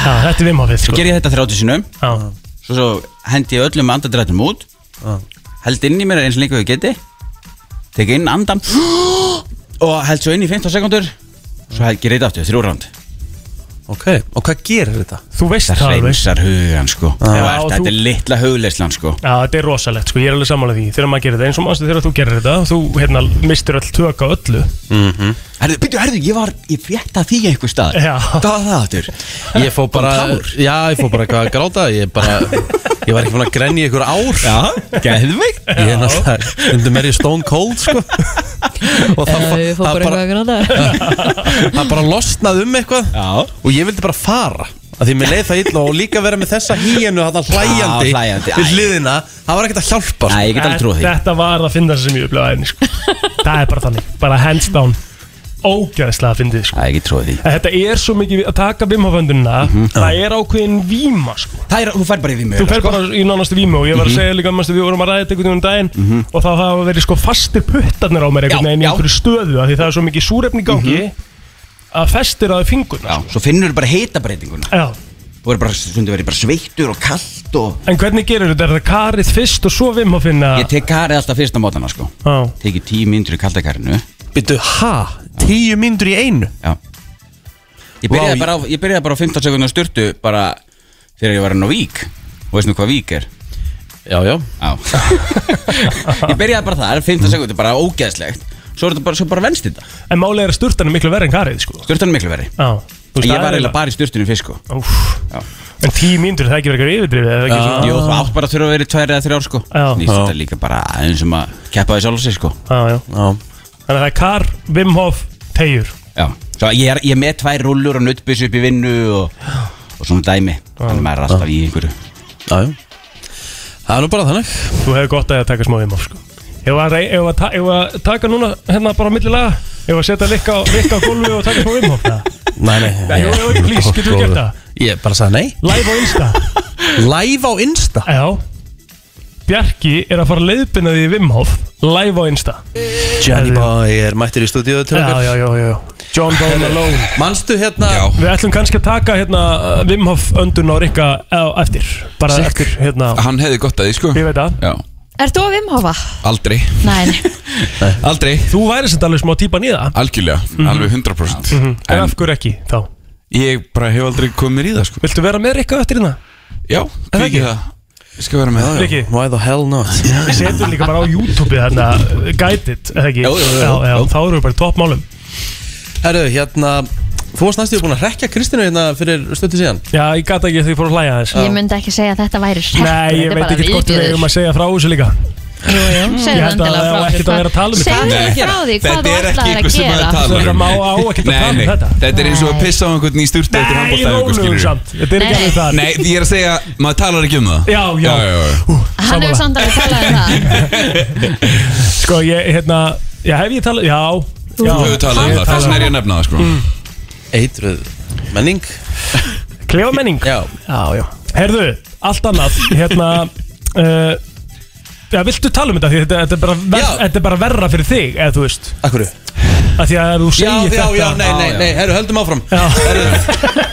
S4: Já, þetta er vimhofið,
S5: Svo
S4: sko
S5: ger ég þetta 30 sinum
S4: Já,
S5: Svo svo hendi ég öllum andadrættum út Held inn í mér eins og líka við geti Tek inn andan *gasps* Og held svo inn í 15 sekundur Svo held ég reyta aftur, þrjú ránd
S1: Ok, og hvað gerir þetta?
S4: þú veist
S5: Það
S4: það alveg
S5: reynsar hugan sko
S4: Já,
S5: Já,
S4: og
S5: Þetta
S4: þú-
S5: er litla hugleislan sko
S4: Já, þetta er rosalegt, sko, ég er alveg sammála því Þegar maður gerir þetta, eins og mannstu þegar þú gerir þetta Þú, hérna, mistur öll tök á öllu Mhm.
S5: Herðu, byrju, herðu, ég var Ég frétta því einhver stað
S4: Já.
S5: Hvað var það aftur?
S1: Ég fó bara
S5: Kom tár?
S1: Já, ég fó bara eitthvað að gráta Ég bara Ég var ekki fann að grenja ykkur ár
S5: Já, geðveikt
S1: Ég er náttúrulega Undum er ég stone cold, sko *laughs* Og það,
S3: Já, ég fór bara eitthvað að gráta.
S1: það bara losnaði um eitthvað
S5: Já
S1: og ég vildi bara fara að því mér leið það illa og líka vera með þessa híinu þarna hlæjandi,
S5: Já, hlæjandi, æ.
S1: við hliðina það var ekkert að hjálpa
S5: Nei,
S1: sko.
S5: ég get alveg trúið því
S4: Þetta var það að finna sem ég upplega aðeins
S5: *laughs*
S4: sko. Það er bara þannig, bara hands down Ógæðslega að finna þið sko.
S5: Það er ekki trúið því Mhm.
S4: En Þetta er svo mikið að taka vimhaföndunina Það er ákveðin víma sko.
S5: Það er, þú fær bara í sko. vimmu
S4: Þú fer bara í nánastu víma og ég
S5: Mhm.
S4: var að segja líka manstu, Við vorum að ræða þetta einhvern veginn um daginn Og það hafa verið sko fastir puttarnir á mér einhvern
S5: Já,
S4: veginn í
S5: já. Mhm.
S4: einhverju stöðu af Því það er svo mikið súrefni í gangi Að festir á því fingurna
S5: Já, svo finnur þú bara heitabreytinguna
S4: Já,
S5: Þú verður bara, stundu verður bara sveittur og kallt og
S4: en hvernig gerur þetta? Er það karið fyrst og svo vimhafinna?
S5: Ég tek karið alltaf fyrst á mótana sko
S4: Já,
S5: Tekið tíu myndur í kaldakarinu
S1: Býttu, ha? Tíu myndur í einu?
S5: Já Ég
S1: Vá,
S5: byrjaði, bara, á, ég byrjaði bara á 15 sekundar styrtu bara þegar ég var enn á vík og veistu nú hvað vík er
S1: Já, já
S5: Já *laughs* Ég byrjaði bara þar, 15 sekundur, bara ógeðslegt Svo er þetta bara, svo bara venst þetta
S4: en málega er að sturtan er miklu verri en karið sko.
S5: Styrtan er miklu verri
S4: Já, þú það
S5: Ég
S4: er
S5: var eiginlega bara í styrtunum fyrst sko
S4: Úf,
S5: Já.
S4: en tíu mínútur það er ekki verið eitthvað yfirdrifið eða ekki svona-
S5: Jú, þú átt bara að þurfa að vera í tvær eða þrjár sko
S4: Já.
S5: Snýst þetta líka bara aðeins um að keppa því sjálf sig sko
S4: Já, já.
S1: Já,
S4: Þannig að það er kar, Wim Hof, tegjur
S5: Já, svo ég er, ég er með tvær rullur og nuttbissu upp í vinnu og, og svona dæmi Þannig að maður er alltaf í einhverju
S1: já, já Það er nú bara þannig
S4: Þú hefur gott að því að taka smá Wim Hof sko. Ef að, rey- ef, að ta, ef að taka núna hérna bara á millilaga Ef að setja likka, likka á gólfi og taka smá Wim Hof
S5: *laughs*
S4: eða?
S1: Nei, nei,
S4: Nei, jú, jú, please, getur þú gert það?
S1: Ég bara sagði nei
S4: Live á Insta
S1: Live á Insta
S4: Já Bjarki er að fara að leiðbina því í Wim Hof Live á Insta
S1: Johnny
S4: Já, já.
S1: Boy er mættir í stúdíu til
S4: Já, já, já,
S1: okkar
S4: já John
S1: *laughs*
S4: Bone Alone
S1: Manstu hérna
S10: Já.
S4: Við ætlum kannski að taka hérna uh, Wim Hof öndun á Rikka á eftir Bara eftir hérna
S2: Hann hefði gott að því sko
S4: Ég veit að
S2: Já,
S3: Ert þú að vimhofa?
S2: aldrei
S3: Nei, nei.
S2: Aldrei
S4: Þú væri sem alveg smá Mhm. típan í það
S2: Algjörlega, alveg 100%
S4: En
S2: En
S4: af hverju ekki þá?
S2: ég bara hef aldrei komið mér í það sko
S4: Viltu vera með Rikka á eftir hérna?
S2: Já,
S4: það
S2: hvað ekki
S4: ekki?
S2: það? Ég skal vera með það
S4: Rikki,
S1: Why the hell not?
S4: við setjum líka bara á YouTube þarna uh, Guided, eða ekki?
S5: Jú, jú, jú,
S4: já,
S5: jú.
S4: já, Þá erum við bara í toppmálum
S1: Herru, hérna Þú varst næstu búin að rekja Kristina hérna fyrir stöttu síðan
S4: Já, ég gata ekki því að ég fór að hlæja þess
S3: ég myndi ekki segja að þetta væri hrekkur
S4: Nei, ég
S3: þetta er
S4: veit
S3: bara
S4: ekki hvort við
S3: viðbjöður.
S4: eigum að segja frá þessu líka
S3: Jú, jú,
S4: Ég
S3: segðu
S4: held að
S3: endilega
S4: það
S3: frá
S4: á ekkert að vera að tala um þetta.
S3: Segðu
S4: Nei.
S3: frá því hvað
S4: Þetta er ekki
S3: þú ætlaðir
S4: ykkur
S3: að
S4: sem er
S3: gera
S4: að tala um. Þetta má- á ekkert að tala um þetta.
S11: Þetta er eins og að
S3: Nei.
S11: pissa á einhvern í styrta eftir
S4: Nei,
S11: handbólta
S4: rólegur samt. Þetta er ekki Nei. alveg það.
S11: Nei, ég er að segja, maður talar ekki um það
S4: Já, já,
S11: já,
S3: Hann hefur samt alveg talað um það
S4: Sko ég, hérna Já, hef ég talað, já
S11: Þú hefur talað um það, þess vegna er ég að nefna það sko
S1: Eitruð menning
S4: Mm. Klefa menning
S1: Já,
S4: já, já. Herðu, allt annað Hérna *laughs* uh, Já, viltu tala um þetta? Því þetta, þetta, er bara ver, þetta er bara verra fyrir þig, eða þú veist
S1: Akkurru
S4: Af því að ef þú
S1: Já,
S4: segir
S1: já,
S4: þetta
S1: já, nei, nei, nei, herru, höldum áfram Herru,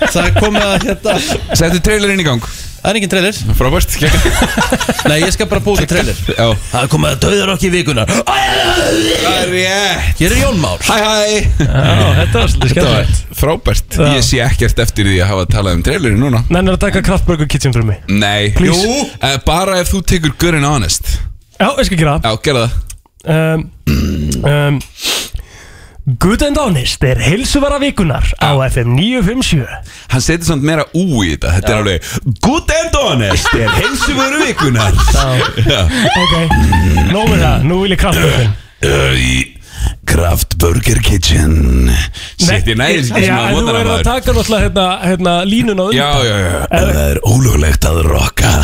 S1: Það er komið að hérna
S11: Settu trailerinn í gang
S1: Það er engin trailer
S11: Frábært,
S1: Nei, ég skal bara búið til trailer
S11: Já.
S1: Það er komið að döður okki vikunar
S11: Það er ég
S1: Hér er Jón Már
S11: Hæ, hæ
S4: Já, þetta var svolítið
S11: Þetta var
S4: skemmt
S11: frábært
S4: Já.
S11: Ég sé ekkert eftir því að hafa talað um trailerinn núna
S4: Nennar að taka kraftbörgu kitchen fyrir mig
S11: Nei
S4: Please.
S11: Eh, Bara ef þú tekur Gurin Honest
S4: Já, ég skal gera það
S11: Já, gerða það
S4: um, um, Good and Honest er heilsuvara vikunar á FM 957
S11: Hann setur samt meira ú í þetta Þetta er alveg Good and honest er heilsumöru
S4: *laughs*
S11: vikunar Já.
S4: Ok, nóg með það, nú vil ég kraftbörgun
S11: Ö, Eh, í Kraft Burger Kitchen Sitt ég næri ekki sem
S4: Já,
S11: að
S4: en þú
S11: mótana
S4: verður að
S11: maður
S4: taka náttúrulega hérna, hérna línuna undan
S11: Já, já, já Ef það er ólöglegt að rocka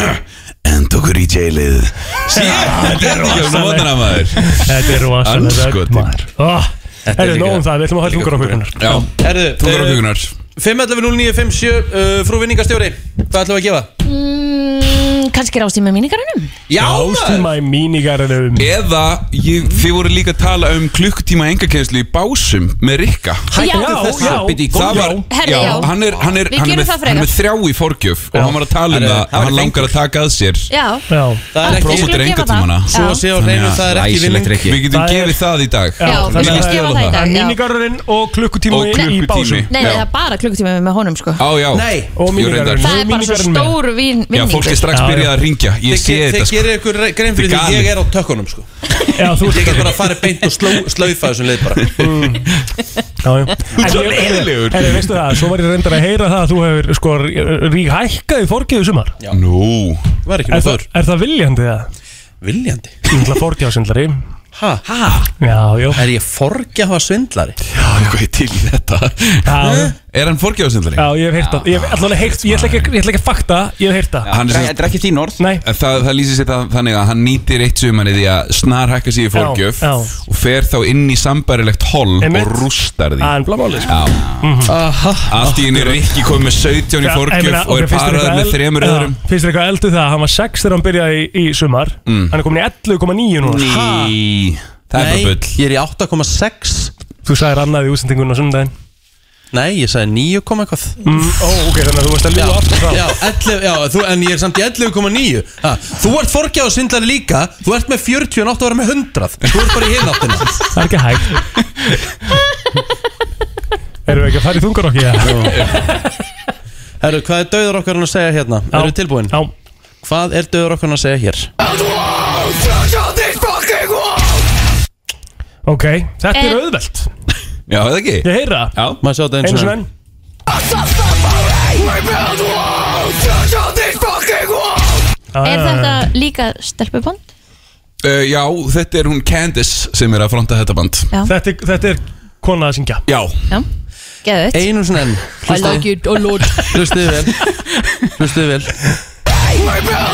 S11: *clears throat* En tókur í jailið Sitt ég næri ekki sem að mótana maður
S4: Þetta er rosalega rödd
S11: Andskotinn.
S4: maður oh,
S1: Þetta er
S4: Herru,
S1: líka-
S4: nóg um það, við ætlum að hafa tungur á kvíkunar
S11: Já,
S1: Herru,
S11: tókur á vikunar
S1: 5.11.09.57 uh, Frú vinningastjóri, hvað ætlum við að gefa?
S3: Mm, Kannski rást ég með mínikarunum
S11: Já, maður
S4: Ástíma í mínigarunum
S11: Eða, ég, þið voru líka að tala um klukkutíma engakenslu í básum með Rikka
S4: já,
S5: Bíddu, í-
S11: Það var,
S3: Herri, já.
S11: hann er, hann er,
S3: Við
S11: hann er,
S3: gerum
S11: með,
S3: það frekar.
S11: hann er með þrjá í forgjöf og hann var að tala um
S1: Herri,
S11: það
S1: það
S11: að
S1: væri
S11: hann langar að taka að sér
S3: Já,
S4: Já,
S1: Það er ekki
S11: prófóttir
S3: Prófum. skulum gefa það.
S11: engatímana
S1: Svo sé á reynu, það er ekki vinning
S5: ekki
S11: Við getum
S4: Það er-
S11: gefið það í dag
S3: já,
S4: þannig
S3: við
S4: að
S3: skulum
S11: það er-
S3: gefa það í
S11: það
S3: dag já.
S4: Mínigarurinn og
S11: Og
S4: klukkutími í
S11: klukkutími.
S4: básum
S3: Nei,
S11: Já.
S3: það er bara klukkutíma með honum sko
S11: Á já
S1: Nei.
S4: Og
S11: Jú, reyndar.
S4: mínigarurinn
S3: Það er bara svo stór vin,
S11: Já, fólk er
S3: vinningur
S11: strax
S4: Já, já.
S11: byrjað að ringja Ég sé
S1: Þeir
S11: þetta sko.
S1: gerir ykkur re- grein fyrir
S11: Þið
S1: því
S11: galið.
S1: ég er á tökkunum sko
S4: Já, þú
S1: Ég
S4: ert Mm.
S1: get bara að fara beint og sló- slaufa þessum leið bara
S4: Já, já En
S11: svo
S4: ég-
S11: leiðilegur.
S4: Herri, veistu það, svo var ég reyndar að heyra það að þú hefur sko rík hækkað í forgjöðu sumar
S11: Nú
S1: Var ekki
S4: Er
S1: nú
S4: það,
S1: þar
S4: er það viljandi það?
S1: Viljandi
S4: Íngla forgjáðsindlari
S1: Ha? Ha?
S4: Já, já
S1: Er ég forgjafa svindlari?
S11: Já, hvað er til í þetta
S4: Já,
S11: Er hann forgjáðsindari?
S4: já ég hef heyrt það Ég hef allavega heyrt, ég ætla ekki- ég ætla ekki að fakta, ég hef heyrt það
S11: Hann er sem
S5: Þetta er ekki þín orð
S4: Nei,
S11: Eh, Það, það lýsir sér það- þannig að hann nýtir eitt sumarið í að snarhækka sig í forgjöf
S4: Já, já.
S11: og fer þá inn í sambærilegt holl
S4: Einmitt.
S11: og rústar því
S4: en blámáli
S11: Já
S4: Mhm.
S1: Aha
S11: Allt í henni er ekki komið með 17 í forgjöf og er parað með þremur öðrum
S4: Finnst þér eitthvað eldu það að hann var 6 þegar hann byrjaði í, í sumar Hann er komin í 11,9 núna
S11: Mm. Ný Það er
S1: Nei,
S11: bara bull
S1: ég er í 8,6
S4: Þú sagðir annað í útsendingun á sundaginn
S1: Nei, ég sagði 9, koma eitthvað
S4: mm. Ó, ok, þannig að þú varst að ljúa aftur frá
S1: Já, 11, já þú, en ég er samt í 11,9 Ha, Þú ert forgjafa svindlari líka Þú ert með 40 en átt að vera með 100 Þú ert bara í hináttina
S4: Það er ekki hægt Erum við ekki að fara í þungar okki? Já,
S1: Herru, hvað er döður okkar að segja hérna? Erum við tilbúin?
S4: Já,
S1: Hvað er döður okkar að segja hér?
S4: ok, þetta er
S3: Eh.
S4: auðvelt
S11: Já, það ekki
S4: Ég heyra það
S11: Já
S1: Má ég sjá þetta
S4: Einu
S1: eins og
S4: svona enn
S3: Er þetta líka stelpubond?
S11: Uh, já, þetta er hún Candice sem er að fronta þetta band
S4: Þetta, er- þetta er kona að syngja
S11: Já
S3: Já, geðvitt
S1: Einu svona enn
S3: I like it a lot
S1: Hlustuðu vel Hlustuðu vel
S4: uh,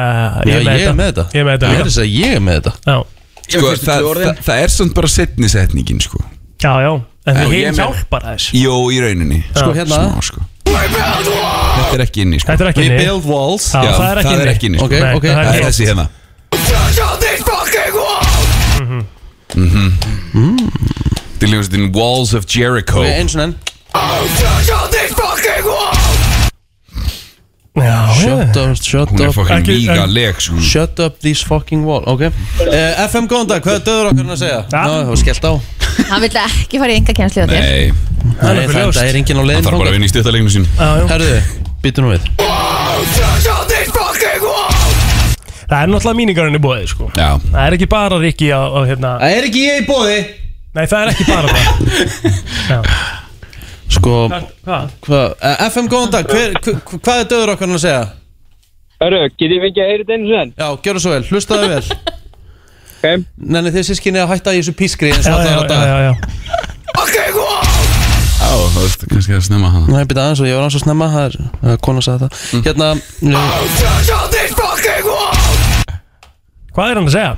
S1: Já, ég er með þetta
S4: Ég er með
S1: Ég er
S4: þetta
S1: þess að ég er með þetta
S4: Já,
S11: Sko, það, það, það er samt bara setni setningin, sko
S4: já, já En
S11: Já, ég
S4: það
S11: er
S4: hefur
S11: með.
S4: hjálpar aðeins
S11: Jó, í rauninni
S1: Sko hérna
S11: Smá, sko Þetta er ekki inni, sko
S4: Þetta er ekki
S1: We
S4: inni
S1: build walls
S4: Já,
S11: Já,
S4: það er ekki inni
S11: sko
S1: Ok,
S4: Nei,
S1: ok
S4: það
S11: Það
S4: ekki
S11: er þessi hérna
S4: Mm-hmm.
S11: Þetta er lífastin Walls of Jericho
S1: Ok, einu svona enn
S4: Já, já
S1: Shut up, shut
S11: Hún er
S1: up
S11: fokkin
S4: Ekki-
S11: mýga
S4: en-
S11: leg, sko
S1: Shut up these fucking wall Ok uh, FM góðan dag, hvað er döður okkar að segja?
S4: Ja.
S1: Ná, það var skellt á
S3: *laughs* Hann vil ekki fara í enga kjenslu á þér
S11: Nei,
S1: Nei,
S4: nokkuð
S1: það
S4: ljóst.
S1: það er enginn á
S11: hann
S1: leiðin
S11: þarf bara að vinna í stuttaleginu sín
S4: Já, já.
S1: Herðu, býtu nú við
S4: Það er náttúrulega míningarinn í bóðið sko
S11: Já,
S4: Það er ekki bara Rikki á, á hérna
S1: Það er ekki ég í bóði
S4: Nei það er ekki bara
S1: *laughs*
S4: það
S1: Sko,
S4: Hvað?
S1: Eh, hva, uh, FM góðan dag, hver, hva, hvað er döður okkar að segja?
S12: Hörru, get ég fengið að heyra þetta einu sen?
S1: Já, gjör það svo vel, hlustaðu vel okay. Nenni þið sískinni að hætta í þessu pískri eins og allar þetta
S4: já, já,
S11: Á, þú veist, kannski að snemma hana
S1: Nei, byrja aðeins og ég var aðeins að snemma Það er, uh, konan sagði það Hérna, uh,
S4: Hvað er hann að segja?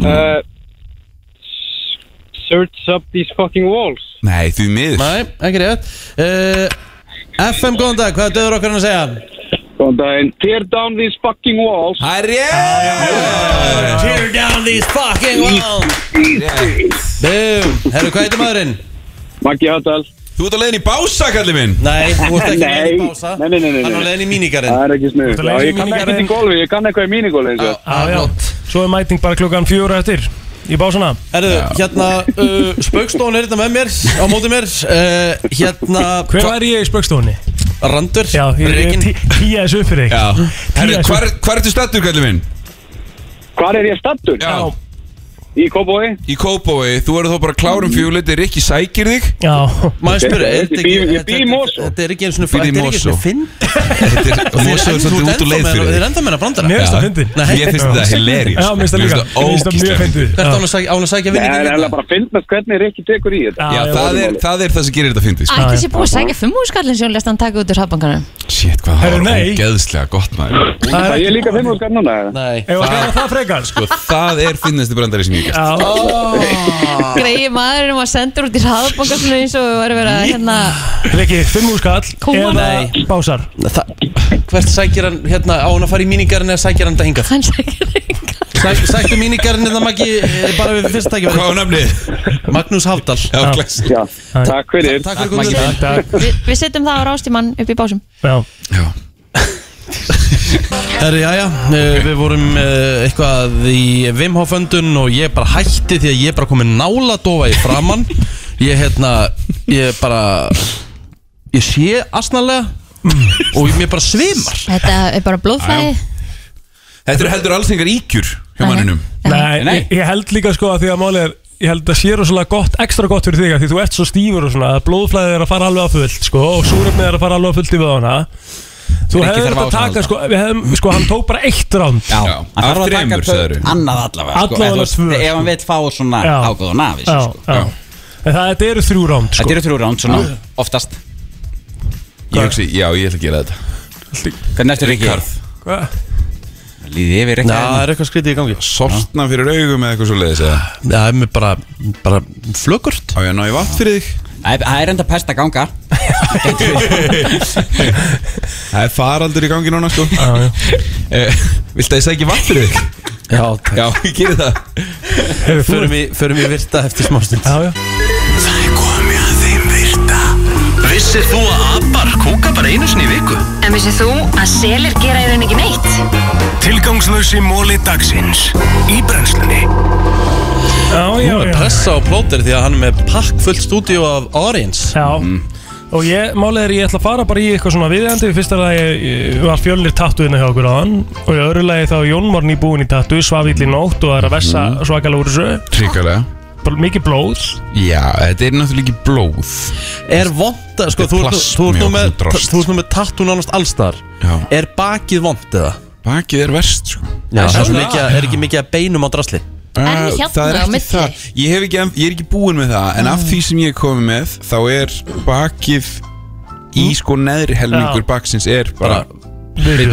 S12: Uh, search up these fucking walls
S11: Nei, því miður
S1: Nei, ekki rétt uh, FM, góðan dag, hvað er döður okkar hann að segja?
S12: Góðan daginn Tear down these fucking walls
S11: Harry Tear
S1: down these fucking walls Bum, herru, hvað heitir maðurinn?
S12: Maggi Hattal
S11: Þú ert að leiðin í bása, kalli minn
S1: Nei, þú ert ekki leiðin í
S12: Nei,
S1: bása
S12: nei, nei, nei, nei,
S1: Hann er
S12: nei.
S1: leiðin í mínigarinn
S12: Það er ekki
S4: Þú ert að
S12: snið
S4: leysa
S12: Ég kann
S4: mínigarinn.
S12: ekki í golfi, ég kann eitthvað í mínigolfi
S1: Ah,
S12: eins og
S4: Já, já. Svo er mæting bara klukkan fjóra eftir Í básuna
S1: Herru, hérna, uh, spaukstón er þetta með mér Á móti mér uh, Hérna,
S4: Hver var ég í spöggstofunni?
S1: randur
S4: Já, ég, ég tí- tíja þessu upp fyrir þig
S11: Já Herri,
S4: Tíu,
S11: hvar, hvar ertu stattur, kalli minn?
S12: Hvar er ég stattur?
S11: Já
S12: Í Kóboi?
S11: Í Kópói, þú eru þó bara klárum fjúlit Er ekki sækir þig?
S4: Já,
S1: Maður spyrir, er
S12: Ég
S1: þetta
S12: bý-
S1: ekki
S12: ég bý í Mosó.
S1: Þetta er ekki eins og
S11: Býrð í
S1: þetta er ekki eins
S11: Mosó.
S1: og finn
S11: Þetta er, og Mósi er svolítið út og leið fyrir
S1: Þið er
S11: þig
S1: enda meina brandara
S4: mér finnst það
S11: Já.
S4: fyndið
S1: Nei.
S11: Ég finnst þetta hilarious
S4: Já, mér finnst það líka Mér finnst það mjög
S11: ógeðslega fyndið.
S4: fyndið
S1: Hvert
S4: Já.
S1: án að sækja- á hún að sækja
S12: Nei, það
S1: vinningin
S12: er
S1: hérna?
S12: alveg bara að finna hvernig Rikki tekur í þetta
S4: Já,
S11: Já,
S4: já.
S11: það er, það er það sem gerir þetta fyndið sko.
S3: Ætli sé búið að sækja fimm úrskallin sem hún lest hann taka út úr hafbankanum
S11: Shit, hvað það
S4: Herru,
S11: var
S4: nei.
S11: ógeðslega gott maður
S4: Það er
S12: Það ég er
S4: ekki
S12: líka fimm úr skarn núna eða?
S1: Nei
S4: Ef að gera það frekar sko
S11: Sko, það er finnasti brandari sem ég gæst
S4: Já,
S11: Ah.
S3: Greiði maðurinn var sendur út í hafbankan svona eins og var að vera hérna
S4: Rikki, fimm úr skall
S3: Kúan.
S4: Eða básar
S1: Þa- Hvert sækir hann hérna á hann að fara í míningarinn eða sækir hann þetta hingað?
S3: hann sækja reynga
S1: Sæk, sæktu míningarinn þetta Maggi eh, bara við fyrst tækjum
S11: Hvað var namnið?
S1: Magnús Hafdal
S11: Já, klassik
S12: Já, takk fyrir
S1: Takk fyrir komið
S4: Takk, takk
S3: Við við setjum það á rástímann upp í básum
S4: Já,
S11: Já
S1: Herri, jæja, eh, við vorum eh, eitthvað í Wim Hof öndun og ég bara hætti því að ég bara komið nála dofa í framann Ég hérna, ég bara, ég sé asnalega og mér bara svimar
S3: Þetta er bara blóðflæði
S11: Þetta eru heldur alls engar íkjur hjá manninum
S4: Nei,
S5: Nei.
S4: ég- ég held líka sko að því að málið er Ég held að sé rosalega gott, ekstra gott fyrir þig að Því þú ert svo stífur og svona að blóðflæðið er að fara alveg á fullt sko Og súrefnið er að fara alveg á fullt í vöðana Þú
S5: Rikki
S4: hefur
S5: þarf
S4: þetta að
S5: á þessu að
S4: taka sko, við hefum, sko Hann tók bara eitt ránd
S5: Já,
S11: Já,
S5: hann þarf
S11: af
S5: að taka
S11: þremur,
S5: tvö-
S11: sagðirðu.
S5: Annað allavega sko.
S4: Allavega
S5: En þú veist,
S4: tvö, sko.
S5: Ef hann vil fá svona
S4: Já.
S5: ágóð og nafis
S4: já,
S5: sko.
S4: já. En það þetta eru þrjú ránd sko.
S5: Þetta eru þrjú ránd svona oftast
S11: Ég hugsi, já, ég ætla að gera þetta
S5: Hvernig ertu Rikki?
S4: Hva?
S5: Líði yfir
S1: Já, það
S5: Rikki
S1: er eitthvað skrítið í gangi Já,
S11: Sortna fyrir augum eða eitthvað svo leiðis eða
S1: það er mér bara, bara flökurt
S11: Á ég að ná í vatn fyrir þig
S5: Það er- það er enda pest að ganga
S11: Það er faraldur í gangi núna, sko
S4: já.
S11: Eh, Viltu að ég segja vatn fyrir þig?
S1: Já, takk
S11: Já, ég gerir það
S4: Hefur þú
S1: Förum við, förum við virta eftir smástund
S4: Já, já
S2: Það er komið að þeim virta Vissir þú að abar kúka bara einu sinni í viku?
S8: En vissið þú að selir gera í raun ekki neitt?
S2: Tilgangslösi móli dagsins Í brennslunni
S4: Já, já,
S1: Nú er
S4: já.
S1: pressa á plóter því að hann er með pakk fullt stúdíu af audience
S4: Já
S11: Mhm.
S4: Og ég, málið er ég ætla að fara bara í eitthvað svona viðjandi Í fyrsta lagi eh, var fjölnir tattuðina hjá okkur á hann Og í öðru lagi þá er Jón Morn í búin í tattu Svaf ill í
S11: Mhm.
S4: nótt og er að vessa svakalega úr þessu
S11: Tryggalega
S4: Bara Mikið blóð
S11: Já, þetta er náttúrulega ekki blóð
S1: Er vonda, sko,
S11: Þetta er
S1: þú ert nú- þú ert nú
S11: plasmi
S1: með
S11: og drast.
S1: Þú ert nú með tattoo nánast allstar
S11: Já.
S1: Er bakið vond eða?
S11: Bakið er verst, sko
S1: Já, það er, svo
S4: svona.
S1: mikið, að- er ekki mikið að beinum á drasli
S11: Eh,
S3: hérna
S11: það er
S3: á
S11: ekki
S3: milli?
S11: það. Ég, hef ekki, ég er ekki búin með það En af því sem ég er komið með Þá er bakið Í sko neðri helmingur
S4: Já.
S11: baksins er bara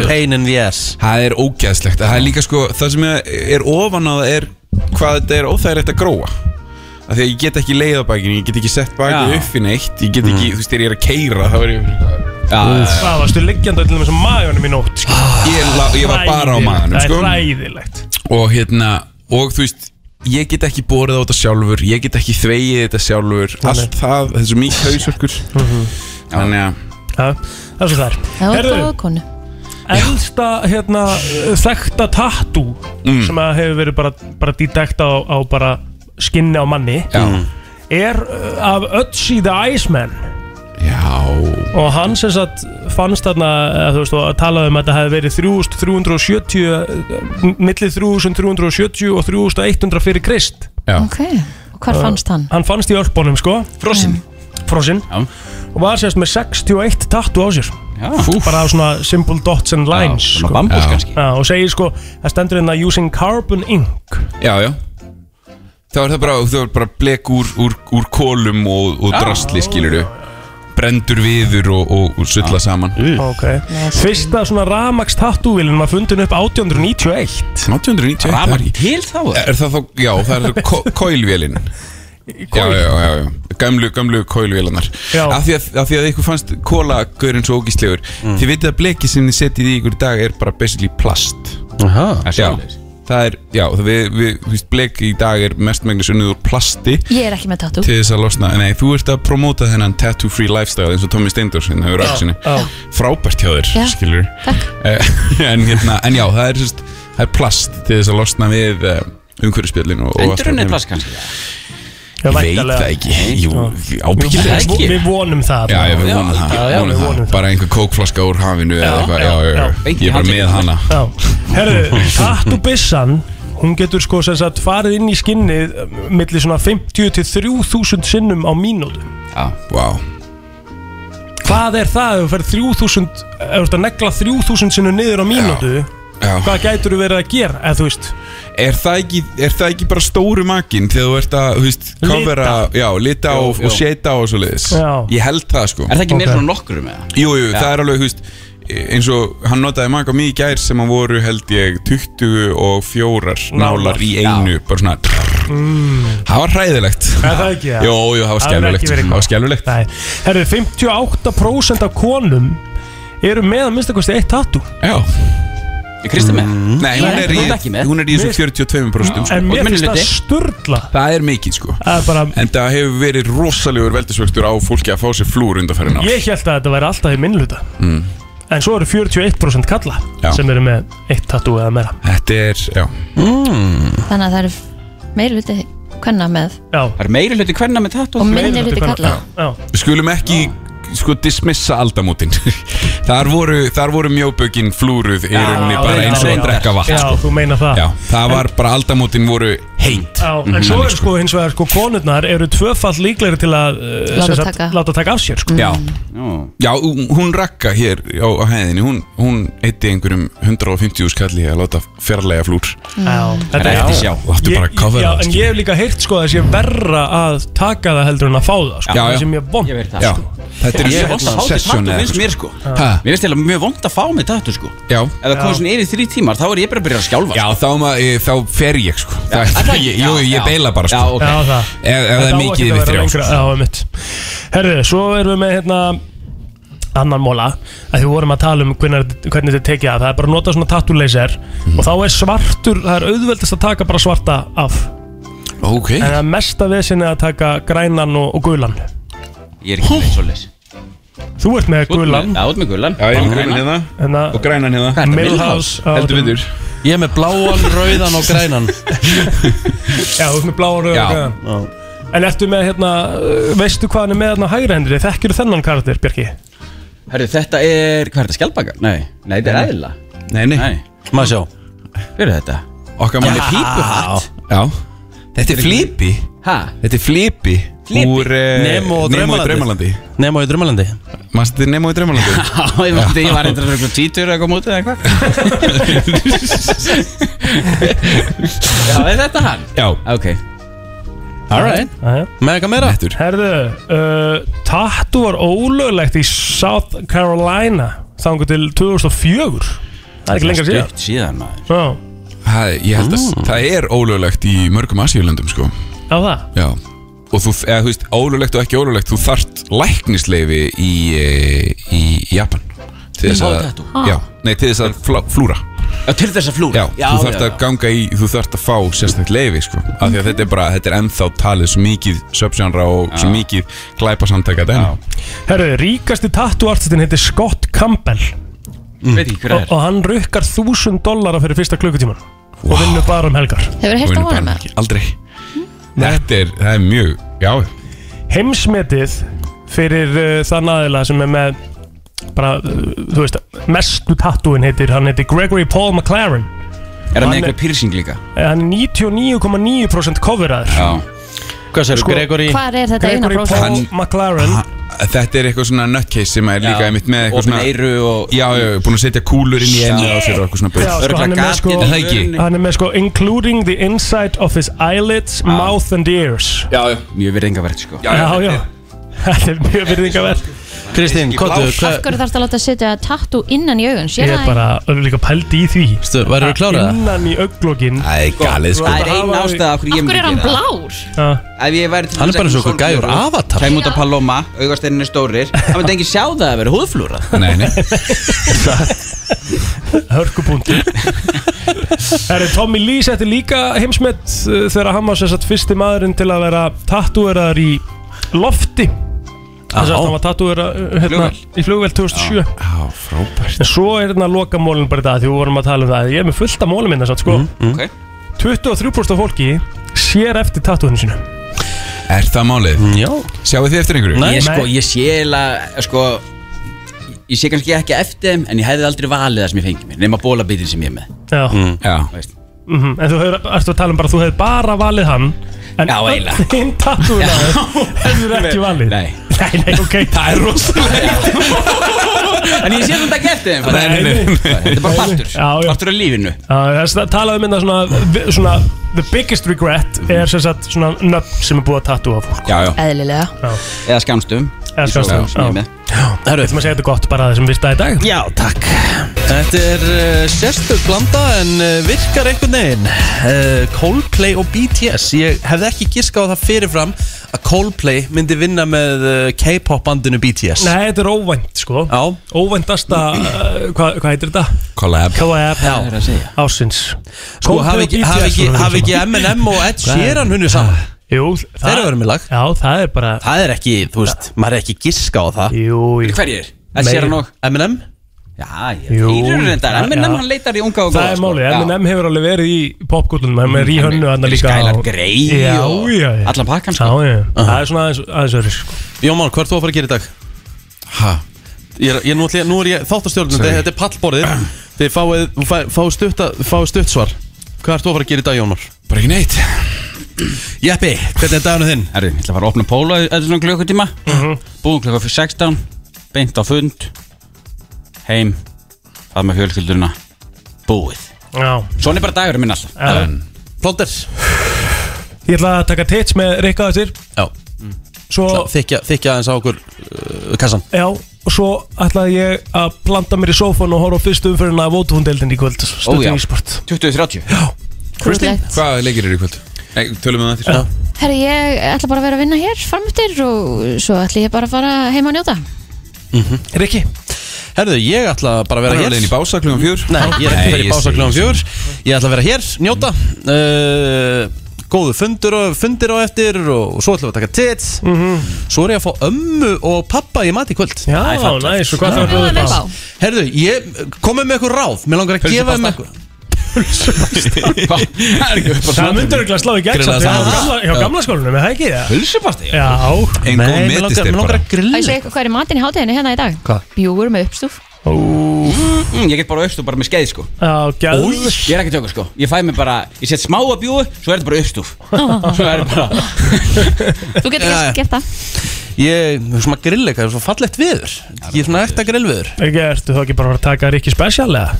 S1: Pain in the ass
S11: Það er ógæðslegt Það er líka sko Það sem er- er ofan á það er Hvað þetta er óþægilegt að gróa Af því að ég get ekki leið á bakinu Ég get ekki sett bakið
S5: Já.
S11: upp í neitt Ég get ekki, þú veist, þegar ég er að keira Þá er ég
S4: Það varstu liggjandi öllum þessum maðunum í nótt sko.
S11: Ah. Ég, la, ég var bara á
S4: Hræðilegt.
S11: maðanum sko.
S4: Það er ræðilegt
S11: og hérna og þú veist ég get ekki borið á þetta sjálfur ég get ekki þvegið þetta sjálfur allt það, þessu mikið hausörkur þannig að
S4: Já, Það er svo þar
S3: Það var góð konu
S4: elsta hérna uh, þekkta tattú
S11: Mm.
S4: sem að hefur verið bara, bara dítekta á, á bara skinni á manni
S11: já,
S4: er uh, af Ötzi the Iceman
S11: já
S4: og hann sem sagt fannst þarna eða, þú veist og talaði um að þetta hefði verið 3370 millir 3370 og 3100 fyrir krist
S3: Ok, og hvar fannst hann?
S4: hann fannst í örpunum sko
S1: Frossin
S4: frosinn
S5: Já.
S4: og var sérst með 61 tattu á sér
S5: Já.
S4: bara á svona simple dots and lines sko.
S5: svona bambus Já. kannski.
S4: Já, og segir sko, það stendur hérna using carbon ink
S11: Já, já Þá er það bara, það er bara blek úr, úr, úr kólum og, og
S4: Já.
S11: drastli, skilur Brendur viður og, og, og sulla saman
S4: ok, eh. fyrsta svona ramax tattúvilin var fundin upp 1891
S11: 1891
S4: Rafmagn
S11: til þá? Er það þá, já, það er ko kólvélin Já, já, já, já Gamlu, gamlu kólvélinar Af því að, af því að ykkur fannst kólagurinn svo ógíslegur Þið vitið að bleki sem þið setjið í ykkur í dag er bara basically plast
S1: Aha.
S11: Já, það er, já, það við, við, við bleki í dag er mestmengnis unnið úr plasti
S3: Ég er ekki með tattoo
S11: til þess að losna Nei, þú ert að promóta þennan tattoo free lifestyle eins og Tommy Steindors hérna hefur
S3: Já,
S11: aksinu
S3: já.
S11: Frábært hjá þér,
S3: Já,
S11: skilur Eh, *laughs* en, hérna, en já, það er, sérst, það er plast til þess að losna við uh, umhverfspjölin og, og allt
S5: Endurunnið
S11: þetta.
S5: plast kannski?
S11: Ég veit það ekki, jú, ábyggilega
S4: Við-
S11: ekki
S4: Við vonum það
S11: Já, já, við vonum það,
S4: Já, já,
S11: vonum
S4: við
S11: það.
S4: vonum það
S11: Bara einhver kókflaska úr hafinu eða eitthvað, já, já, já, ég er bara með hana
S4: Já,
S11: *laughs*
S4: herru, tattubissan hún getur sko sem sagt farið inn í skinnið um, milli svona 50 til 3000 sinnum á mínútu
S11: Já, vá
S4: Hvað er það ef þú ferð 3000 ef þú ert að negla 3000 sinnum niður á mínútu
S11: já.
S4: Hvað gætur þú verið að gera, ef þú veist
S11: Er það ekki, er það ekki bara stóru makinn þegar þú ert að, þú veist, covera, já, lita og,
S5: Jú,
S11: og
S5: jú.
S11: sheta og svoleiðis
S5: Já.
S11: Ég held það sko
S5: Er það ekki meira svona nokkrum eða?
S11: Jú, jú,
S5: Já.
S11: það er alveg, þú veist, eins og hann notaði maka mikið gær sem að voru held ég 24 nálar í einu, bara svona
S4: Mm.
S11: Það var hræðilegt
S4: Er það ekki, ja?
S11: *laughs* Jú, jú, það var
S4: Það hefur ekki
S11: skelvilegt
S4: verið
S11: Það var skelvilegt
S4: Nei, herru, 58% af konum eru með að minnsta kosti eitt tattoo
S11: Já
S5: Er Kristi með?
S4: Mm.
S11: Nei, hún er í, hún er í þessu 42% sko.
S4: En mér finnst það
S11: Minnihlutinn.
S4: sturla
S11: Það er mikið sko
S4: Það er bara
S11: En það hefur verið rosalegur veldisvöxtur á fólki að fá sér flúr undanferðin á
S4: Ég held að þetta væri alltaf í minnluta
S11: mm.
S4: En svo eru 41% kalla
S11: Já.
S4: sem eru með eitt tattoo eða meira
S11: Þetta er, já mm.
S3: Þannig að það eru meiri hluti hvenna með
S4: Já
S11: Það er meiri hluti hvernig með tatt
S3: og minni hluti kalla
S11: Við skulum ekki sko dismissa aldamótin *laughs* Þar voru, þar voru mjóbökin flúruð í rauninni bara eins og að drekka vatn
S4: Já,
S11: sko.
S4: þú meina það
S11: Já, það var bara aldamótin voru heint
S4: Já, en
S11: Mhm.
S4: svo er sko hins vegar sko konurnar eru tvöfall líklegri til að uh,
S11: Láta
S4: sem sagt,
S11: taka.
S4: láta taka af sér sko.
S11: Já, já hún- hún rakka hér á, á hæðinni Hún, hún eitti einhverjum 150 skalli að láta fjarlæga flúr
S4: Já,
S11: Það er eftir sjá, þú ættu bara að
S4: Ég-
S11: covera
S4: Já,
S11: það,
S4: en
S11: skilur.
S4: ég hef líka heyrt sko að það sé verra að taka það heldur en að fá það sko.
S11: Já, já.
S4: Það sé mjög vond
S11: Ég veit það, Já. sko. Þetta er
S5: Ég
S11: svona
S5: vond að fá þér
S11: session
S5: tattu
S11: eða
S5: finnst
S11: eitthvað.
S5: mér sko
S11: Ha?
S5: Mér finnst eiginlega mjög vond að fá mig tattu sko
S11: Já
S5: Ef það komið svona yfir þrý tímar þá er ég bara að byrja að skjálfa
S11: Já, þá, ma, e, þá fer ég sko Það-
S5: er það ekki?
S11: ég- Jú,
S5: Já,
S11: ég
S5: já.
S11: beila bara sko
S5: Já, ok. Já,
S4: það.
S11: Ef, ef það er
S4: Þetta á
S11: mikið yfir
S4: ekkert að vera
S11: þrjá sko.
S4: lengra, Já, einmitt Herðu, svo erum við með hérna annan móla að því við vorum að tala um hvernig, hvernig þetta er tekið af það er bara að nota svona tattoo laser og þá er svartur, það er auðveldast að taka bara svarta af
S11: Ok
S4: en það mesta vesinni að taka grænan og, og gulan
S5: Ég er ekki með svo leys
S4: Þú ert með gulan
S5: Já, út með gulan
S11: Já, ég er með gulan hérna
S4: hérna
S11: Og grænan hérna
S4: Hvað er þetta, Milhouse? Milhouse? Heldur betur.
S1: Ég er með bláan, rauðan og grænan
S4: *laughs* Já, þú ert með bláan, rauðan og grænan En ertu með hérna, uh, veistu hvað hann er með hérna hægra hendri, þekkir þennan karakter, Björki?
S5: Herru, þetta er, hvað er þetta, skjálpaka? Nei, nei, þetta er
S4: Nei.
S5: æðla Nei, nei, nei.
S1: Maður sjá
S5: Hver er þetta?
S11: Okkar
S5: manni pípuhatt
S11: Já Þetta er flipi
S5: Ha?
S11: Þetta er flipi
S5: Flipi?
S11: Úr eh,
S1: Nemo og
S11: í Draumalandi
S1: Draumalandi. Nemo í Drömmalandi
S11: Mannstu þetta er Nemo í Draumalandi?
S5: *laughs* Já, ég veit ekki, ég var eitthvað svona títur eða eitthvað mótið eða eitthvað Já, er þetta hann?
S11: Já
S5: Ah, Ok
S1: Alright Mega meira
S11: Nettur
S4: Herðu, uh, tattu var ólöglegt í South Carolina þangu til 2004 Það er ekki lengra síðan
S5: Stutt síðan maður
S4: Já,
S11: Það, ég held að
S4: Mm.
S11: það er ólöglegt í mörgum asíulöndum sko
S4: á það
S11: Já Og þú, eða þú veist, ólöglegt og ekki ólöglegt Þú þarft læknisleifi í, eh, í Japan Til þess
S5: Í
S11: að
S5: hálftatú?
S11: Já, nei, til þess að flá, flúra
S5: Já, til þess að flúra
S11: Já, þú þarft að ganga í, þú þarft að fá sérstækt leifi sko Af því að þetta er bara, þetta er ennþá talið svo mikið söpsjánra og svo mikið glæpasamtæka þetta
S4: Herðu, ríkasti tattu artistinn heitir Scott Campbell
S5: Mm. Veit ekki hver það
S4: og,
S5: er
S4: og hann rukkar 1000 dollara fyrir fyrsta klukkutíman og vinnur bara um helgar
S3: Hefur heyrt á honum eða?
S11: Aldrei Þetta er, það er mjög, já
S4: Heimsmetið fyrir uh, þann aðila sem er með bara, uh, þú veist, mestu tattúin heitir, hann heitir Gregory Paul McLaren
S5: Er það
S4: Hann
S5: með eitthvað piercing líka?
S4: Eh, Hann er 99,9% coveraður
S5: Já Hvað
S4: Sko,
S3: Hvar er þetta eina
S4: Gregory
S3: prósent?
S4: Paul McLaren
S11: Þetta er eitthvað svona nutcase sem er líka einmitt með eitthvað
S5: opin
S11: svona
S5: eyru og
S11: Já, já, já, búin að setja kúlur inn í ennið á sér og eitthvað svona bull.
S4: Já, sko, hann er með sko,
S11: Er það ekki?
S4: hann er með sko Including the inside of his eyelids, mouth and ears
S11: Já, já Mjög virðingavert sko
S4: Já, já, þetta er mjög virðingavert
S1: Kristín, hvað
S3: Af hverju þarfst að láta setja tattoo innan í augun? Sér
S4: Ég er
S3: það
S4: bara líka pældi í því
S1: Stu, væri við klárað?
S4: Innan í auglokkin
S11: Æ, galið
S5: Það er ein ástæða af hverju
S3: Af
S5: ég
S3: hverju
S5: myndi
S3: er hann
S5: gera það.
S3: blár?
S5: Ef ég væri til
S1: Hann er
S5: dæmis
S1: bara eins og
S5: ekki með
S1: gægur
S5: sólgleraugu,
S1: Avatar.
S5: Kæm út af Paloma, augasteinir stórir *laughs* Það myndi enginn sjá það að vera húðflúra
S11: Nei, nei
S4: Hörkupunktur Herri, Tommy Lee setti líka heimsmet uh, þegar hann var sem sagt fyrsti maðurinn til að vera tattúeraðar í lofti þess að
S11: Já.
S4: hann var tattúeraðar hérna, í flugvel 2007
S11: Já, frábært
S4: en svo er hérna lokamólin bara í dag því við vorum að tala um það ég er með fullt af mólum minna satt sko 23% af fólki sér eftir tattúinu sínu
S11: Er það málið?
S1: Já
S11: Sjáu þið eftir einhverju?
S5: Ég Mm, sko, ég sé eiginlega sko, Ég sé kannski ekki eftir þeim En ég hefði aldrei valið það sem ég fengi mér Nefna bólabitin sem ég er með
S4: Já.
S11: Mm. Já
S5: Veist.
S4: Mm En þú hefur, ertu að tala um bara að þú hefur bara valið hann En
S5: Já, eiginlega.
S4: hinn tattúinaður *laughs* hefur ekki valið Nei, nei, ok Það er rosalegt
S5: En ég sé þetta ekki eftir þeim
S4: Nei, nei, nei.
S5: Þetta er bara partur Partur af lífinu
S4: Talaðu um þetta svona, vi- svona The biggest regret er sem sagt svona nöfn sem er búið að tattúa á fólk
S5: Já, já
S3: Eðlilega
S5: Eða skamstum
S4: Eða skamstöfum,
S5: Sem ég er
S4: já.
S5: með
S1: Það
S4: er maður að segja þetta gott bara að þessum virta í dag
S5: Já, takk
S1: Þetta er uh, sérstök blanda en uh, virkar einhvern veginn uh, Coldplay og BTS Ég hefði ekki giskað á það fyrirfram að Coldplay myndi vinna með uh, K-pop bandinu BTS
S4: Nei, þetta er óvænt sko
S1: Já
S4: Óvæntasta, uh, hvað hva heitir þetta?
S11: Collab
S4: Collab
S1: Já.
S5: er að segja
S4: Ásins
S1: Sko,
S4: Coldplay
S1: hafi
S4: og
S1: ekki,
S4: BTS
S1: hafi ekki,
S4: svona verið
S1: hafi ekki
S4: saman.
S1: M&M og Ed
S4: Nei.
S1: Sheeran hunni saman
S4: Jú,
S1: Þeir eru verið með lag
S4: Já, það er bara
S1: Það er ekki, þú veist, maður er ekki giska á það
S4: Jú, jú
S5: Hverjir? Ed Sheeran og-
S1: M&M
S5: Já, ég
S4: Jú.
S5: þeir eru reyndar
S4: Já.
S5: Eminem hann leitar í unga og
S4: Það er málið, M&M hefur alveg verið í popgullunum M&M er í hönnu hann líka
S5: Skylar
S4: á-
S5: Grey
S4: Já,
S5: og-
S4: já, já
S5: Allan pakkan,
S4: sko Já, já, það er svona aðeins, aðeins öðru sko
S1: Jómál, hvað ert þú að fara að gera í dag?
S11: Hæ?
S1: Ég er, ég, nú, ætla ég, nú er ég þáttastjórnum,
S11: Sorry.
S1: þetta er pallborðið Þið fáið fá, fá stutt, fá stutt svar Hvað ert þú að fara að gera í dag, Jónar?
S11: Bara ekki neitt
S1: Jeppi, hvernig er daginu þinn?
S5: Herri, ég ætla að fara að opna póla eftir svona klukkutíma Búin klukka fyrir 16 Beint á fund Heim Það með fjölskyldurina Búið
S4: Já
S5: Svona er bara dagur minn alltaf
S4: Já.
S1: Plóter
S4: Ég ætla að taka tits með Rikka þessir
S1: Já
S4: Svo,
S1: Þykja, þykja aðeins á okkur uh, kassan
S4: já, og svo ætla ég að planta mér í sófan og horfa á fyrstu umfyrirna af ótúfundeldin í kvöld
S5: Ó,
S4: Stöttu
S5: já.
S11: *laughs*
S4: ísport
S5: 20-30
S3: Kristín?
S11: Hvað leikir eru í kvöld? Nei, tölum við um það eftir
S3: Herri, ég ætla bara að vera að vinna hér framöftir og svo ætla ég bara að fara heima að njóta
S5: Mhm.
S4: Rikki
S1: Herðu, ég ætla bara að vera
S11: Hann er
S1: hér
S11: alveg inn í bása klugum fjör
S1: Nei, ég er ekki fyrir
S11: ég
S1: bása
S11: segi
S1: kljóðan
S11: svona.
S1: fjör Ég ætla að vera hér, njóta uh, Góðu fundur og, fundir á eftir Og svo ætla að taka tits Svo er ég að fá ömmu og pappa í mat í kvöld
S4: Mhm. Já, næs, og hvað það að bjóða upp á?
S1: Herðu, ég komið með eitthvað ráð Mér langar að gefa um eitthvað *laughs*
S4: Það myndur ekki að slá í gegn
S1: Grillaði
S4: samt hjá
S1: saman.
S4: gamla- hjá gamla skólanum, er það ekki það?
S5: Hulsupasti
S4: Já
S11: Ein góð
S1: Nei,
S11: metist
S1: mér langar,
S11: er
S1: mér langar
S11: bara
S1: að grilla
S3: Það sé eitthvað hvað er í matinn í hátíðinu hérna í dag?
S1: Hvað?
S3: Bjúgur með uppstúf
S5: mm, Ég get bara aukstúf bara með skeið sko
S4: Já, gæð
S5: Ég er ekki tjókur sko Ég fæ mér bara Ég set smá að bjúi Svo er þetta bara aukstúf Svo er þetta bara
S3: Þú getur
S1: Já, já.
S3: gert- gert það
S1: Ég, þú veist maður grilla eitthvað, það er svo fallegt viður Ég er svona ekta grillviður
S4: Ekki, ertu þá ekki bara að fara að taka Rikki special eða?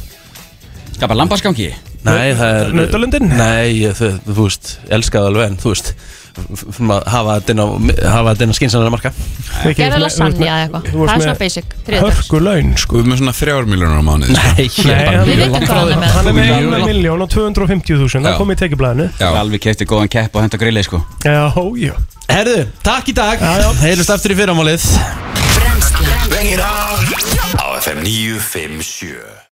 S5: Skapa lambaskangi
S1: Nei, það er
S4: Nautalundin?
S1: Nei, ég- þú, þú veist, elskaði alveg en þú veist f- svona hafa þetta inn á hafa þetta inn á skynsannara marka
S4: Rikki,
S3: Gerða
S4: þú ert með-
S3: lasagna eða eitthvað
S4: þú ert
S3: Það er
S4: með-
S3: svona basic þriðjudagur.
S4: Hörku laun sko
S11: Sko, við erum með svona þrjár miljónur á mánuði sko.
S1: Nei,
S4: Nei,
S1: ég er bara
S4: hann-
S3: Við
S1: mjög
S3: vitum
S1: langt
S3: hvað
S1: frá
S3: hann er
S1: því
S3: með.
S4: Hann er með
S11: Mjög
S4: 1
S11: langt.
S4: miljón og 250.000
S11: Já.
S4: Það kom í tekjublaðinu
S11: Já,
S5: Alveg kefti góðan kepp og henda grillið sko
S4: Já, já
S1: Herðu, takk í dag Heilust aftur í fyrramálið
S2: Bengir á FM 957